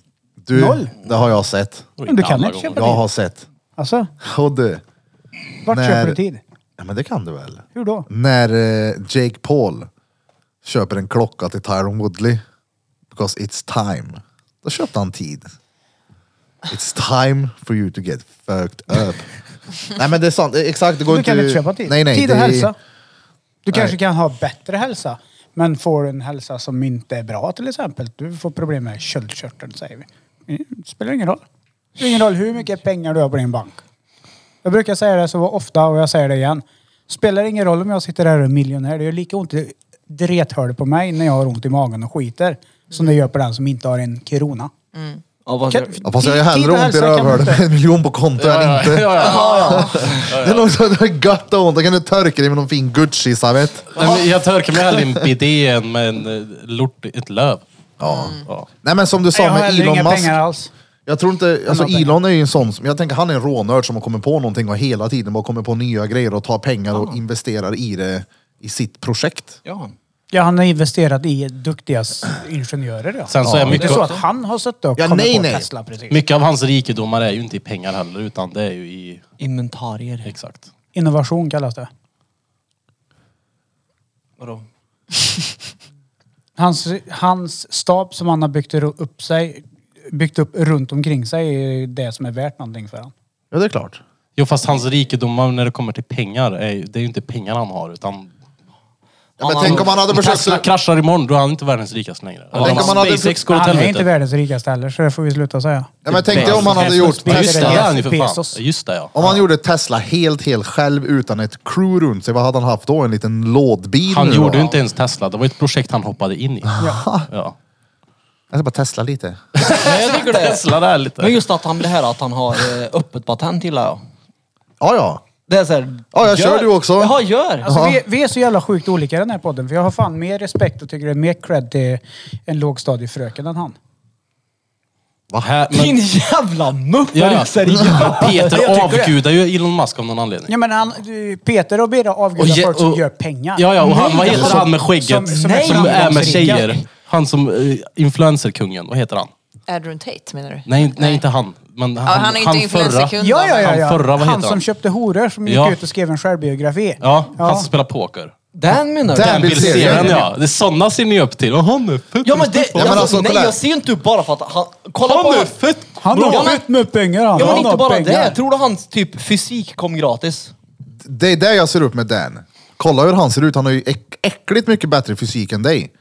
Du,
Noll.
det har jag sett.
Och
Men du kan
alla
inte
gånger.
köpa
Jag
tid.
har sett.
Alltså,
Och du.
vart
När-
köper du tid?
Ja, men det kan du väl?
Hur då?
När eh, Jake Paul köper en klocka till Tyron Woodley. Because it's time. Då köpte han tid. It's time for you to get fucked
[LAUGHS]
up. nej men det är sant, Det är exakt. Det går
Du
inte...
kan inte köpa tid.
Nej, nej,
tid
det
och
är-
hälsa. Du kanske kan ha bättre hälsa, men får en hälsa som inte är bra till exempel. Du får problem med köldkörteln säger vi. Det spelar ingen roll. Det spelar ingen roll hur mycket pengar du har på din bank. Jag brukar säga det så ofta och jag säger det igen. Spelar ingen roll om jag sitter här och är miljonär. Det gör lika ont i drethörd på mig när jag har ont i magen och skiter som det gör på den som inte har en krona.
Ja, vad
Kan-
Ja, fast jag har ju
Tid- tid och
hellre ont i
hälsa kan
[LAUGHS]
man
rövhålet med
inte-
en miljon på konto än inte. Det är nog så att det är gött och ont. Då kan du törka dig med någon fin Gucci-savett.
Nej, men jag törkar mig hellre i en bidé än med en eh, lort, ett löv.
Ja.
Ja.
Nej men som du sa
Jag har
med
heller
Elon
inga
Musk.
pengar alls.
Jag tror inte, alltså
har pengar.
Elon är ju en sån, som- jag tänker han är en rånörd som har kommit på någonting och hela tiden bara kommer på nya grejer och tar pengar och investerar i det i sitt projekt.
Ja.
Ja, han har investerat i duktiga s- ingenjörer. Ja.
Sen så är
det
mycket-
inte så att han har suttit och
Ja,
kommit
nej,
på
nej.
Tesla precis.
Mycket av hans rikedomar är ju inte i pengar heller utan det är ju i...
Inventarier.
Exakt.
Innovation kallas det.
Vadå?
Hans, hans stab som han har byggt ru- upp sig byggt upp runt omkring sig är det som är värt någonting för honom.
Ja det är klart.
Jo fast hans rikedomar när det kommer till pengar, är, ju- det är ju inte pengar han har utan...
Ja, men
Han-
tänk om han hade
Om
försökt...
Tesla kraschar imorgon då är han inte världens rikaste längre.
tänk om han hade-
SpaceX går åt
Han är inte
helvete.
världens rikaste heller, så det får vi sluta säga.
Ja, men tänk dig om han hade gjort
Ja, Just det, det är
Tesla.
han ju för fan.
Bezos.
Ja, Just det ja.
Om han gjorde Tesla helt, helt själv utan ett crew runt sig, vad hade han haft då? En liten lådbil?
Han
nu
gjorde
då?
ju inte ens Tesla, det var ett projekt han hoppade in i. Ja.
Jag ska bara Tesla lite.
Nej, jag tycker det.
Tesla där lite.
Men just att han, det här att han har eh, öppet patent gillar jag.
Ja, ja.
Det är såhär...
Ja, jag kör du också.
Jaha, gör!
Alltså, vi, vi är så jävla sjukt olika i den här podden, för jag har fan mer respekt och tycker det är mer cred till en lågstadiefröken än han.
Här,
Din
men,
jävla muff!
Ja, ja.
Ja. Seriöst!
[LAUGHS] Peter avgudar ju Elon Musk av någon anledning.
Ja, men han, Peter och Birra avgudar
ge-
folk som gör pengar.
Ja, ja, och han, vad heter
Som-
han med skägget
som-
som,
som
är
är med
framgångsrika.
tjejer? Han som eh, influencerkungen, vad heter han?
Adrian Tate menar du?
Nej, nej, inte han. Men han,
Ja, han är inte influencerkund.
Ja, ja, ja.
Han
ja.
förra, vad heter
han som
han?
köpte horor som gick
Ja.
ut och skrev en självbiografi.
Ja, han som spelar poker.
Den menar
Den
Den
du?
vill
vill
se
se den
den.
ja. Det är sådana ser ni upp till. Och han är fett
Ja men det...
men
alltså,
alltså,
nej,
kolla här.
jag ser inte upp bara för att han... Kolla
Han
på
är
han.
fett
Han
Ja,
har
men-
fett med pengar han.
Ja men
han
inte
har
bara
pengar.
det. Tror du hans typ fysik kom gratis?
Det är det jag ser upp med Dan. Kolla hur han ser ut. Han har ju äck- äckligt mycket bättre fysik än dig.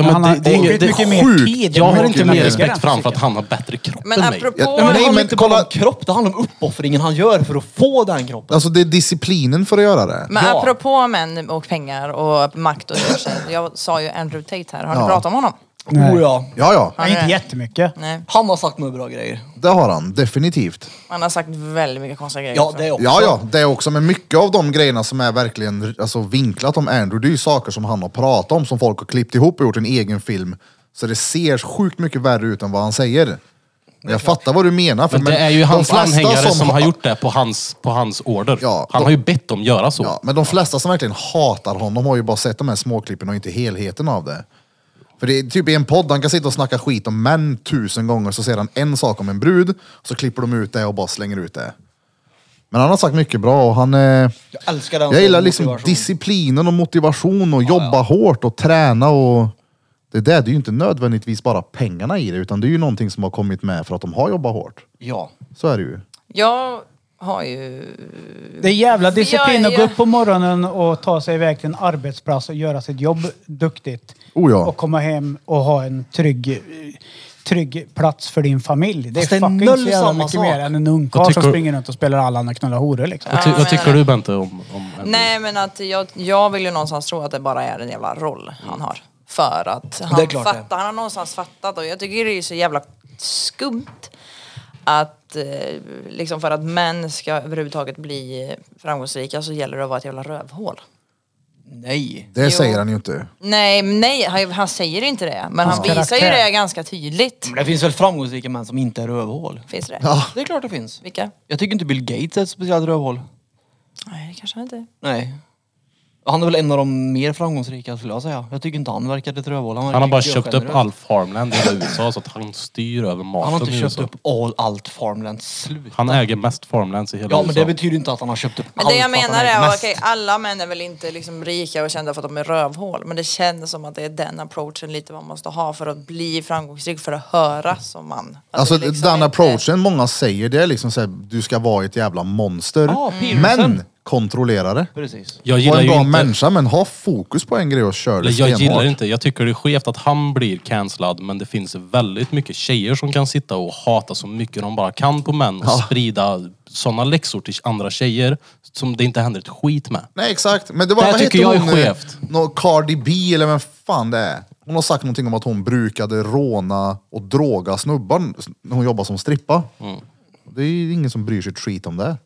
Ja,
Han
men
har
det, det, är ju-
sjukt
det,
mycket mer
sjukt.
tid.
jag har
Men-
inte
men-
mer
men-
respekt för honom för att han har bättre kropp
Men
än mig.
apropå...
Ja,
Nej, men
Nej,
det handlar
men
inte
kolla-
bara om kropp, det handlar om uppoffringen han gör för att få den kroppen.
Alltså det är disciplinen för att göra det.
Men
Ja.
apropå män och pengar och makt och resurser. Jag sa ju Andrew Tate här. Har ni
Ja.
pratat om honom?
Nej.
Oh, ja.
Ja, ja.
Nej, inte jättemycket.
Nej.
Han har sagt några bra grejer.
Det har han definitivt.
Han har sagt väldigt mycket konstiga grejer.
Ja
också.
det är också.
Ja, ja, det är också. Men mycket av de grejerna som är verkligen alltså, vinklat om Andrew, det är ju saker som han har pratat om, som folk har klippt ihop och gjort en egen film. Så det ser sjukt mycket värre ut än vad han säger. Men jag fattar vad du menar. För,
Men det är ju
de
hans
flesta
anhängare som, har gjort det på hans, på hans order.
Ja,
han
de-
har ju bett dem göra så.
Ja, men de flesta som verkligen hatar honom har ju bara sett de här småklippen och inte helheten av det. För det är typ i en podd, han kan sitta och snacka skit om män tusen gånger, så säger han en sak om en brud, så klipper de ut det och bara slänger ut det. Men han har sagt mycket bra och han eh,
Jag älskar den
Jag
som
gillar liksom
motivation.
disciplinen och motivation och jobba hårt och träna och det där, det är ju inte nödvändigtvis bara pengarna i det utan det är ju någonting som har kommit med för att de har jobbat hårt.
Ja.
Så är det ju.
Jag har ju...
Det är jävla disciplin
Ja,
att gå
ja.
upp på morgonen och ta sig iväg till en arbetsplats och göra sitt jobb duktigt.
Oh ja.
Och komma hem och ha en trygg, trygg plats för din familj. Det är,
Fast det är
fucking
noll
så jävla
samma
mycket
sak.
mer än en
Vad
ungkarl
tycker
som
du-
springer runt och spelar Allan och knullar horor liksom.
Vad, ty,
men-
vad tycker du Bente om, om Henry?
Nej men att jag, jag vill ju någonstans tro att det bara är en jävla roll han har. För att
Det är
han
klart det.
fattar, han har någonstans fattat och jag tycker det är så jävla skumt att eh, liksom för att män ska överhuvudtaget bli framgångsrika så gäller det att vara ett jävla rövhål.
Nej.
Det
Jo.
säger han ju inte.
Nej, nej han, han säger inte det men han
Hans
visar ju
karaktär.
det ganska tydligt.
Men det finns väl framgångsrika män som inte är rövhål?
Finns det det?
Det är klart det finns.
Vilka?
Jag tycker inte Bill Gates är ett speciellt rövhål.
Nej det kanske han inte är.
Nej. Han är väl en av de mer framgångsrika skulle jag säga. Jag tycker inte han verkar ett rövhål.
Han har bara
verkar
köpt upp
generös.
all farmland i hela USA så att han styr över maten
Han har inte
i
köpt
USA.
upp all, allt farmland. Slut.
Han äger mest farmlands i hela
Ja
USA.
men det betyder inte att han har köpt upp
Men
allt.
det jag
att han
menar
äger
är,
mest.
okej, alla män är väl inte liksom rika och kända för att de är rövhål men det känns som att det är den approachen lite man måste ha för att bli framgångsrik, för att höras som man.
Alltså
det är liksom
den
inte-
approachen många säger det är liksom såhär, du ska vara ett jävla monster.
Ja, Peterson.
men kontrollera det.
Precis.
jag
Var
gillar
en
ju
bra
inte,
människa men ha fokus på en grej och kör det
Eller jag gillar
stenhårt.
inte, jag tycker det är skevt att han blir cancellad men det finns väldigt mycket tjejer som kan sitta och hata så mycket de bara kan på män och sprida sådana läxor till andra tjejer som det inte händer ett skit med.
Nej exakt, men det var,
Det här
vad
tycker
heter
jag är
hon? nu?
skevt.
Nå, Cardi B eller vem fan det är. Hon har sagt någonting om att hon brukade råna och droga snubbar när hon jobbade som strippa.
Mm.
Det är ju ingen som bryr sig ett skit om det.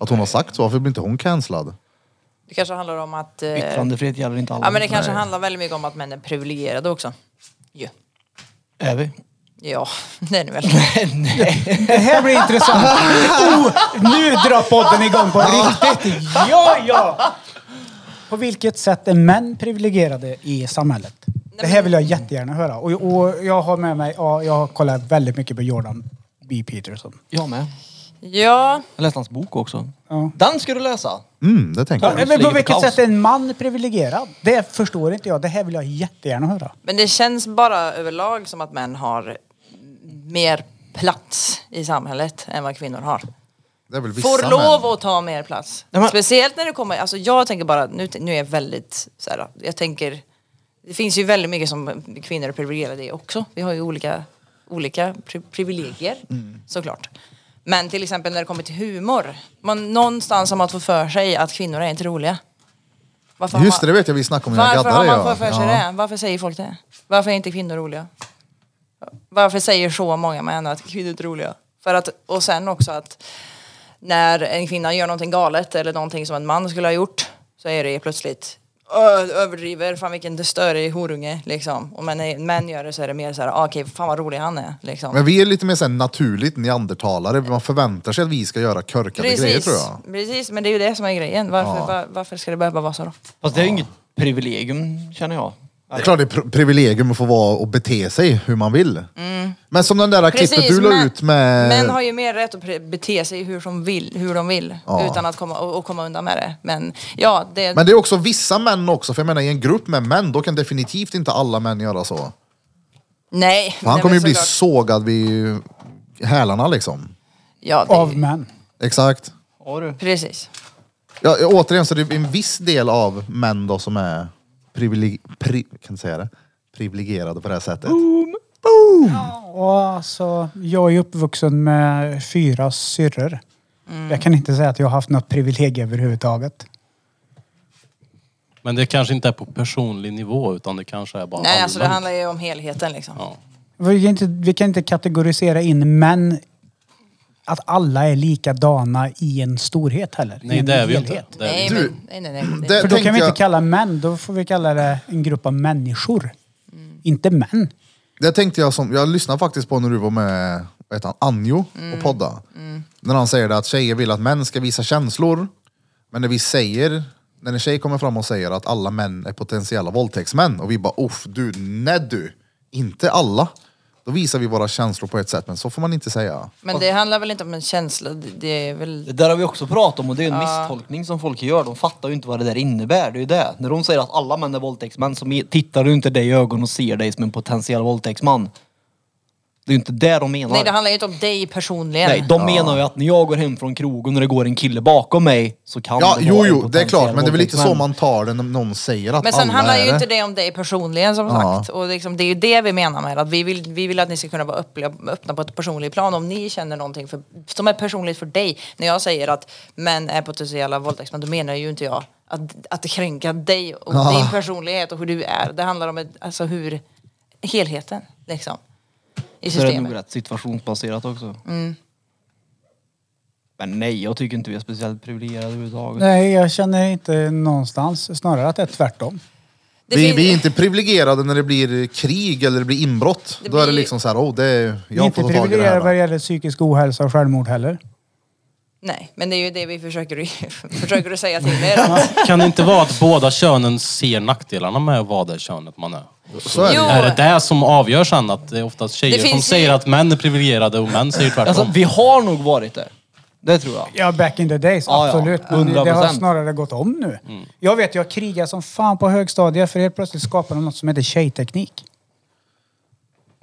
Att hon har sagt så, varför blir inte hon cancellad?
Det kanske handlar om att... Eh,
Yttrandefrihet gäller inte alla.
ja men det kanske handlar väldigt mycket om att män är privilegierade också. Ja,
Är vi?
ja [LAUGHS] det är ni väl.
Det här blir intressant. Oh, nu drar podden igång på riktigt. Ja, ja! På vilket sätt är män privilegierade i samhället? Det här vill jag jättegärna höra. Och, och jag har med mig, ja, jag har kollat väldigt mycket på Jordan B. Peterson.
Jag med.
Ja,
Jag läste hans bok också.
Ja.
Den ska du läsa!
Mm, det tänker jag.
Men på
ligger
vilket
kaos.
sätt är en man privilegierad? Det förstår inte jag. Det här vill jag jättegärna höra.
men det känns bara överlag som att män har mer plats i samhället än vad kvinnor har.
Det är väl vissa
får lov
män.
att ta mer plats.
Nej, men-
Speciellt när det kommer, alltså jag tänker bara, nu, nu är jag väldigt så här, jag tänker, det finns ju väldigt mycket som kvinnor är privilegierade i också. Vi har ju olika, olika pri- privilegier såklart. Men till exempel när det kommer till humor, man, någonstans har man fått för sig att kvinnor är inte roliga. Varför har
Just det,
man-
det vet jag vi snackade om när jag
varför har
gaddade.
man fått
Ja.
för sig det? Varför säger folk det? Varför är inte kvinnor roliga? Varför säger så många män att kvinnor inte är roliga? För att, och sen också att när en kvinna gör någonting galet eller någonting som en man skulle ha gjort så är det plötsligt "Ö, du överdriver, fan vilken störig horunge liksom. Och men män gör det så är det mer så här, "Ah, okej fan vad rolig han är liksom.
Men vi är lite mer så här naturligt neandertalare, man förväntar sig att vi ska göra körkade grejer tror jag.
precis, men det är ju det som är grejen. Varför, var, varför ska det behöva vara så då?
Fast det är ju inget privilegium känner jag.
Det är klart det är pr- privilegium att få vara och bete sig hur man vill. Men som den där klippet du la
Mm. men-
ut med...
Män har ju mer rätt att pre- bete sig hur de vill, hur de vill
Ja.
utan att komma, och, och komma undan med det. Men ja, det,
Men det är också vissa män också, för jag menar i en grupp med män, då kan definitivt inte alla män göra så.
nej.
Han
nej,
kommer ju
men
bli
såklart.
sågad vid hälarna liksom.
Ja, det,
Av män.
Exakt.
Har du?
precis.
Ja, återigen, så det är en viss del av män då som är privileg... Pri... Kan jag säga det? privilegierade på det här sättet.
Och alltså, jag är uppvuxen med fyra syrror. Jag kan inte säga att jag har haft något privilegium överhuvudtaget.
Men det kanske inte är på personlig nivå utan det kanske är bara
Nej, alltså det
allmänt.
handlar ju om helheten liksom.
Ja.
Vi kan inte, vi kan inte kategorisera in män att alla är likadana i en storhet heller. i
Nej
en
det är vi ju
helhet.
inte. Det är vi
Nej,
inte.
Du-
men, nej, nej, nej. Det,
Det
För då
tänkte
kan vi inte
jag-
kalla män, då får vi kalla det en grupp av människor. Inte män.
Det tänkte jag som, jag lyssnade faktiskt på när du var med vad heter han, Anjo
Mm.
och podda. När han säger det att tjejer vill att män ska visa känslor. Men när vi säger, när en tjej kommer fram och säger att alla män är potentiella våldtäktsmän och vi bara uff du, nej du, inte alla. Då visar vi våra känslor på ett sätt, men så får man inte säga.
Men det handlar väl inte om en känsla, det- det är väl...
Det där har vi också pratat om och det är en misstolkning som folk gör. De fattar ju inte vad det där innebär. Det är ju det. När de säger att alla män är våldtäktsmän så me- tittar du inte dig i ögonen och ser dig som en potentiell våldtäktsman. Det är ju inte det de menar.
Nej det handlar ju inte om dig personligen.
Nej, de menar ju att när jag går hem från krogen och det går en kille bakom mig så kan
Ja,
det
jo,
vara en
jo, det är klart,
potentiell
men det är väl inte så
våldtäktsman.
man tar det när någon säger att
Men sen
alla
handlar
är
ju inte
det.
det om dig personligen som
Ja.
sagt. Och liksom, det är ju det vi menar med att vi vill, vi vill att ni ska kunna vara upple- öppna på ett personligt plan om ni känner någonting för, som är personligt för dig. När jag säger att män är potentiella våldtäktsmän då menar ju inte jag att, att kränka dig och
Ja.
din personlighet och hur du är. Det handlar om ett, alltså hur helheten liksom. I
Så det är nog
systemet.
rätt situationsbaserat också. Men nej, jag tycker inte vi är speciellt privilegierade överhuvudtaget.
Nej, jag känner inte någonstans. Snarare att det är tvärtom.
Det
Vi,
finns-
vi är inte privilegierade när det blir krig eller det blir inbrott.
Det
Då är det
blir-
liksom så här, oh, det är,
Vi är
jag
inte
får ta tag i det
privilegierade vad
här.
gäller psykisk ohälsa och självmord heller.
Nej, men det är ju [LAUGHS] det vi försöker, försöker att säga till er.
Kan det inte vara att båda könen ser nackdelarna med att vara det könet man är?
då. Så är
Jo.
det.
Är det det som avgör sen att det är oftast tjejer
Det
som
finns ju-
säger att män är privilegierade och män säger tvärtom?
Alltså, vi har nog varit det. Det tror jag.
Ja, back in the days,
Ja, ja.
absolut. Men det har
100%.
snarare gått om nu. Jag vet, jag krigar som fan på högstadiet för helt plötsligt skapade de något som heter tjejteknik.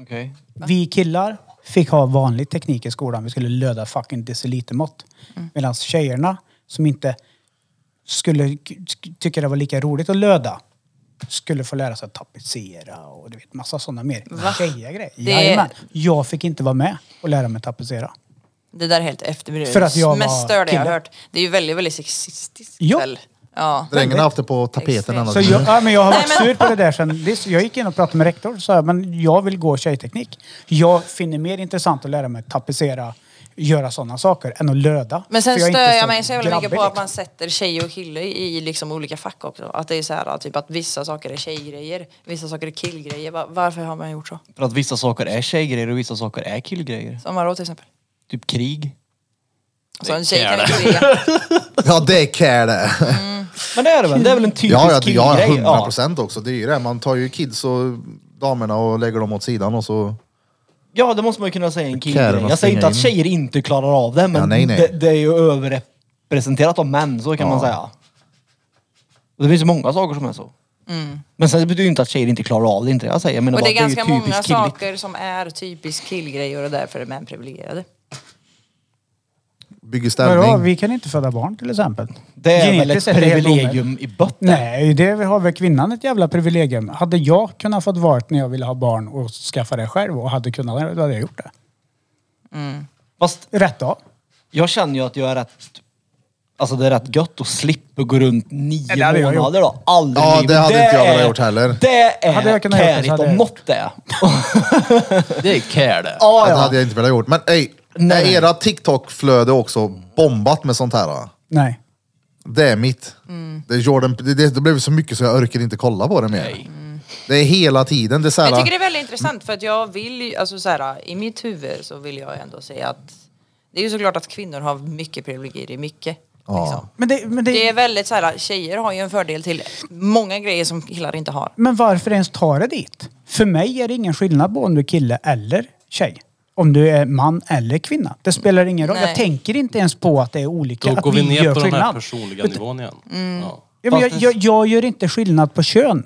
Okej.
Vi killar fick ha vanlig teknik i skolan. Vi skulle löda fucking decilitermått.
Mm.
Medan tjejerna, som inte skulle k- k- tycka det var lika roligt att löda, skulle få lära sig att tapetsera och du vet, massa sådana mer tjejiga grejer.
Det-
Jajamän. Jag fick inte vara med och lära mig tapetsera.
Det där är helt efter...
För att jag
mest
var
störda jag har
kille.
hört. Det är ju väldigt, väldigt sexistiskt.
Ja.
väl? Ja.
Drängen har haft det på tapeten ända
Så jag,
sedan.
ja, men jag har varit
Nej, men-
sur på det där sen. Det, är så- jag gick in och pratade med rektor och sa men jag vill gå tjejteknik. Jag finner mer intressant att lära mig tapetsera, göra sådana saker än att löda.
Men sen
För är inte
stör jag mig så jävla mycket
grabbig,
på att
liksom.
man sätter tjej och kille i liksom olika fack också. Att det är så här, typ att vissa saker är tjejgrejer, vissa saker är killgrejer. Va- Varför har man gjort så?
För att vissa saker är tjejgrejer och vissa saker är killgrejer.
Som vadå till exempel?
Typ krig.
Så en tjej kan ju kriga.
[LAUGHS] Ja, det är care det.
Men det är det väl? Det är väl en typisk
Ja, ja, det- ja,
killgrej?
100 procent också. Det är ju det. Man tar ju kids och damerna och lägger dem åt sidan och så...
Ja. ja, det måste man ju kunna säga är
Kärven
en killgrej.
att
Jag säger inte att
springa
tjejer inte klarar av det, men
Ja, nej, nej.
Det, det är ju överrepresenterat av män, så kan man säga. Och det finns ju många saker som är så. Men sen betyder ju inte att tjejer inte klarar av det, inte det jag säger. Jag menar
Och
bara
det är
att det är ju
ganska
typiskt
många
killigt.
saker som är typiskt killgrejer och därför är män privilegierade.
Bygger
Vadå,
stämning.
vi kan inte föda barn till exempel.
Det är väl ett
Genetiskt det helt
privilegium
omöjligt.
i botten.
Nej, det har väl kvinnan ett jävla privilegium. Hade jag kunnat fått valt när jag ville ha barn och skaffa det själv och hade kunnat, då hade jag gjort det.
Fast
Rätt av.
jag känner ju att jag är rätt... Alltså det är rätt gött att slippa gå runt nio
Ja, det hade jag
månader då. Aldrig i
Ja,
livet.
det hade inte jag velat
är-
gjort heller.
Det är
Hade jag kunnat göra det så
kärigt
hade
om
jag
något det.
Det är care det.
Ja,
Det
ja.
hade jag inte velat gjort. Men ej, är
Nej.
era TikTok-flöde också bombat med sånt här? va?
Nej.
Det är mitt.
Mm.
Det, är Jordan, det, det, det blev så mycket så jag orkar inte kolla på det mer. Mm. Det är hela tiden. Det är så här,
Jag tycker det är väldigt intressant för att jag vill ju, alltså så här, i mitt huvud så vill jag ändå säga att det är ju såklart att kvinnor har mycket privilegier i mycket. Liksom.
Men, det, men, det,
Det är väldigt så här, tjejer har ju en fördel till många grejer som killar inte har.
men varför ens ta det dit? För mig är det ingen skillnad på om du är kille eller tjej. Om du är man eller kvinna. Det spelar ingen roll.
Nej.
Jag tänker inte ens på att det är olika.
Då
att
går vi ner
gör
på den här
skillnad.
personliga
Ut-
nivån igen.
Mm.
Ja.
Ja, men jag, jag, jag gör inte skillnad på kön.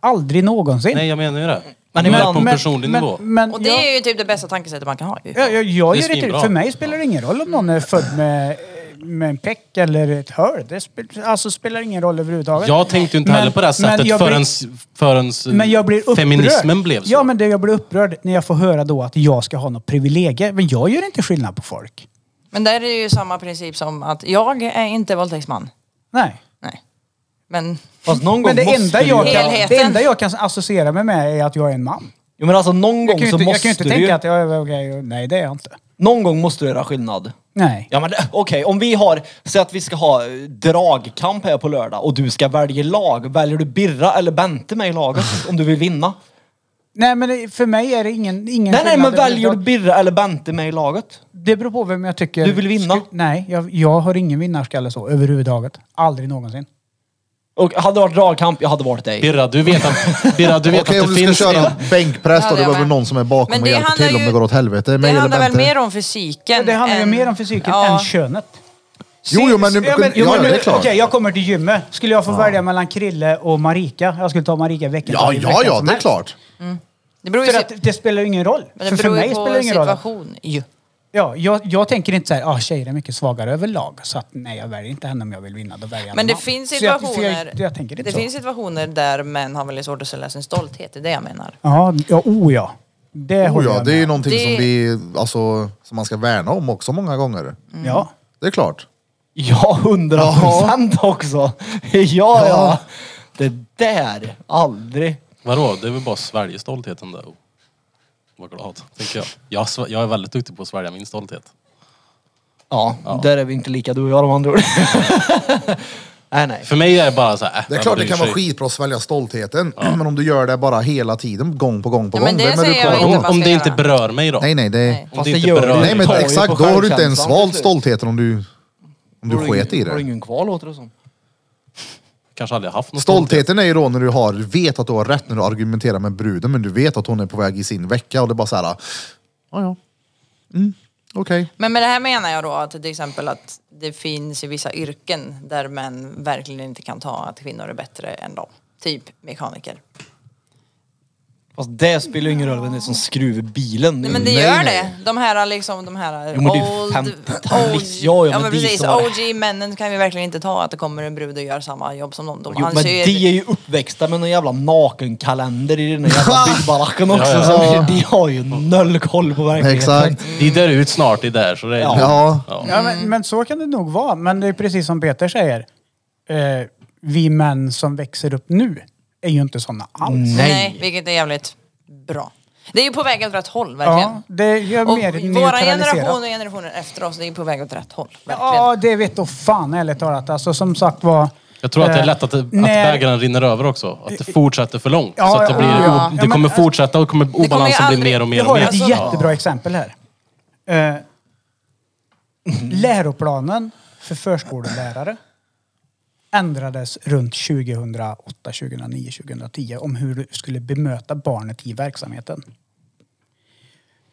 Aldrig någonsin.
Nej, jag menar ju det.
Men
Men är
ibland-
på en personlig
men,
nivå.
Men,
Och det
jag,
är ju typ det bästa tankesättet man kan ha. ju.
jag, jag, jag
Det är
gör inte,
svinbra.
för mig spelar det ingen roll om någon är född med, med en peck eller ett hör. Det spel, alltså spelar ingen roll överhuvudtaget.
Jag tänkte ju inte heller
Men-
på det här
men
sättet
jag blir-
förrän, förrän
Men jag blir upprörd.
feminismen blev så.
Ja, men det, jag blir upprörd när jag får höra då att jag ska ha något privilegier. Men jag gör inte skillnad på folk.
Men där är det ju samma princip som att jag är inte våldtäktsman.
Nej.
Nej. Men
[LAUGHS] Fast någon gång
Men det
måste
enda,
du ju-
jag kan,
Helheten.
det enda jag kan associera mig med är att jag är en man.
Jo men alltså någon
Jag
gång
kan ju
så
inte, jag
måste
kan ju inte
du
tänka
ju...
att jag är okej. nej, det är jag inte.
Någon gång måste du göra skillnad.
Nej.
Ja men det- okej, om vi har... Säg att vi ska ha eh, dragkamp här på lördag och du ska välja lag. Väljer du Birra eller Bente med
[LAUGHS]
i laget om du vill vinna?
Nej, men det- för mig är det ingen, ingen
Nej nej men
skillnad
väljer du
överhuvudtaget.
Birra eller Bente med i laget?
Det beror på vem jag tycker...
Du vill vinna?
Sku- Nej, jag, jag har ingen vinnarskalle så överhuvudtaget. Aldrig någonsin.
Och hade det varit dragkamp, jag hade varit dig.
Birra, du vet att, Birra, du vet
Okej,
att
om
det
du ska
finns
köra
en...
en bänkpress då,
Ja, det
du
är
behöver
med.
någon som är bakom
Men
och
det
hjälper
handlar
till om
ju-
det går åt helvete.
Det
Mig eller
handlar väl
Bente.
mer om fysiken?
Det handlar ju
än-
mer om fysiken
Ja.
än könet.
Jo, jo, men, nu- ja, det är klart.
Okej, jag kommer till gymmet. Skulle jag få välja mellan Krille och Marika? Jag skulle ta Marika veckan
Ja,
veckan
ja, ja,
som
det är
helst.
klart.
Det beror ju
För
på-
att det spelar ju ingen roll.
men
för, för
det beror
mig
ju
spelar det
på
ingen roll.
situation. Ju.
Ja, jag, jag tänker inte så här, ah, tjejer är mycket svagare överlag. Så att nej, jag väljer inte henne om jag vill vinna. Då väljer jag
Men
en
det
man.
finns
Så jag- för
situationer,
Jag, jag, tänker inte
det
så.
finns situationer där män har väldigt svårt att sälja sin stolthet, det är det jag menar.
Ja, ja, oh ja. Det
Oh,
håller
ja,
jag
det är ju
med om.
någonting som,
Det-
vi, alltså, som man ska värna om också många gånger.
Ja.
Det är klart.
Ja, hundra procent också. [LAUGHS] Ja, ja,
Ja.
Det där, aldrig.
Vadå? Det är väl bara att svälja stoltheten där. och Var glad, tänker jag. Jag, sv- jag är väldigt duktig på att svälja min stolthet.
Ja, där är vi inte lika du och jag de andra [LAUGHS] ord. nej, nej.
För mig är det bara så här, äh,
Det är
vem
klart det
bryr
kan vara
sig?
skitbra att svälja stoltheten, [CLEARS THROAT] men om du gör det bara hela tiden, gång på gång på
Ja,
gång.
men det
vem är du
säger jag
koll
inte
Om,
på?
bara-
om det inte
göra.
berör mig då.
Nej, nej, det,
Fast
det
det
inte
gör
berör
det.
nej men
tar ju på
exakt. Då har du inte ens
självkänslan
valt
till slut.
stoltheten om du, om du
Då har
sket
ingen-
i
då har du
det.
ingen kvar låter det som.
Kanske aldrig haft någon stolthet.
Stoltheten är ju då när du har, vet att du har rätt när du argumenterar med bruden, men du vet att hon är på väg i sin vecka och det är bara så här, ja, ja, mm, okej.
Men med det här menar jag då att till exempel att det finns i vissa yrken där män verkligen inte kan ta att kvinnor är bättre än dem. Typ mekaniker.
Fast det spelar ju ingen roll vem det är som skruvar bilen.
Nej men det
Nej,
gör
nej.
det. De här liksom, de här
Jo, men det är ju
old...
femtiotalist. Ja, ja,
ja
men
men
det är
precis.
så här.
OG-männen kan vi verkligen inte ta att det kommer en brud och gör samma jobb som dem. De
Jo, men
anser
de är ju uppväxta med någon jävla nakenkalender i den där [LAUGHS] jävla byggbaracken också. Så de har ju noll koll på verkligheten.
Exakt.
De dör ut snart i där så det är...
Ja.
Ja,
Mm.
men, men så kan det nog vara. Men det är precis som Peter säger. Eh, vi män som växer upp nu är ju inte sådana alls.
Mm.
Nej.
Nej.
vilket är jävligt bra. Det är ju på väg åt rätt håll
Ja,
verkligen.
det gör
och
mer
våra
neutraliserat.
generation och generationer efter oss, det är på väg åt rätt håll. Verkligen.
Ja, det vet då fan ärligt talat. Alltså som sagt var.
Jag tror att det är lätt att,
eh,
att bägaren rinner över också. Att det fortsätter för långt.
Ja,
så att det, blir,
ja, ja.
o-
Ja,
det
men-
kommer fortsätta och kommer
ju
obalansen bli
aldrig-
mer och mer
Jag
och
har
mer.
ett jättebra exempel här. Eh,
Mm.
läroplanen för förskolelärare ändrades runt 2008, 2009, 2010 om hur du skulle bemöta barnet i verksamheten.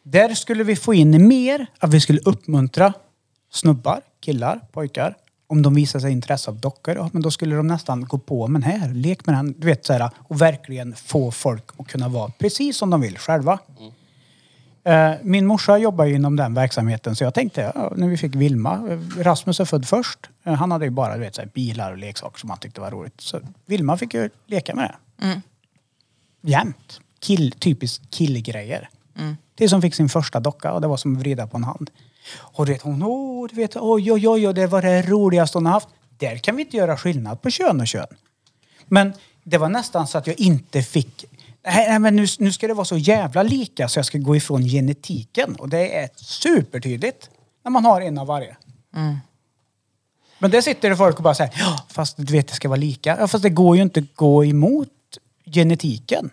Där skulle vi få in mer att vi skulle uppmuntra snubbar, killar, pojkar. Om de visar sig intresse av dockor, ja, men då skulle de nästan gå på, men här, lek med den. Du vet, så här, och verkligen få folk att kunna vara precis som de vill själva. Eh, Min morsa jobbar ju inom den verksamheten så jag tänkte, ja, när vi fick Vilma, eh, Rasmus är född först. Eh, Han hade ju bara du vet, så här, bilar och leksaker som han tyckte var roligt. Så Vilma fick ju leka med det. Jämt. Kill, typiskt killgrejer. Tills hon fick sin första docka och det var som att vrida på en hand. Och du vet hon, åh, du vet, oj, oj, oj, oj, det var det roligaste hon har haft. Där kan vi inte göra skillnad på kön och kön. Men det var nästan så att jag inte fick... Nej, nej men nu, nu ska det vara så jävla lika så jag ska gå ifrån genetiken. Och det är supertydligt när man har en av varje. Men där sitter det folk och bara säger ja, fast du vet det ska vara lika. Ja, fast det går ju inte att gå emot genetiken.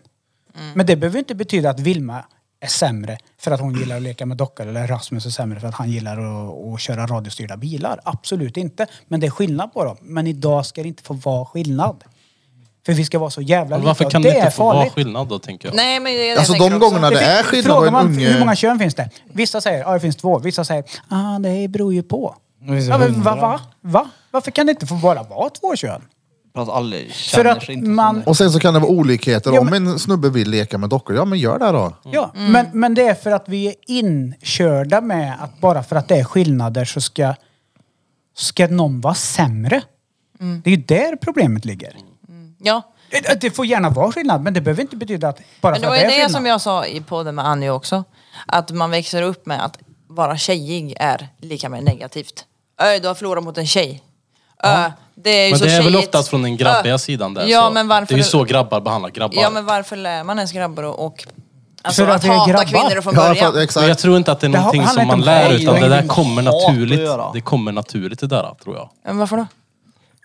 Men det behöver ju inte betyda att Vilma är sämre för att hon gillar att leka med dockor eller Rasmus är sämre för att han gillar att, att köra radiostyrda bilar. Absolut inte. Men det är skillnad på dem. Men idag ska det inte få vara skillnad. För vi ska vara så jävla
Men
lika.
Varför
och
kan det,
är
inte få vara
farligt.
skillnad då, tänker jag?
Nej men det är det jag
Alltså
tänker
de
också.
gångerna det är skillnad på
Frågar
en
man hur många
unge...
kön finns det? Vissa säger ja, det finns två. Vissa säger ah, det beror ju på.
finns det
Ja, men va,
hundra.
va? Va? Varför kan det inte få bara vara två kön?
För att alla känner
För att
sig inte som
man-
det.
Och sen så kan det vara olikheter.
Ja,
Om en snubbe vill leka med dockor, ja men gör det då.
Ja,
Mm.
men, men det är för att vi är inkörda med att bara för att det är skillnader så ska, ska någon vara sämre.
Mm.
Det är ju där problemet ligger.
Ja.
Det- Det får gärna vara skillnad, men det behöver inte betyda att bara för
Men det
att
var
det
ju
är
det
skillnad.
som jag sa i podden med Annie också. Att man växer upp med att vara tjejig är lika med negativt. Ö, du har förlorat mot en tjej. Ö, det är ju
Men
så
det är väl
tjejigt.
oftast från den grabbiga
Ö.
sidan där.
Ja,
så.
men varför
Det är ju så grabbar behandlar grabbar.
Ja men varför lär man ens grabbar och, och alltså,
För att
att,
det är
hata
grabbar.
kvinnor från
Ja,
början?
för,
Men jag
exakt.
tror inte att det är
Det har-
någonting
handlar
som man
inte om
lär
dig,
utan
det
det
har
där
ingenting
kommer
med hat att
naturligt.
göra.
Det kommer naturligt det där tror jag.
Men varför då?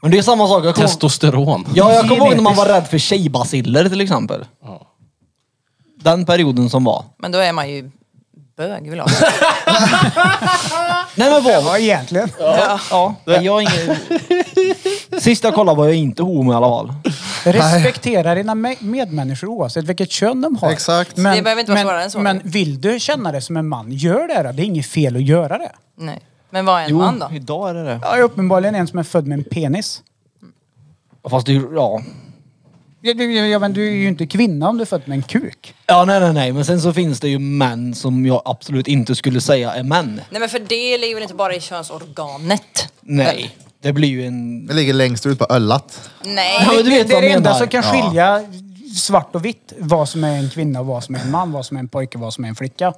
Men det är samma sak. Jag kommer-
Testosteron.
Ja, jag kommer ihåg när man var rädd för tjejbaciller till exempel. Den perioden som var.
Men då är man ju bög vill jag
Nej men vad?
Ja, egentligen.
[LAUGHS]
Ja, jag är ingen... [LAUGHS] Sist jag kollade var jag inte homo i alla fall.
Respektera dina me- medmänniskor oavsett vilket kön de har.
Exakt.
Det behöver inte vara
men,
svårare än så.
Men vill du känna dig som en man, gör det då. Det är inget fel att göra det.
Nej. Men vad är en man då?
idag är det det.
Jag är uppenbarligen en som är född med en penis.
Fast det är ja.
Ja, du, ja, men du är ju inte kvinna om du är född med en kuk.
Ja, nej, nej, nej. Men sen så finns det ju män som jag absolut inte skulle säga är män.
Nej men för det ligger väl inte bara i könsorganet?
Nej. Det blir ju en...
Det ligger längst ut på öllat.
Nej.
Ja, men du vet
det är
vad
det
jag
enda
menar.
som kan skilja svart och vitt. Vad som är en kvinna och vad som är en man. Vad som är en pojke och vad som är en flicka.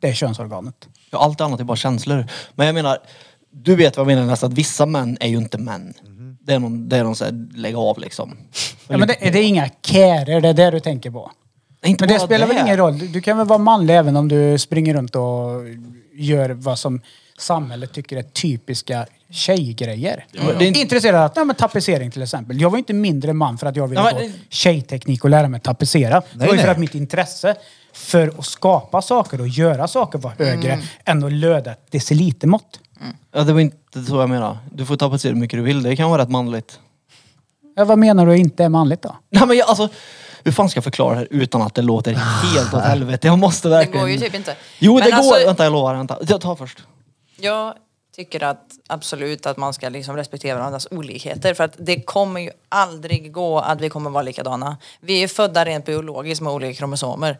Det är könsorganet.
Ja, Allt annat är bara känslor. Men jag menar, du vet vad jag menar nästan, att vissa män är ju inte män. Det är någon, det är någon så här, lägg av liksom.
Ja, men det, det är inga kärer, det är det du tänker på.
Nej, inte
Men det
bara
spelar väl ingen roll? Du, du kan väl vara manlig även om du springer runt och gör vad som samhället tycker är typiska tjejgrejer.
men det är inte-
Intresserad av nej, men tapetsering till exempel. Jag var inte mindre man för att jag ville
Ja,
gå
men-
tjejteknik och lära mig tapetsera. det var ju
nej.
för att mitt intresse för att skapa saker och göra saker var högre
Mm.
än att löda ett decilitermått.
Ja, det var inte så jag menar. Du får tappa hur mycket du vill, det kan vara rätt manligt. [LAUGHS]
Ja, vad menar du inte är manligt då?
Nej men jag, alltså, hur fan ska jag förklara det här utan att det låter
[LAUGHS]
helt åt helvete? Jag måste
Det
verkligen...
går ju typ inte.
Jo
Men
det går!
alltså-
Vänta jag lovar, vänta. Jag tar först.
Jag tycker att absolut att man ska liksom respektera varandras olikheter för att det kommer ju aldrig gå att vi kommer vara likadana. Vi är ju födda rent biologiskt med olika kromosomer.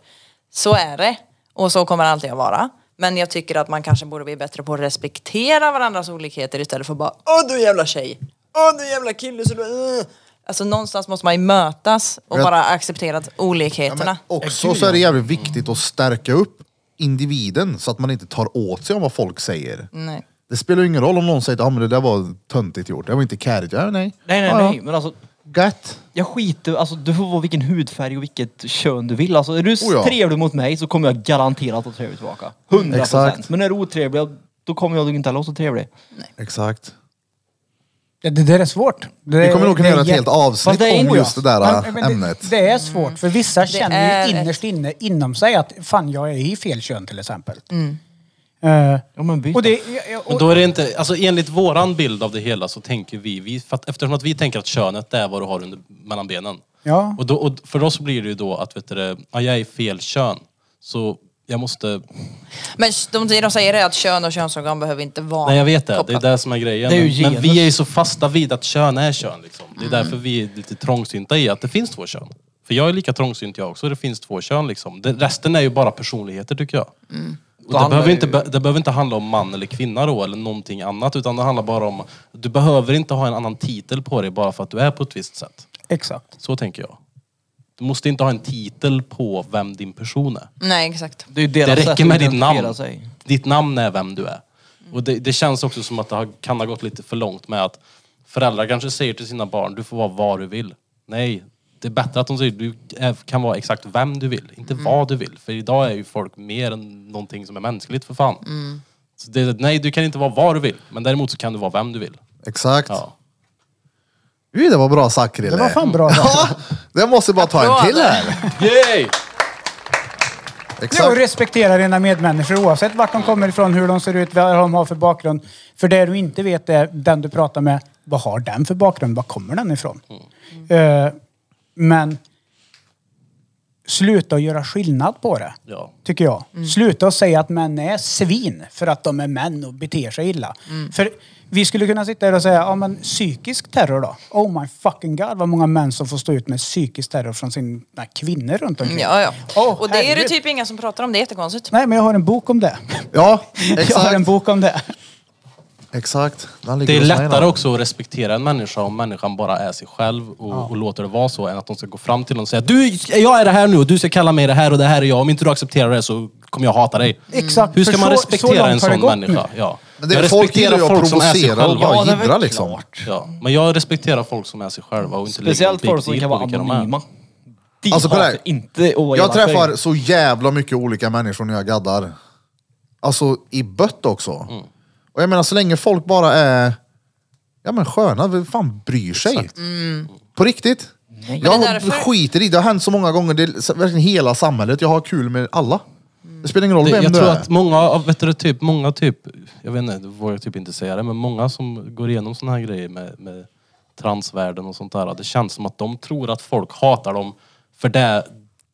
Så är det och så kommer det alltid att vara. Men jag tycker att man kanske borde bli bättre på att respektera varandras olikheter istället för att bara Åh du jävla tjej! Åh du jävla kille! Så du, äh." Alltså någonstans måste man ju mötas och
Jag-
bara acceptera att
Ja,
olikheterna.
men också så är det jävligt viktigt att stärka upp individen så att man inte tar åt sig om vad folk säger.
Nej.
Det spelar ju ingen roll om någon säger att ah, men det där var töntigt gjort, det var inte kärigt. Ja, nej.
Nej nej
Ja, ja.
nej, men alltså
Gött.
jag skiter alltså du får vara vilken hudfärg och vilket kön du vill. Alltså är du
Oh, ja.
trevlig mot mig så kommer jag garanterat att trevlig tillbaka. 100%.
Exakt.
Men är du otrevlig, då kommer jag nog inte heller vara så trevlig.
Exakt.
Det, det där är svårt. Det,
Vi kommer nog kunna
det är
göra ett
jä-
helt avsnitt
Fast det är
om
inte
just det
jag.
där
Men-
äh,
men det-
ämnet.
Det är svårt, för vissa känner
är
ju
ett-
innerst inne, inom sig att fan jag är i fel kön till exempel.
Mm.
Eh,
Ja men byt.
och det,
Men
och,
då är det inte, alltså enligt våran bild av det hela så tänker vi, vi för att, eftersom att vi tänker att könet det är vad du har under, mellan benen.
ja,
Och, då, och för oss blir det ju då att vet du, det, ja, jag är fel kön. Så jag måste...
Men de, de säger det att kön och könsorgan behöver inte vara
Nej jag vet det, det är
kopplat.
det som är grejen.
Det är ju
men, men
genus. Mm.
vi är ju så fasta vid att kön är kön. Liksom. Det är därför vi är lite trångsynta i att det finns två kön. För jag är lika trångsynt jag också, det finns två kön liksom. Det, resten är ju bara personligheter tycker jag. Och det,
Mm. handlar
behöver
ju-
inte, be- det behöver inte handla om man eller kvinna då, eller någonting annat. Utan det handlar bara om, du behöver inte ha en annan titel på dig bara för att du är på ett visst sätt.
exakt.
Så tänker jag. Du måste inte ha en titel på vem din person är.
Nej exakt.
är ju deras
det
sätt
räcker
att
med ditt
identifiera
namn.
sig.
Ditt namn är vem du är. Och det, det känns också som att det har, kan ha gått lite för långt med att föräldrar kanske säger till sina barn, du får vara vad du vill. Nej, det är bättre att de säger, du är, kan vara exakt vem du vill, inte
Mm.
vad du vill. För idag är ju folk mer än någonting som är mänskligt för fan.
Mm.
Så det, är- nej, du kan inte vara vad du vill, men däremot så kan du vara vem du vill.
Exakt.
[LAUGHS]
Ja.
Ui, det var bra sagt Krille.
Det var fan bra.
[LAUGHS] Ja, det måste bara ta en till här.
Yay!
Ja, och
Exakt.
respektera dina medmänniskor oavsett vart de kommer ifrån, hur de ser ut, vad de har för bakgrund. För det du inte vet är den du pratar med, vad har den för bakgrund? Var kommer den ifrån? Eh, men sluta att göra skillnad på det.
Ja.
tycker jag.
Mm.
Sluta att säga att män är svin för att de är män och beter sig illa.
Mm.
För vi skulle kunna sitta här och säga, ja men psykisk terror då? Oh my fucking god vad många män som får stå ut med psykisk terror från sina kvinnor runt omkring.
Ja, ja.
Åh,
och det är det
herregud.
typ inga som pratar om, det är jättekonstigt.
Nej men jag har en bok om det. [LAUGHS]
Ja,
Jag har en
exakt.
bok om det.
exakt. Den ligger
Det är
hos mig
lättare
då.
också att respektera en människa om människan bara är sig själv och, och låter det vara så än att de ska gå fram till någon och säga du, jag är det här nu och du ska kalla mig det här och det här är jag. Om inte du accepterar det så kommer jag hata dig.
Exakt,
Hur ska
för
man
så-
respektera
så långt
en
har det
sån
gått
människa?
nu.
Ja.
Men det är
jag
folk
respekterar
gillar ju att
folk som är sig
provocera och
själva.
bara
Ja,
det är väl
jiddra, liksom.
klart.
Ja. Men jag respekterar folk som är sig själva och liksom inte lägger någon
Speciellt
big
folk som
deal
kan
på
vara
vilka de är.
anonyma. De
Alltså, kolla här.
hatar inte att vara
Jag
elaka.
träffar så jävla mycket olika människor när jag gaddar. Alltså i bött också.
Mm.
Och jag menar så länge folk bara är ja, men sköna, vem fan bryr sig? På riktigt. Jag
Men det är därför-
skiter i det, det har hänt så många gånger, det är verkligen hela samhället, jag har kul med alla. Det spelar ingen roll
Det,
vem
jag
du
tror
är.
att många av, vet du, typ, många typ, jag vet inte, det vågar jag typ inte säga det, men många som går igenom såna här grejer med, med transvärlden och sånt där. Det känns som att de tror att folk hatar dem för, det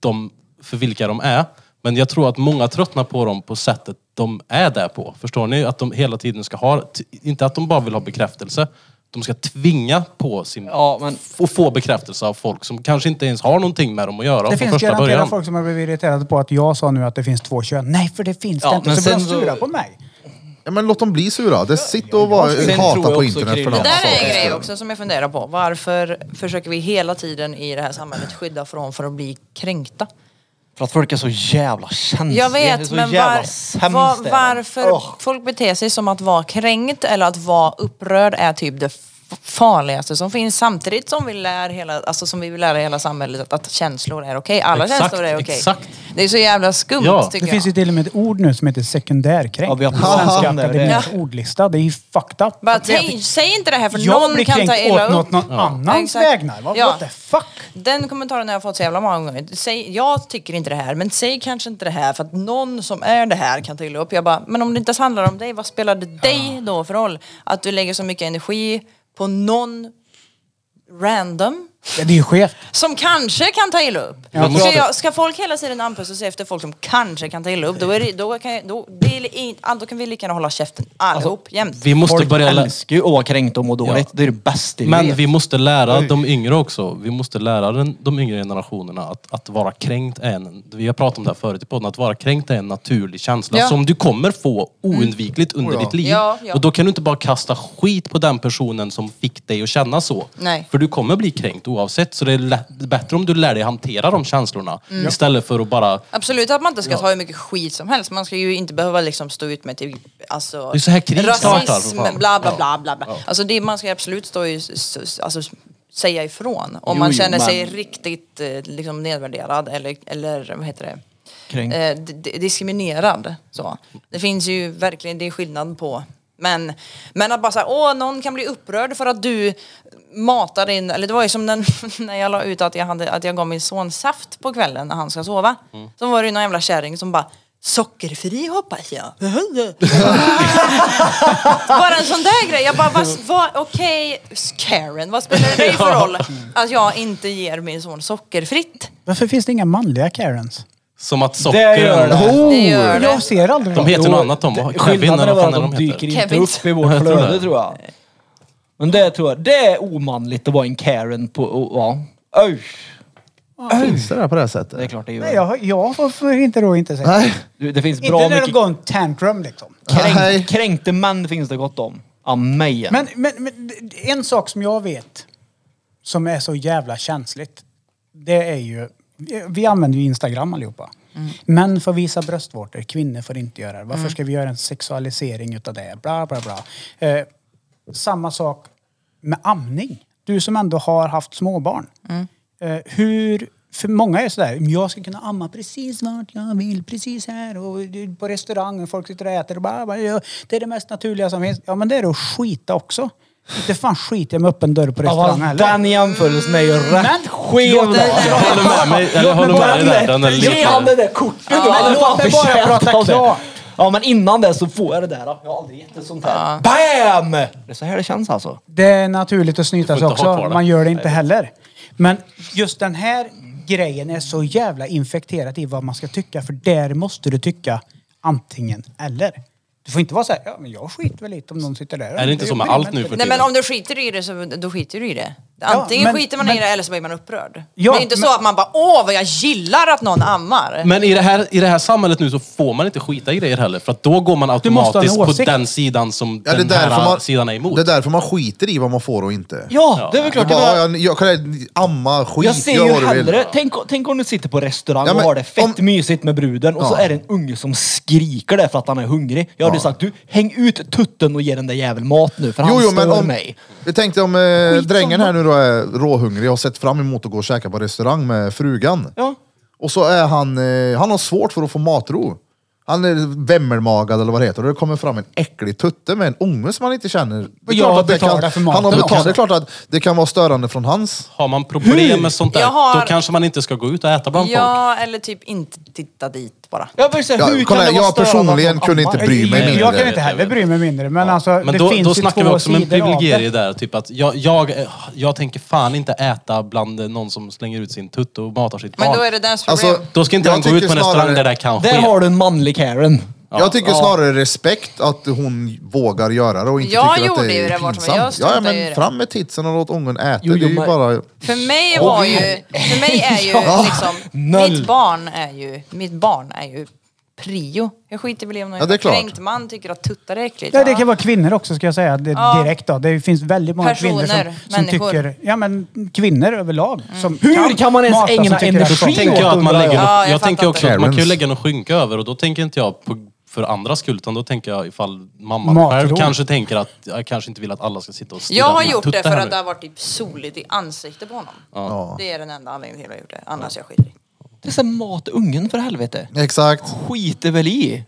de, för vilka de är. Men jag tror att många tröttnar på dem på sättet de är där på. Förstår ni? Att de hela tiden ska ha, t- inte att de bara vill ha bekräftelse. De ska tvinga på sin...
Ja, men-
Och få bekräftelse av folk som kanske inte ens har någonting med dem att göra
Det
från
finns
första
garanterat
början.
folk som har blivit irriterade på att jag sa nu att det finns två kön. Nej, för det finns
Ja,
det inte.
men
Så blir de
sen så-
sura på mig.
Ja, men låt dem bli sura. Det sitt och var,
Sen tror
hata
jag
på
också,
internet för
Krille-
någon
Det där är en
sak.
grej också som jag funderar på. Varför försöker vi hela tiden i det här samhället skydda från för att bli kränkta?
Mm.
För att folk är så jävla känsliga.
Jag
Det är
vet,
så
men
jävla
var,
sämst
var,
det är.
varför
Ugh.
folk beter sig som att vara kränkt eller att vara upprörd är typ det f- farligaste som finns samtidigt som vi lär hela, alltså som vi vill lära hela samhället att, att känslor är okej. Alla
Exakt,
känslor är okej.
exakt.
Det är så jävla skumt
Ja.
tycker
Det finns ju
jag.
till och med ett ord nu som heter sekundärkränkt.
Ja, vi har
På
pratat
[LAUGHS]
om
Svenska
det.
Akademiens ordlista. Det är ju fucked up.
Bara
Att jag-
tänk, säg inte det här för
jag
någon
blir
kan ta
kränkt
illa
åt
upp.
något någon annans
Exakt.
vägnar. Vad
Ja.
what the fuck?
Den kommentaren har jag fått så jävla många gånger. Säg, jag tycker inte det här, men säg kanske inte det här för att någon som är det här kan ta illa upp. Jag bara, men om det inte ens handlar om dig, vad spelar det dig då för roll? Att du lägger så mycket energi på någon random
Det är ju skevt.
som kanske kan ta illa upp.
Jag tror
Så
att-
jag, ska folk hela tiden anpassa sig efter folk som kanske kan ta illa upp, då, är det, då, kan, jag- då, det är in, då kan vi lika gärna hålla käften allihop jämt.
Alltså, Vi måste
Folk
börja... lä-
älskar ju att vara kränkt och må dåligt.
Ja.
Det är det bästa i
Men
livet.
vi måste lära de yngre också. Vi måste lära den, de yngre generationerna att, att vara kränkt är en, vi har pratat om det här förut i podden, att vara kränkt är en naturlig känsla
Ja.
som du kommer få oundvikligt
Mm.
under
Oh ja.
ditt liv.
Ja, ja.
Och då kan du inte bara kasta skit på den personen som fick dig att känna så.
Nej.
För du kommer bli kränkt oavsett. Så det är lätt, bättre om du lär dig hantera de känslorna
Mm.
istället för att bara
Absolut att man inte ska ta hur mycket skit som helst. Man ska ju inte behöva liksom stå ut med typ, alltså,
Det är så här krig startar, för
rasism,
fan.
bla bla bla. bla, bla. Alltså, det, man ska absolut stå i, s- s- alltså, s- säga ifrån om
Jo,
man
jo,
känner sig
men-
riktigt eh, liksom, nedvärderad eller, eller vad heter det?
Kränkt.
Eh, d- d- diskriminerad. Så. Det finns ju verkligen, det är skillnad på men, men att bara säga åh någon kan bli upprörd för att du matar in, eller det var ju som den, när [LAUGHS] jag la ut att jag, hade, att jag gav min son saft på kvällen när han ska sova.
Mm.
Så var det ju någon jävla kärring som bara Sockerfri hoppas jag. [LAUGHS]
[LAUGHS]
bara en sån där grej. Jag bara, vad, vad, okej Karen, vad spelar det
[LAUGHS]
dig för roll att jag inte ger min son sockerfritt?
Varför finns det inga manliga Karens?
som att socker...
Det gör det.
Oh,
Det gör det.
jag ser aldrig
De
dem.
heter något annat de. Kevin eller
Skillnaden är
vad
bara
fan är de
att de
heter.
dyker inte
Kevins.
upp i vårt
Jag tror
flöde
det.
tror jag. Men det tror jag, det är omanligt att vara en Karen på... Och, ja. Öj.
Finns det där på det här
Det är
sättet?
klart det
Nej,
gör.
jag, jag får inte då inte säga.
Nej.
Du, det finns bra
Inte när de
mycket
går en tantrum liksom.
Nej.
kränkt, kränkte män finns det gott om. Amen.
Men, men, men en sak som jag vet som är så jävla känsligt. Det är ju... Vi använder ju Instagram allihopa. Män får visa bröstvårtor, kvinnor får inte göra det. Varför ska vi göra en sexualisering utav det? Bla, bla, bla. Eh, samma sak med amning. Du som ändå har haft småbarn. Eh, hur... För många är sådär, jag ska kunna amma precis vart jag vill, precis här och på restaurangen, folk sitter och äter och bara, bara, ja, det är det mest naturliga som finns. Ja men det är det att skita också. Det fan skiter jag med öppen dörr på
Ja,
restaurangen
fast
heller.
Den jämförelsen är ju rätt skev.
låt det-
då.
Jag håller med mig, eller jag håller med dig där. Den är
Ge han det
lite...
där kortet då. Han är
låt
fan
mig bara
förtjänt
prata
av det.
klart.
Ja men innan det så får jag det där. då. Jag har aldrig gett ett sånt här. BAM! Det är så här det känns alltså.
Det är naturligt att snyta
Du
sig
får inte ha
också.
kvar det.
Man gör det inte heller. Men just den här grejen är så jävla infekterad i vad man ska tycka. För där måste du tycka antingen eller. Du får inte vara så här, ja men jag skiter väl lite om någon sitter där.
Är det inte så med allt nu för
Nej
tiden?
men om du skiter i det så då skiter du i det. Antingen
men-
skiter man i
men-
det eller så blir man upprörd.
Ja,
det är inte så
men-
att man bara åh vad jag gillar att någon ammar.
Men i det, här, i det här samhället nu så får man inte skita i grejer heller. För att då går man
Du måste ha en
automatiskt på
åsikt.
den sidan som
Ja, det, är
den
därför
här
man,
sidan är emot.
det är därför man skiter i vad man får och inte.
Ja, det är väl
Det är
klart. Jag
bara,
menar-
jag, jag, jag, amma, skit,
Jag ser
gör
ju
vad du vill.
hellre, tänk, tänk om du sitter på restaurang
Ja, men
och har det fett
om-
mysigt med bruden och så
Ja.
är det en unge som skriker där för att han är hungrig. Jag hade ju sagt du, häng ut tutten och ge den där jäveln mat nu för han stör
om,
mig.
Vi tänkte om eh, drängen här nu då är råhungrig och har sett fram emot att gå och käka på restaurang med frugan.
Ja.
Och så är han, eh, han har svårt för att få matro. Han är vemmelmagad eller vad det heter och det kommer fram en äcklig tutte med en unge som han inte känner. Det är
jag
klart att det
betalar
kan-
för maten
Han har
också.
betalat. Det är klart att det kan vara störande från hans.
Har man problem med sånt där,
Jag har-
då kanske man inte ska gå ut och äta bland folk.
Ja, eller typ inte titta dit bara.
Jag, vill säga,
Ja,
hur
kolla,
kan det
jag
vara störande
personligen
att någon
kunde
ammar?
inte bry mig mindre.
Jag kan inte heller bry mig mindre, men alltså
Men
det
då,
finns
då
ju
snackar vi
två
också om en
sidor av
privilegier
det.
där. Typ att jag, jag, jag tänker fan inte äta bland eh, någon som slänger ut sin tutte och matar sitt
Men
barn.
då är det deras problem.
Alltså,
Då ska inte
Jag
man gå
tycker
ut på en restaurang
snarare-
där det kan ske.
Där har du en manlig Karen.
Jag tycker snarare respekt att hon vågar göra det och inte
Jag
tycker att
gjorde
det
ju
är
det vart som-
pinsamt.
jag
ja, ja,
struntar ju i
men
det.
fram med titsen och låt ungen äta.
Jo, jo,
det är ju
men-
bara...
För mig var ju, för mig är
[LAUGHS]
ju liksom,
Noll.
mitt barn är ju, mitt barn är ju prio. Jag skiter väl i om någon
Ja, det är
jävla
klart.
kränkt man tycker att tuttar är äckligt.
Ja, det kan vara kvinnor också ska jag säga det,
Liksom. Ja.
direkt då. Det finns väldigt många kvinnor som,
Personer,
som
människor. Mm.
tycker... Ja men kvinnor överlag. Som
Hur kan man ens
mata, som
ägna
tycker att-
energi
Då tänker jag att man
undrar
lägger
jag.
något,
Ja, jag
jag,
fattar
tänker också att man kan ju
Karens.
lägga någon skynke över och då tänker inte jag på, för andras skull utan då tänker jag ifall mamman
Matråd.
själv kanske tänker att jag kanske inte vill att alla ska sitta och stirra
Jag har
på min
gjort
tutte
det för
här
att
nu.
det har varit typ soligt i ansiktet på honom. Det är den enda anledningen till att jag gjort det. Annars jag skiter i.
Det är så här, mat ungen för helvete.
Exakt.
Mm.
Skiter väl i.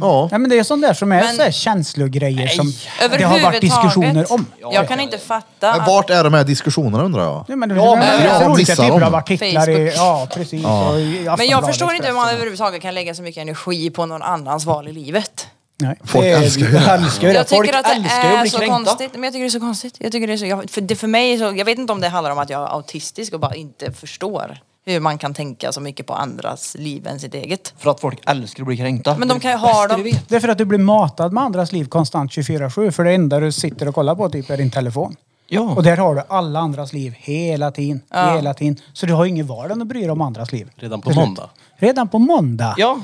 Ja.
Nej men det är sånt där som är
Men-
så här känslogrejer som det har varit
Överhuvudtaget,
diskussioner om.
Jag kan inte fatta
Men
att
vart är de här diskussionerna undrar jag?
Ja, men det
Ja, men-
det finns
Ja,
olika
missar
typer
dem.
av artiklar i,
Facebook.
ja, precis, Och i
Men jag
Aftonbladet,
förstår inte hur man
Expressen.
överhuvudtaget kan lägga så mycket energi på någon annans val i livet.
Nej.
Folk
Det är-
älskar ju det.
Jag älskar ju det.
Jag
folk
tycker att det
älskar ju att
är
bli
så
kränkta.
konstigt. Men jag tycker det är så konstigt. Jag, tycker det är så, jag, för, det, för mig så, jag vet inte om det handlar om att jag är autistisk och bara inte förstår hur man kan tänka så mycket på andras liv än sitt eget.
För att folk älskar att bli kränkta.
Men de kan ju
Det är det
ha
bästa vi
dem.
vet.
Det är för att du blir matad med andras liv konstant 24-7. För det enda du sitter och kollar på typ är din telefon.
Ja.
Och där har du alla andras liv hela tiden. Hela tiden. Så du har ju ingen vardag om du bryr dig om andras liv.
Redan på måndag.
Redan på måndag.
Ja.
Om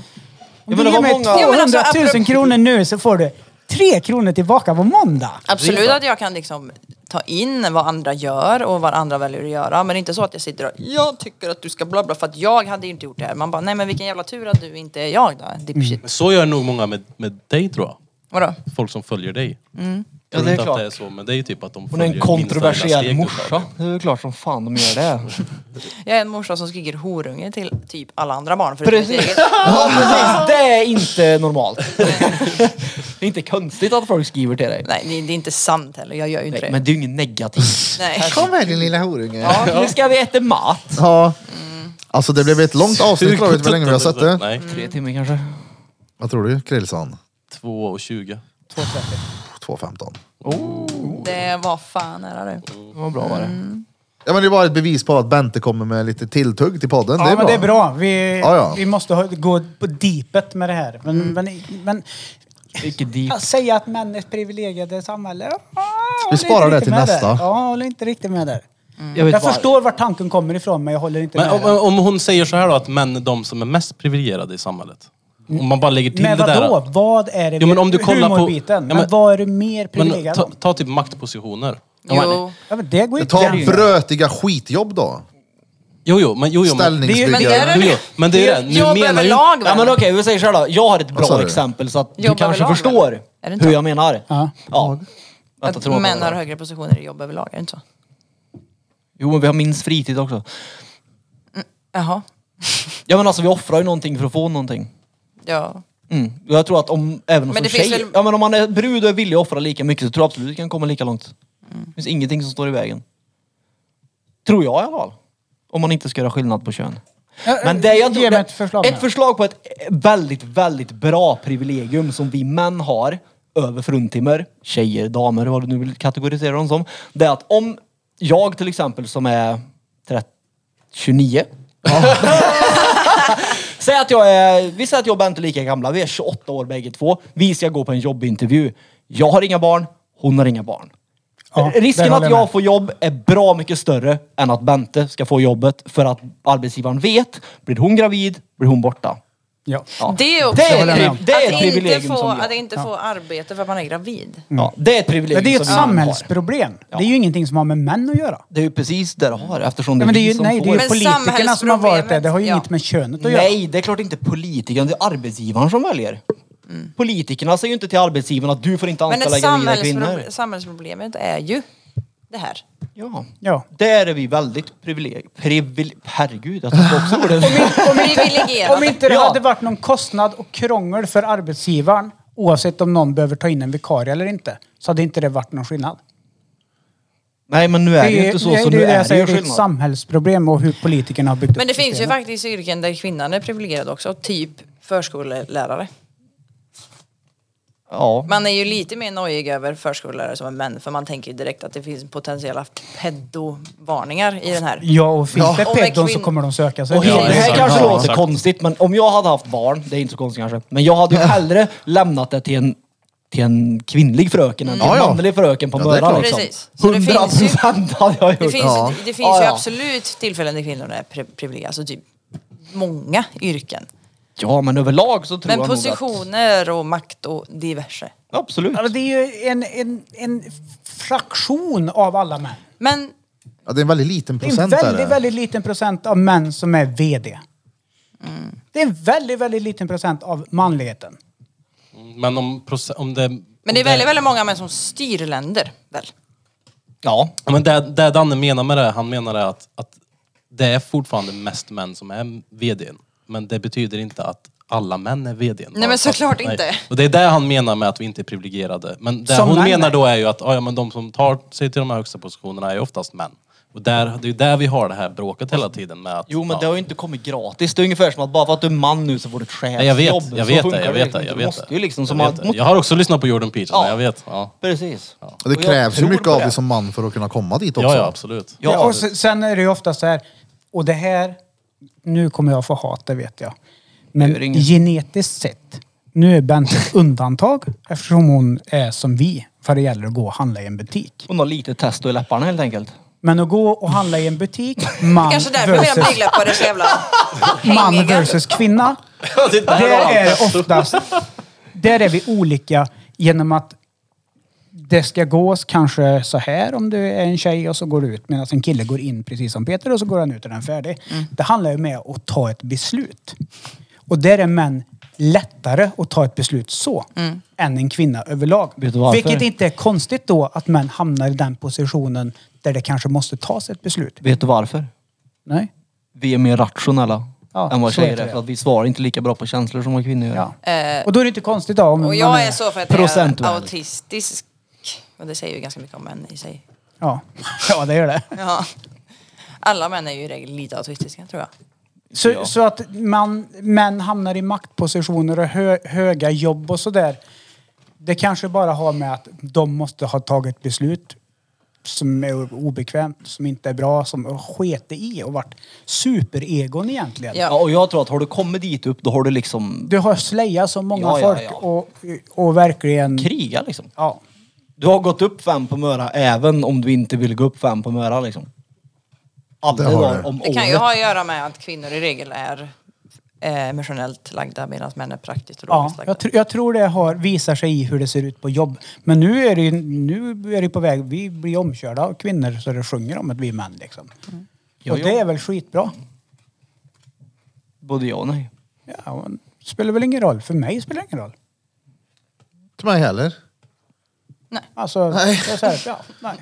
Jag
du
menar,
ger
vad
mig
många...
Jo, men alltså,
200 000
apropå-
kronor nu så får du 3 kronor tillbaka på måndag.
Absolut att jag kan liksom ta in vad andra gör och vad andra väljer att göra. Men det är inte så att jag sitter och jag tycker att du ska bla bla för att jag hade ju inte gjort det här. Man bara nej men vilken jävla tur att du inte är jag då. Dipshit.
Men så gör nog många med, med dig tror jag.
Vadå?
Folk som följer dig.
Ja,
Tror
det är
inte att
klart.
det är så med dig typ att de
Hon är
följer
en
minsta lilla
kontroversiell
steg typ. du tar.
morsa. Det är väl klart som fan de gör det.
[LAUGHS]
Jag är en morsa som skriker horunge till typ alla andra barn förutom mitt
Precis.
eget. [LAUGHS]
Ja, precis. Det är inte normalt. [LAUGHS] Det är inte konstigt att folk skriver till dig.
Nej det det är inte sant heller. Jag gör ju inte
Nej,
det.
men det är ju inget negativt.
Nej.
Kom här din lilla horunge. Ja.
Ja, nu ska vi äta mat.
Alltså det blev ett långt avsnitt. Jag vet inte hur länge vi har sett det.
Nej,
Tre timmar kanske.
Vad tror du Krillson?
2 och 20.
2.15.
Det var fan nära du.
Vad bra var det.
Ja men det är bara ett bevis på att Bente kommer med lite tilltugg till podden.
Ja,
det, är bra.
men det är bra. Vi,
Ja, ja. Mm.
vi måste ha, gå på deepet med det här. Men, men, men
Vilket deep.
att säga att män är ett privilegierade samhälle. ah, håller
sparar
inte
det
riktigt
till
med
nästa.
Där. Ja, håller inte riktigt med där.
Jag, vet
Jag
bara-
förstår var tanken kommer ifrån, men jag håller inte
Men
med.
om, om hon säger så här då att män är de som är mest privilegierade i samhället. Om man bara lägger till
men
det där.
vadå? Vad är det?
Jo, men om du kollar på-
humorbiten.
Ja,
men,
men-
vad är det mer
Men
privilegierat
ta,
om?
ta typ maktpositioner.
Jo.
Ja, men det går ju inte
Ta
att jämföra.
brötiga skitjobb då.
Jo, jo, men, jo, jo, men,
Men det
Ställningsbyggare.
är
Jo, jo, men det är det. Nu
Jobb
menar ju-
överlag
Ja men okej, vi säger så här då. Jag har ett
sa
bra
du?
exempel så att du
Jobb
kanske
överlag,
förstår
eller? Är det inte
hur
så?
jag menar.
Ja.
Ja. Vänta,
Att
tror jag på
män
det.
har högre positioner i jobb överlag, är det inte så?
Jo men vi har minst fritid också.
Jaha.
Ja men alltså vi offrar ju någonting för att få någonting.
Ja.
Mm. Jag tror att om, även
Men
om som
det finns
tjej,
väl-
ja, men om man är brud och är villig att offra lika mycket så tror jag absolut att du kan komma lika långt. Det finns ingenting som står i vägen. Tror jag i alla fall. Om man inte ska göra skillnad på kön.
Ja,
Men det jag
ge
tror,
mig
det,
ett förslag nu.
ett förslag på ett väldigt, väldigt bra privilegium som vi män har över fruntimmer, tjejer, damer, vad du nu vill kategorisera dem som. Det är att om jag till exempel som är 30, 29 [LAUGHS] Säg att jag är, vi säger att jag och Bente är lika gamla, vi är 28 år bägge två. Vi ska gå på en jobbintervju. Jag har inga barn, hon har inga barn.
Ja, där
Risken
håller
att
jag
jag
med.
får jobb är bra mycket större än att Bente ska få jobbet för att arbetsgivaren vet, blir hon gravid, blir hon borta.
Ja.
Ja.
Det är också
Det är,
håller jag med om.
pri- det är ett
att inte,
privilegium
få,
som
att
vi har.
inte få arbete för att man är gravid.
Ja, det är ett privilegium
Men det är ju ett
som vi har.
samhällsproblem. Det är ju ingenting som har med män att göra.
Det är ju precis det det har eftersom det
Ja,
är
men det är
vi
ju,
som
nej, det
får
är ju
Men
politikerna som har varit det. Det har ju inget
samhällsproblemet,
med könet att göra.
Nej, det är klart inte politikerna, det är arbetsgivaren som väljer. Politikerna säger ju inte till arbetsgivaren att du får inte
Mm. Men
anställa
det
gravida kvinnor.
samhällsproble- samhällsproblemet är ju det här.
Ja.
Ja.
Där är vi väldigt privileg... Privile... Herregud, jag tappade också
[LAUGHS]
ordet.
Om
Privilegierade.
inte det
Ja.
hade varit någon kostnad och krångel för arbetsgivaren, oavsett om någon behöver ta in en vikarie eller inte, så hade inte det varit någon skillnad.
Nej, men nu är det ju inte så,
nej,
så
det
nu
är det
är
jag
det
säger,
ju
det är ett
skillnad.
samhällsproblem och hur politikerna har byggt
Men det
upp
finns ju
systemet.
faktiskt yrken där kvinnan är privilegierad också, typ förskollärare.
Ja.
Man är ju lite mer nojig över förskollärare som är män för man tänker ju direkt att det finns potentiella pedovarningar i den här.
Ja, och finns det
Och med
pedon så
kvinn-
kommer de söka sig.
Och
Ja,
hela, det här
exakt.
kanske
Ja,
låter
exakt.
konstigt, men om jag hade haft barn, det är inte så konstigt kanske, men jag hade ju hellre lämnat det till en, till en kvinnlig fröken än till
Ja,
en
ja.
manlig fröken på
Ja, det är
Mörra
klart.
liksom.
Precis. Så det
Hundra
finns ju-
procent hade jag
Det
gjort.
finns,
Ja.
det finns
Ja,
ju
ja.
absolut tillfällen där kvinnorna är pri- privilegierade, alltså typ många yrken.
Ja, men överlag så tror
Men
jag nog
positioner och makt och diverse.
att... Absolut.
Ja, men Det är ju en, en, en fraktion av alla män.
Men
Ja, det är en väldigt liten
Det är en
procent. är det.
väldigt, väldigt liten procent av män som är VD.
Mm.
Det är en väldigt, väldigt liten procent av manligheten.
Men om, proce- om det...
Men det är väldigt, väldigt många män som styr länder, väl?
Ja.
Ja, Men det, det Danne menar med det, han menar det att, att det är fortfarande mest män som är vdn. Men det betyder inte att alla män är vdn.
Nej, men såklart inte.
Och det är det han menar med att vi inte är privilegierade. Men det
Som
hon
män,
menar
nej.
då är ju att ja, ja, men de som tar sig till de här högsta positionerna är oftast män. Och där, det är ju där vi har det här bråket hela tiden med att...
Jo, men
ja.
det har ju inte kommit gratis. Det är ungefär som att bara för att du är man nu så får du ett
Nej, jag
chefsjobb.
vet, jag
Så
vet
funkar
det, jag
det
vet
liksom
det. Jag
inte. Du
vet
måste
det.
ju liksom...
jag,
som man-
vet det. jag har också lyssnat på Jordan Peterson,
Ja.
jag vet. Ja,
Precis.
Och det
Och jag
krävs ju
tror
mycket
på
av
det.
dig som man för att kunna komma dit också.
ja, ja absolut.
Ja,
och sen, sen är det ju ofta så här, och det här, nu kommer jag få hat, det vet jag.
Det gör
Men
inget.
genetiskt sett, nu är Bente ett undantag eftersom hon är som vi vad det gäller att gå och handla i en butik.
Hon har lite testo i läpparna helt enkelt.
Men att gå och handla i en butik, man
Kanske därför mina
versus,
blygdläppar är
[LAUGHS]
så jävla
man
hängiga.
versus kvinna,
Det där
där
var-
är det oftast, där är vi olika genom att det ska gås kanske så här om du är en tjej och så går du ut medan en kille går in precis som Peter och så går han ut och den är färdig.
Mm.
Det handlar ju med att ta ett beslut. Och där är män lättare att ta ett beslut så
Mm.
än en kvinna överlag.
Vet du varför?
Vilket inte är konstigt då att män hamnar i den positionen där det kanske måste tas ett beslut.
Vet du varför?
Nej?
Vi är mer rationella
Ja,
än vad
så
tjejer
heter
är.
det.
För att vi svarar inte lika bra på känslor som vad kvinnor gör.
Ja. och då är det inte konstigt då om
Och
man
jag är så för att jag är
Procentuellt.
autistisk. Och det säger ju ganska mycket om män i sig.
Ja. [LAUGHS] ja, det gör det.
Ja. Alla män är ju i regel lite autistiska, tror jag.
Så, så att man, män hamnar i maktpositioner och hö, höga jobb och sådär. Det kanske bara har med att de måste ha tagit beslut som är obekvämt, som inte är bra, som skete i och varit superegon egentligen.
Ja.
Ja, och jag tror att har du kommit dit upp, då har du liksom
Du har slejat så många
Ja, ja,
folk
ja.
Och, och verkligen...
krigat liksom.
Ja.
Du har gått upp fem på Möra även om du inte vill gå upp fem på Möra liksom. Alla
Det har
dagar
du.
om
Det kan ju
året.
ha att göra med att kvinnor i regel är eh, emotionellt lagda medan män är praktiskt och
Ja,
logiskt lagda.
jag, tr- jag tror det har, visar sig i hur det ser ut på jobb. Men nu är det ju nu är det på väg, vi blir omkörda av kvinnor så det sjunger om att vi är män liksom.
Ja,
och
ja.
det är väl skitbra.
Både ja och nej.
Ja, och det spelar väl ingen roll, för mig spelar det ingen roll.
Inte mig heller.
Alltså,
Nej.
Jag säger, ja, nej.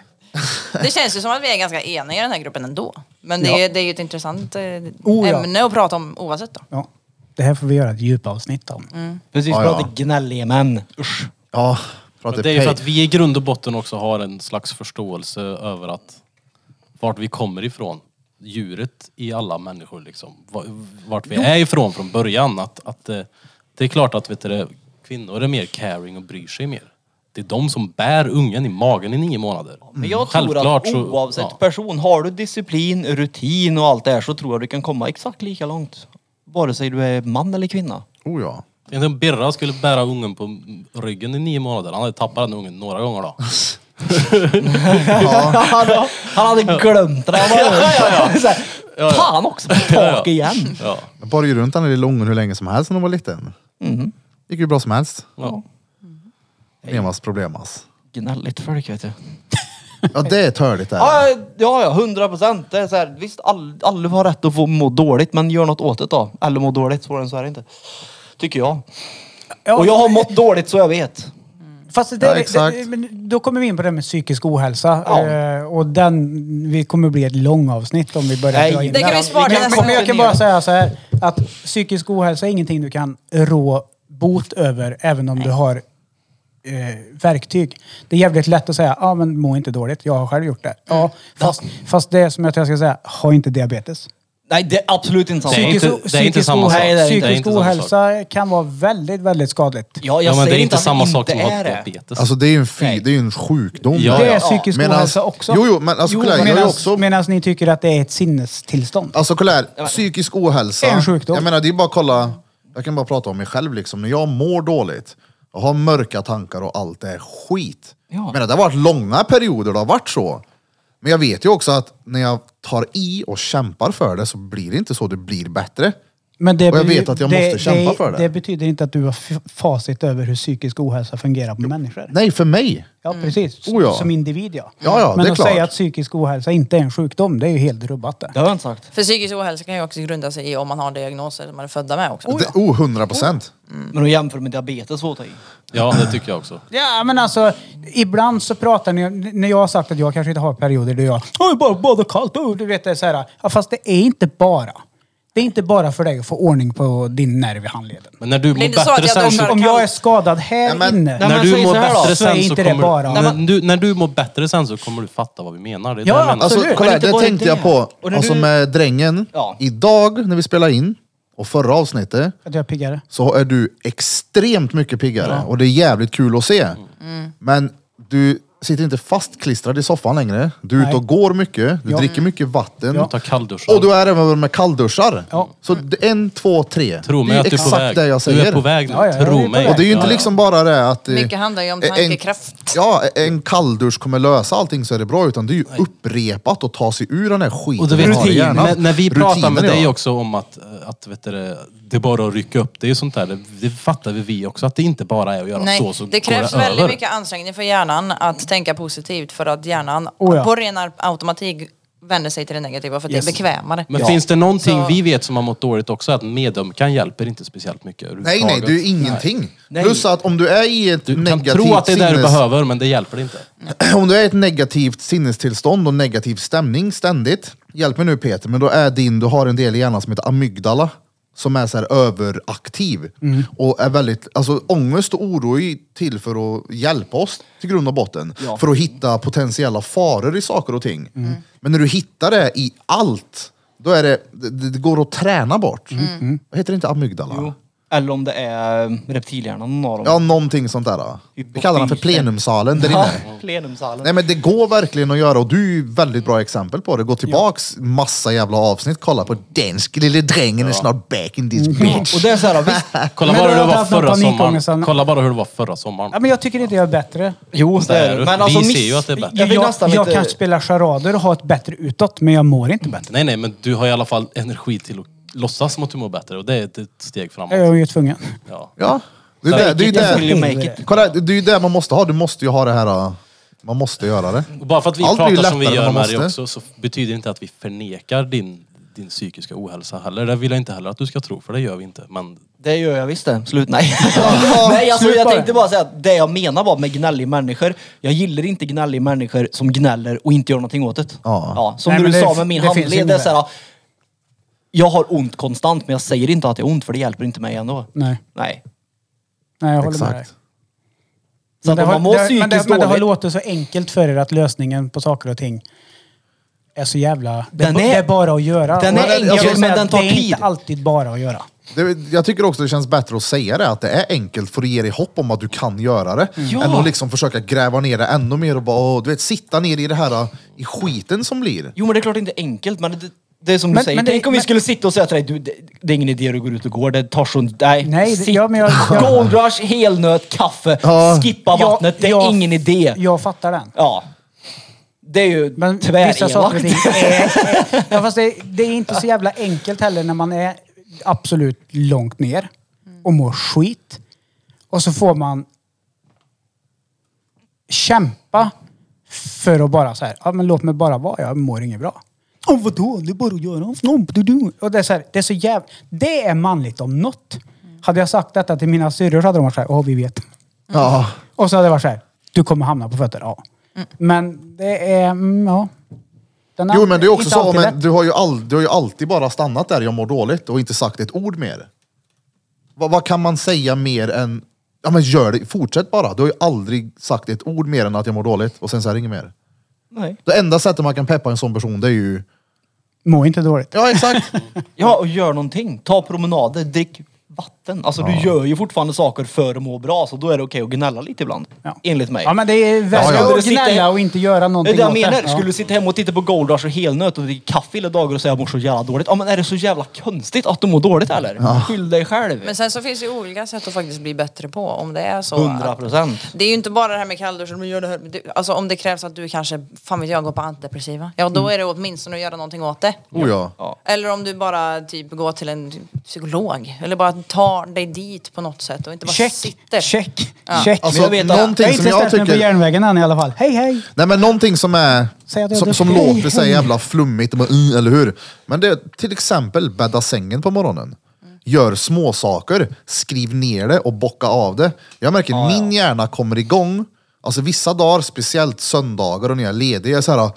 Det känns ju som att vi är ganska eniga i den här gruppen ändå. Men det, är, det är ju ett intressant eh,
Oh, ja.
ämne att prata om oavsett då.
Ja. Det här får vi göra ett djupavsnitt om.
Precis,
Ja,
ja,
ja.
prata gnälliga män. Usch.
Ja, för att det,
Men det är ju
är
för
pay.
att vi i grund och botten också har en slags förståelse över att vart vi kommer ifrån. Djuret i alla människor liksom. Va- Vart vi är ifrån från början. Att, att eh, det är klart att vet du, det, kvinnor är mer caring och bryr sig mer. Det är de som bär ungen i magen i nio månader.
Men jag tror
Självklart
att
så-
oavsett
ja.
person, har du disciplin, rutin och allt det här så tror jag du kan komma exakt lika långt. Vare sig du är man eller kvinna.
Oh,
[LAUGHS]
ja.
Egentligen Birra skulle bära ungen på ryggen i nio månader. Han hade tappat den ungen några gånger
[LAUGHS]
då.
Han hade glömt
[LAUGHS]
det. Han var [LAUGHS] så här, Fan också, på tak igen.
Ja.
Jag bar ju runt den där lilla ungen hur länge som helst när hon var liten.
Mhm.
gick ju bra som helst.
Ja.
Problemas problemas.
Gnälligt folk vet du.
Ja, det är törligt det. här.
Ja, ja, ja, hundra procent. Det är så här, visst, all, alla har rätt att få må dåligt, men gör något åt det då. Alla mår dåligt, svårare än så är det inte. Tycker jag. Och jag har mått dåligt så jag vet.
Fast det,
Ja,
det-
exakt.
men då kommer vi in på det här med psykisk ohälsa.
Ja.
Eh, och den, vi kommer bli ett långavsnitt om vi börjar
Nej,
dra in
det kan
vi spara
Men-
nästa
men Jag
gång.
kan bara säga så här, att psykisk ohälsa är ingenting du kan rå bot över, även om du har eh, verktyg. Det är jävligt lätt att säga, ja ah, men må inte dåligt, jag har själv gjort det. Ja, fast, fast det som jag tror jag ska säga, ha inte diabetes.
Nej, det är absolut inte samma.
Det är inte-
Psykisk-
det är inte
psykisk
samma sak.
ohälsa-
Nej, det är inte- det är
Psykisk
inte samma
ohälsa kan vara väldigt, väldigt skadligt.
Ja, jag
ja, men
säger
det är
inte
inte
att det
samma
inte
sak som
är
att
det.
ha diabetes.
Alltså det är ju en, fi,
Nej.
det är ju en sjukdom.
Ja,
Det är
ja.
psykisk
Medans-
ohälsa också.
Jo, jo, men alltså, kolla här, jag är
medans,
också-
medans ni tycker att det är ett sinnestillstånd.
Alltså kolla här, psykisk ohälsa.
Det är en sjukdom.
Jag menar det är bara att kolla, jag kan bara prata om mig själv liksom. När jag mår dåligt, jag har mörka tankar och allt det här skit. Jag menar det har varit långa perioder det har varit så. Men jag vet ju också att när jag tar i och kämpar för det så blir det inte så, det blir bättre.
Men det
Och jag
blir-
vet att jag måste kämpa för det.
Det betyder inte att du har f- facit över hur psykisk ohälsa fungerar på människor.
Nej, för mig.
Ja,
Mm.
precis.
Oh, ja.
Som individ, ja.
Ja, ja,
Men
det är
att
klart.
säga att psykisk ohälsa inte är en sjukdom, det är ju helt rubbat det.
Det har jag inte sagt.
För psykisk ohälsa kan ju också grunda sig i om man har diagnoser som man är födda med också.
Det- Oh, hundra procent.
Men att jämföra med diabetes var att ta i.
Ja, det tycker jag också.
Ja, men alltså, ibland så pratar ni... När jag har sagt att jag kanske inte har perioder där jag "Åh, jag bara badar kallt, oh, du vet det är så här. Ja, fast det är inte bara. Det är inte bara för dig att få ordning på din nerv i handleden.
Men när du
Blir det
mår
så att
bättre
jag
sen så
duschar?
Alltså, Om jag är skadad här
Ja, men-
inne...
när
Nej, men
du
säg
mår
så här då.
bättre
Säg
sen så
inte det
kommer...
bara.
När, du, när du mår bättre sen så kommer du fatta vad vi menar. Det är
Ja,
det jag menar.
Alltså
Absolut.
kolla
Men
här,
inte
det
bara
tänkte
det.
jag på.
Och när
Alltså
du-
med drängen.
Ja.
Idag när vi spelade in och förra avsnittet
Att jag är piggare.
så är du extremt mycket piggare och det är jävligt kul att se.
Mm.
Men du sitter inte fastklistrad i soffan längre. Du är ute
Nej.
och går mycket, du dricker mycket vatten.
Du tar kallduschar.
Och du är även med kallduschar. Så det- en, två, tre.
Tro mig
det är
att du är typ på
exakt
väg.
det jag
Du är
säger.
på väg nu.
Ja, ja, jag är
Tro
på
mig.
väg.
Och det är ju inte
Ja, ja.
liksom bara det att... eh,
Mycket handlar ju om
en-
tankekraft.
Ja, en kalldusch kommer lösa allting så är det bra. Utan det är ju upprepat att ta sig ur den här skiten
Och du
vi
vet,
har i hjärnan.
när, när vi pratar med
Rutiner,
dig
ja.
också om att, eh, att vet du, det, det är bara att rycka upp, det är ju sånt där, det, det fattar vi vi också, att det inte bara är att göra så,
Nej,
så
det krävs
går det
väldigt
över.
mycket ansträngning för hjärnan att tänka positivt för att hjärnan
Oh ja.
på ren automatik vänder sig till det negativa för att
Yes.
det är bekvämare.
Men finns det någonting
Så-
vi vet som har mått dåligt också, att medömkan hjälper inte speciellt mycket
Nej, nej,
överhuvudtaget.
du är ingenting.
Nej.
Plus att om du är i ett
Du kan
negativt
tro att det är det du
sinnes-
behöver, men det hjälper inte.
[CLEARS THROAT] om du är i ett negativt sinnestillstånd och negativ stämning ständigt, hjälp mig nu Peter, men då är din, du har en del i hjärnan som heter amygdala som är så här överaktiv
Mm.
och är väldigt, alltså ångest och oro är ju till för att hjälpa oss till grund och botten. För att hitta potentiella faror i saker och ting.
Mm.
Mm.
Men när du hittar det i allt, då är det, det, det går att träna bort.
Mm.
Heter det inte amygdala?
Mm. Jo. Eller om det är Ehm, reptilhjärnan någon av
Ja,
dem.
någonting sånt där. Vi kallar den för plenumsalen där
Ja,
inne.
plenumsalen.
Nej men det går verkligen att göra och du är ju väldigt bra exempel på det. Gå tillbaks massa jävla avsnitt, kolla på den lille drängen är snart back in this bitch.
Och det är så här, visst,
Kolla
Men du
bara, hur [LAUGHS] det
har
var
haft någon
förra sommaren.
panikångest.
Kolla bara hur det var förra sommaren.
Ja, men jag tycker inte jag är bättre.
jo,
Så är det.
Men alltså,
vi
miss-
ser ju att det är bättre.
Jag
Jag,
fick
jag,
nästan lite...
kan spela charader och ha ett bättre utåt, men jag mår inte bättre.
Nej, nej, men du har i alla fall energi till att låtsas som att du mår bättre och det är ett- ett steg framåt.
Jag är ju tvungen.
Ja.
Ja, det är det, det, är
Will you
det.
make it?
Kolla, det är ju det man måste ha. Du måste ju ha det här, äh, man måste göra det.
Och bara för att vi
Allt blir ju
pratar som vi
lättare när
gör
man
med dig
måste.
också så betyder det inte att vi förnekar din, din psykiska ohälsa heller. Det vill jag inte heller att du ska tro, för det gör vi inte. Men
Det gör jag visst det. Slut nej. [LAUGHS] nej alltså,
slut
jag
bara.
tänkte bara säga att det jag menar var med gnälliga människor. Jag gillar inte gnälliga människor som gnäller och inte gör någonting åt det.
Ja.
som
Nej,
du
men det-
sa med
det
min
finns
handled.
inget
Det är
där.
så här, jag har ont konstant men jag säger inte att jag har ont för det hjälper inte mig ändå.
Nej,
Nej.
nej jag håller med dig.
Exakt.
Så att
det
om
har,
man mår
det, men,
psykiskt
det, men det har
dåligt.
låtit så enkelt för er att lösningen på saker och ting är så jävla... Det,
Den
är, ba-
är-
det är bara att göra.
den
Och
är
jag
enkel,
vill
men
säga
den
att
tar
Det är
tid.
inte alltid bara att göra.
Det, jag tycker också det känns bättre att säga det, att det är enkelt för att ge dig hopp om att du kan göra det.
Ja.
Än att liksom försöka gräva ner det ännu mer och bara, åh, du vet, sitta ner i det här, äh, i skiten som blir.
Jo men det är klart inte enkelt men det, det är som
Men-
du säger.
men det-
Tänk om vi
men-
skulle sitta och säga till dig, du, det, det är ingen idé att du går ut och går. Det tar sån... Nej.
Nej, det-
Sitt-
ja, men jag- jag-
Gold Rush, helnöt, kaffe.
Ja.
Skippa vattnet. det är
jag-
ingen idé.
Jag fattar den.
Ja. Det är ju
Men vissa saker och ting
tvärelakt.
är... Ja, fast det, det är inte så jävla enkelt heller när man är absolut långt ner och mår skit. Och så får man kämpa för att bara så här, ja men låt mig bara vara, jag mår inget bra. Ja vadå, det är bara att göra. Ja, du, du. Och det är så här, det är så jävla... Det är manligt om något. Hade jag sagt detta till mina syrror så hade de varit såhär, ja vi vet.
Ja.
Och så hade det varit så här, du kommer hamna på fötter, ja. Men det är, mm, ja. Den
Jo men det är också
inte
så,
alltid
men
lätt.
du har, ju all, du har ju alltid bara stannat där, jag mår dåligt och inte sagt ett ord mer. Va, vad kan man säga mer än, ja men gör det, fortsätt bara. Du har ju aldrig sagt ett ord mer än att jag mår dåligt och sen så här inget mer.
[LAUGHS] Nej.
Det enda sättet man kan peppa en sån person det är ju,
Må inte dåligt.
ja exakt.
Ja, och gör någonting. Ta promenader, drick vatten. Alltså du gör ju fortfarande saker för att må bra, så då är det okej att gnälla lite ibland.
Ja.
Enligt mig.
Ja men det är värre
ja.
att gnälla och inte göra
Det är
någonting
det jag
åt
menar.
Ja.
Skulle du sitta hemma och titta på Gold Rush och helnöt och dricka kaffe hela dagar och säga jag mår så jävla dåligt. Ja men är det så jävla konstigt att du mår dåligt eller? Skyll dig själv.
Men sen så finns det ju olika sätt att faktiskt bli bättre på om det är så. att-
100 procent.
Det är ju inte bara det här med kallduschen, men gör det här. Det- Alltså om det krävs att du kanske, fan vet jag, går på antidepressiva. Ja
Mm.
då är det åtminstone att göra någonting åt det.
Oh, ja.
Eller om du bara typ går till en psykolog. Eller bara tar dig dit på något sätt och inte bara
Check,
sitter.
check, check.
Alltså,
Men jag vet att-
jag har
någonting som
inte
jag
ställt mig på
tycker...
järnvägen än i alla fall. Hej hej!
Nej men någonting som är
Säg att jag
som,
dör.
som
Hej,
låter sig
hej.
jävla flummigt, och bara, "Mm", eller hur? Men det är till exempel bädda sängen på morgonen. Gör små saker, skriv ner det och bocka av det. Jag märker att min hjärna kommer igång, alltså vissa dagar, speciellt söndagar och när jag är ledig, jag är så här,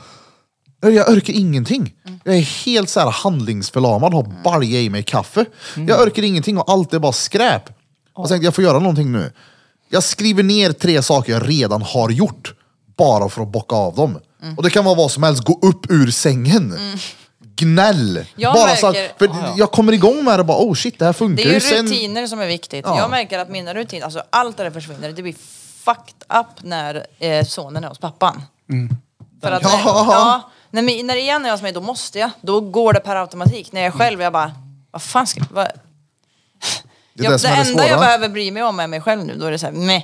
jag orkar ingenting. Jag är helt så här handlingsförlamad, har balja i mig kaffe. Jag
Mm.
orkar ingenting och allt är bara skräp. Jag tänkte jag får göra någonting nu. Jag skriver ner tre saker jag redan har gjort. Bara för att bocka av dem.
Mm.
Och det kan vara vad som helst, gå upp ur sängen. Gnäll!
Jag
bara så att,
märker-
för jag kommer igång med det bara, oh shit det här
Det
funkar
är ju
Sen-
rutiner som är viktigt.
Ja.
Jag märker att mina rutiner, alltså allt det där försvinner. Det blir fucked up när eh, sonen är hos pappan.
Mm.
För att, ja. [LAUGHS] Ja, när, mi- när igen är jag som är, då måste jag. Då går det per automatik. När jag själv, jag bara, vad fan ska vad?
Det, där
jag... Det,
som är det,
enda jag
svåra.
behöver bry mig om är mig själv nu. Då är det såhär, meh.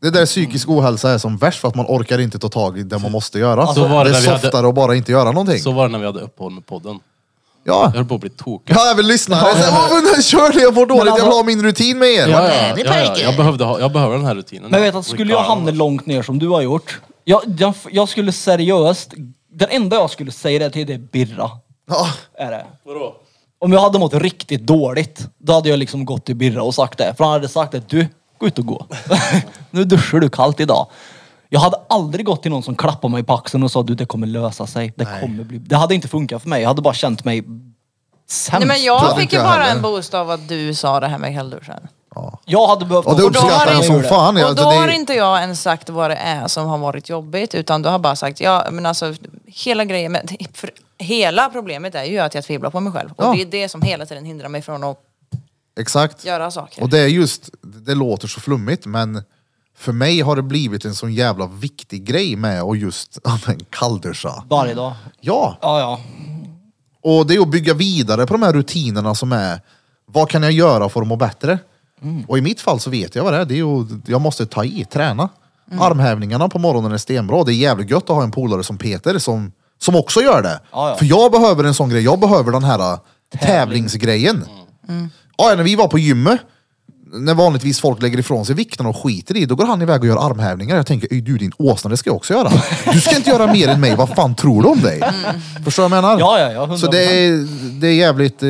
det där psykisk ohälsa är som värst för att man orkar inte ta tag i det man måste göra.
Så Alltså, var det
det är
när vi hade-
softare att bara inte göra någonting.
Så var det när vi hade uppehåll med podden.
Ja.
Jag höll på att bli tokig.
Ja, även lyssnare. Ja, men nu kör det, jag mår dåligt, jag vill ha min rutin med er.
ja, ja, ja, ja. Jag, behövde ha, jag behöver den här rutinen.
Men jag vet att skulle jag hamna långt ner som du har gjort. Jag, jag, jag skulle seriöst, den enda jag skulle säga det till det är birra.
Ja.
Är det. Om jag hade mått riktigt dåligt, då hade jag liksom gått till Birra och sagt det. För han hade sagt att du, gå ut och gå. [LAUGHS] nu duschar du kallt idag. Jag hade aldrig gått till någon som klappade mig på axeln och sa du det kommer lösa sig. Det, kommer bli... det hade inte funkat för mig. Jag hade bara känt mig sämst.
Nej men
Tror
jag fick
inte
ju
jag
bara
heller.
en boost av att du sa det här med kallduschen.
Jag hade behövt...
Och det
någon som
uppskattar
uppskattar
klappade
jag
mig
som
ur det.
fan.
och
Jag,
då
det, det,
har
är-
inte jag ens sagt vad det är som har varit jobbigt utan du har bara sagt, ja men alltså hela grejen med, [LAUGHS] för hela problemet är ju att jag tvivlar på mig själv. Och
Ja.
det är det som hela tiden hindrar mig från att
exakt.
göra saker.
Och det är just, det låter så flummigt men för mig har det blivit en sån jävla viktig grej med att just, [LAUGHS] ja men kallduscha.
Varje dag.
Ja,
Ja, ja.
och det är att bygga vidare på de här rutinerna som är, vad kan jag göra för att må bättre?
Mm.
Och i mitt fall så vet jag vad det är, det är ju, jag måste ta i, träna.
Mm.
Armhävningarna på morgonen är stenbra, det är jävligt gött att ha en polare som Peter som, som också gör det.
Ja, ja.
För jag behöver en sån grej, jag behöver den här äh, tävlingsgrejen.
Mm.
Ja, när vi var på gymmet, när vanligtvis folk lägger ifrån sig vikten och skiter i, då går han iväg och gör armhävningar. Jag tänker, "Ey, du din åsna, det ska jag också göra. Du ska inte göra mer än mig, vad fan tror du om dig? Förstår du vad jag menar?
Ja, ja, ja, 100%.
Så det är, det är jävligt... Eh,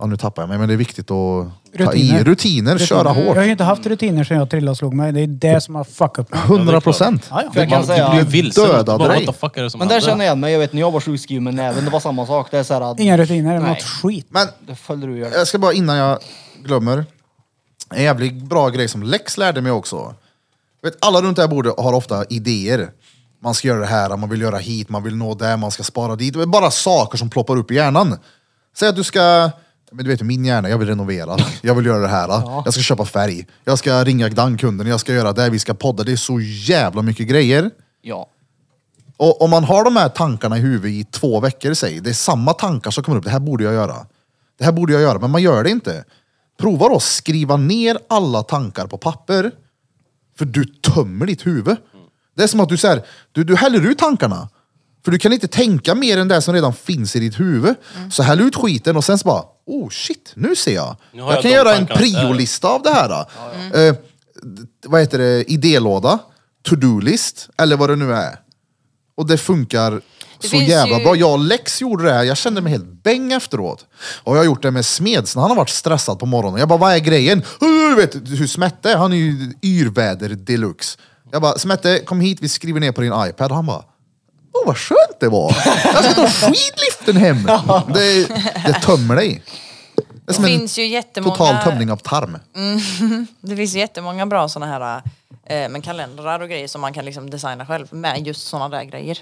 ja, nu tappar jag mig, men det är viktigt att ta i
Rutiner.
rutiner, köra
Jag har
hårt.
ju inte haft rutiner sedan jag trillade och slog mig. Det är det som har fuckat upp mig.
100 procent.
Ja, ja.
För jag kan
Man, du
säga...
blir ju vilsen.
Dödade
Bara,
dig.
what the fuck är det som
Men där känner jag mig. Jag vet när jag var sjukskriven med näven, det var samma sak. Det är så här att...
Inga rutiner, det var
Nej.
något skit.
Men
Det följde du och gör det.
jag ska bara, innan jag glömmer, en jävligt bra grej som Lex lärde mig också. Vet, alla runt det här bordet har ofta idéer. Man ska göra det här, man vill göra hit, man vill nå där, man ska spara dit. Det är bara saker som ploppar upp i hjärnan. Säg att du ska, men du vet ju, min hjärna, jag vill renovera, [LAUGHS] jag vill göra det här, jag ska köpa färg, jag ska ringa den kunden, jag ska göra det, vi ska podda. Det är så jävla mycket grejer.
Ja.
Och om man har de här tankarna i huvudet i två veckor, säg, det är samma tankar som kommer upp. Det här borde jag göra. Det här borde jag göra, men man gör det inte. Prova då att skriva ner alla tankar på papper. För du tömmer ditt huvud. Det är som att du, så här, du, du häller ut tankarna. För du kan inte tänka mer än det som redan finns i ditt huvud. Så häll ut skiten och sen så bara, oh shit, nu ser jag.
Nu har
jag,
jag
kan
de
göra en
tankarna där.
priolista av det här. då. Eh, d- vad heter det, idélåda, to-do-list eller vad det nu är. Och det funkar
Det
så
finns
jävla
ju-
bra. Jag och Lex gjorde det här, jag kände mig helt bäng efteråt. Och jag har gjort det med Smeds när han har varit stressad på morgonen. Jag bara, vad är grejen? "Åh, du vet hur Smette är, han är ju yrväder deluxe. Jag bara, Smette kom hit, vi skriver ner på din iPad. Han bara, åh vad skönt det var. Jag ska ta skidliften hem. Det, det tömmer dig. Det är som
Det
en
finns ju jättemånga-
total tömning av tarm.
Det finns jättemånga bra sådana här eh, men kalendrar och grejer som man kan liksom designa själv med just sådana där grejer.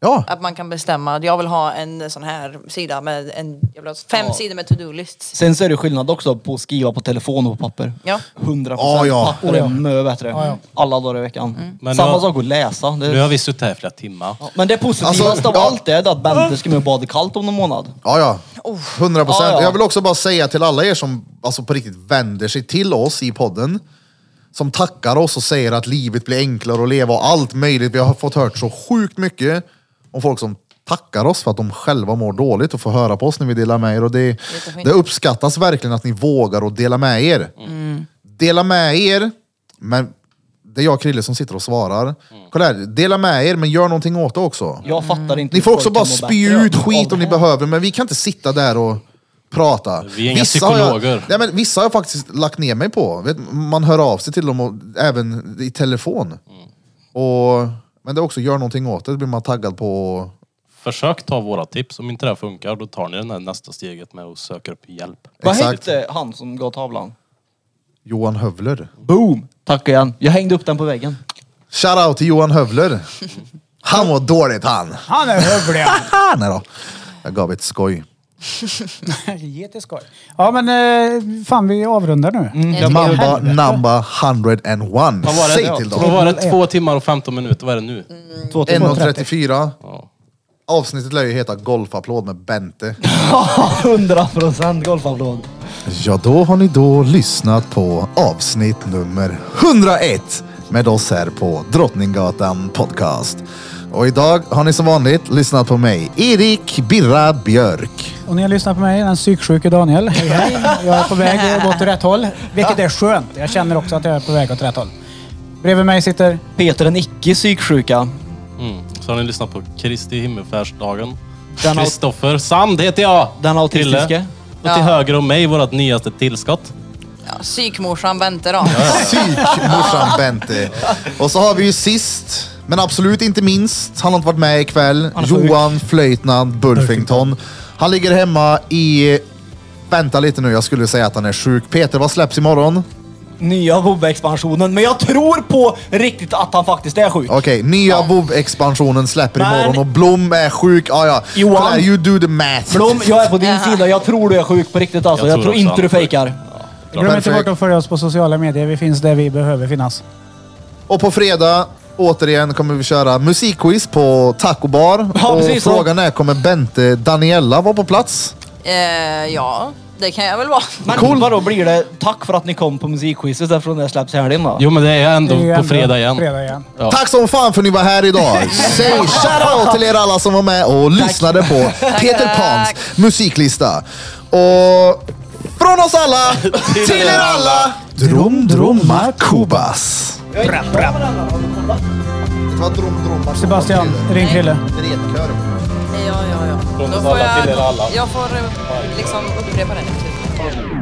Ja,
Att man kan bestämma, jag vill ha en sån här sida med en, jag vill ha fem sidor med to-do-lists.
Sen så är det skillnad också på att skriva på telefon och på papper.
Ja.
100%
Ah, ja. Mm.
papper är mycket bättre. Alla dagar i veckan.
Men
Samma
nu har-
sak att läsa.
Nu
Det,
har vi suttit här i flera timmar.
men det positivaste
Alltså,
av
ja.
allt är att Bente ska med och bada kallt om en månad.
Ja, ja. 100 procent.
Ja, ja.
Jag vill också bara säga till alla er som alltså, på riktigt vänder sig till oss i podden. Som tackar oss och säger att livet blir enklare att leva och allt möjligt. Vi har fått hört så sjukt mycket om folk som tackar oss för att de själva mår dåligt och får höra på oss när vi delar med er. Och det,
Jättefint.
det uppskattas verkligen att ni vågar att dela med er. Dela med er, men det är jag och Krille som sitter och svarar. Kolla här, dela med er men gör någonting åt det också.
Jag fattar inte
Ni
hur
får också
folk
bara
kan må
spy
bättre
ut
av-
skit
av
om ni
det.
behöver, men vi kan inte sitta där och prata.
Vi är inga
har Jag,
psykologer.
nej, men vissa har jag faktiskt lagt ner mig på. Vet, Man hör av sig till dem, och, även i telefon.
Mm.
Och, men det är också, gör någonting åt det, det blir man taggad på.
Försök ta våra tips. Om inte det här funkar, då tar ni det här nästa steget med att söka upp hjälp.
Vad
Exakt.
hette han som gav tavlan?
Johan Hövler.
Boom! Tack igen. Jag hängde upp den på väggen.
Shoutout till Johan
[LAUGHS]
Hövler. Han var dåligt han.
Han är hövlig [LAUGHS] han.
Ah, nej då. Jag gav ett skoj.
Jätteskoj. Ja men eh, fan vi avrundar nu.
Mamba number 101.
Mm. Vad var det?
Säg till
Vad
dem.
var det? Två timmar och 15 minuter. Vad är det nu?
1.34.
Ja.
Avsnittet lär ju heta Golfapplåd med Bente.
100% golfapplåd.
Ja, då har ni då lyssnat på avsnitt nummer 101 med oss här på Drottninggatan Podcast. Och idag har ni som vanligt lyssnat på mig, Erik Birra Björk.
Och ni har lyssnat på mig, den psyksjuke Daniel. Hej, hej. Jag är på [LAUGHS] väg eh, åt rätt håll. Vilket är skönt. Jag känner också att jag är på väg åt rätt håll. Bredvid mig sitter...
Peter den icke psyksjuka.
Mm. Så har ni lyssnat på Kristi himmelfärdsdagen.
Den aut-
Kristoffer Sand heter jag!
Den autistiske.
Krille. Och till
Ja.
höger om mig, vårt nyaste tillskott.
Ja, Psykmorsan väntar då.
[LAUGHS]
Psykmorsan Bente. Och så har vi ju sist, men absolut inte minst, han har inte varit med ikväll,
är sjuk.
Johan Flöjtnant Burfington. Han ligger hemma i... Vänta lite nu, jag skulle säga att han är sjuk. Peter, vad släpps imorgon?
Nya Vovve-expansionen. Men jag tror på riktigt att han faktiskt är sjuk.
Okej, nya WoW-expansionen släpper
Men-
imorgon och Blom är sjuk. Ah, ja.
Johan-
Claire, you do the math.
Blom, jag är på din sida. Jag tror du är sjuk på riktigt alltså. Jag,
Jag tror
tror
också
inte
han
du
är sjuk.
fejkar.
Glöm inte
Perfekt.
bort att följa oss på sociala medier. Vi finns där vi behöver finnas.
Och på fredag, återigen, kommer vi köra musikquiz på Taco Bar.
Ja,
och
precis så.
frågan är, kommer Bente Daniella vara på plats?
Eh, ja, det kan jag väl vara.
Men vadå blir det tack för att ni kom på musikquizet eftersom det släpps i helgen då?
Jo, men det är ändå
Det är ju
på
ändå
fredag igen.
Fredag igen.
Ja.
Tack som fan för att ni var här idag. [LAUGHS] Säg shoutout till er alla som var med och lyssnade på Peter Pans musiklista. Och från oss alla, till er alla, Drom Dromma Kubas. Det var Drom Dromma
Sebastian, ring Krille.
Ja, ja, ja.
Från
Då
oss
får
alla till er
jag,
alla.
jag får eh, liksom upprepa det nu. Typ.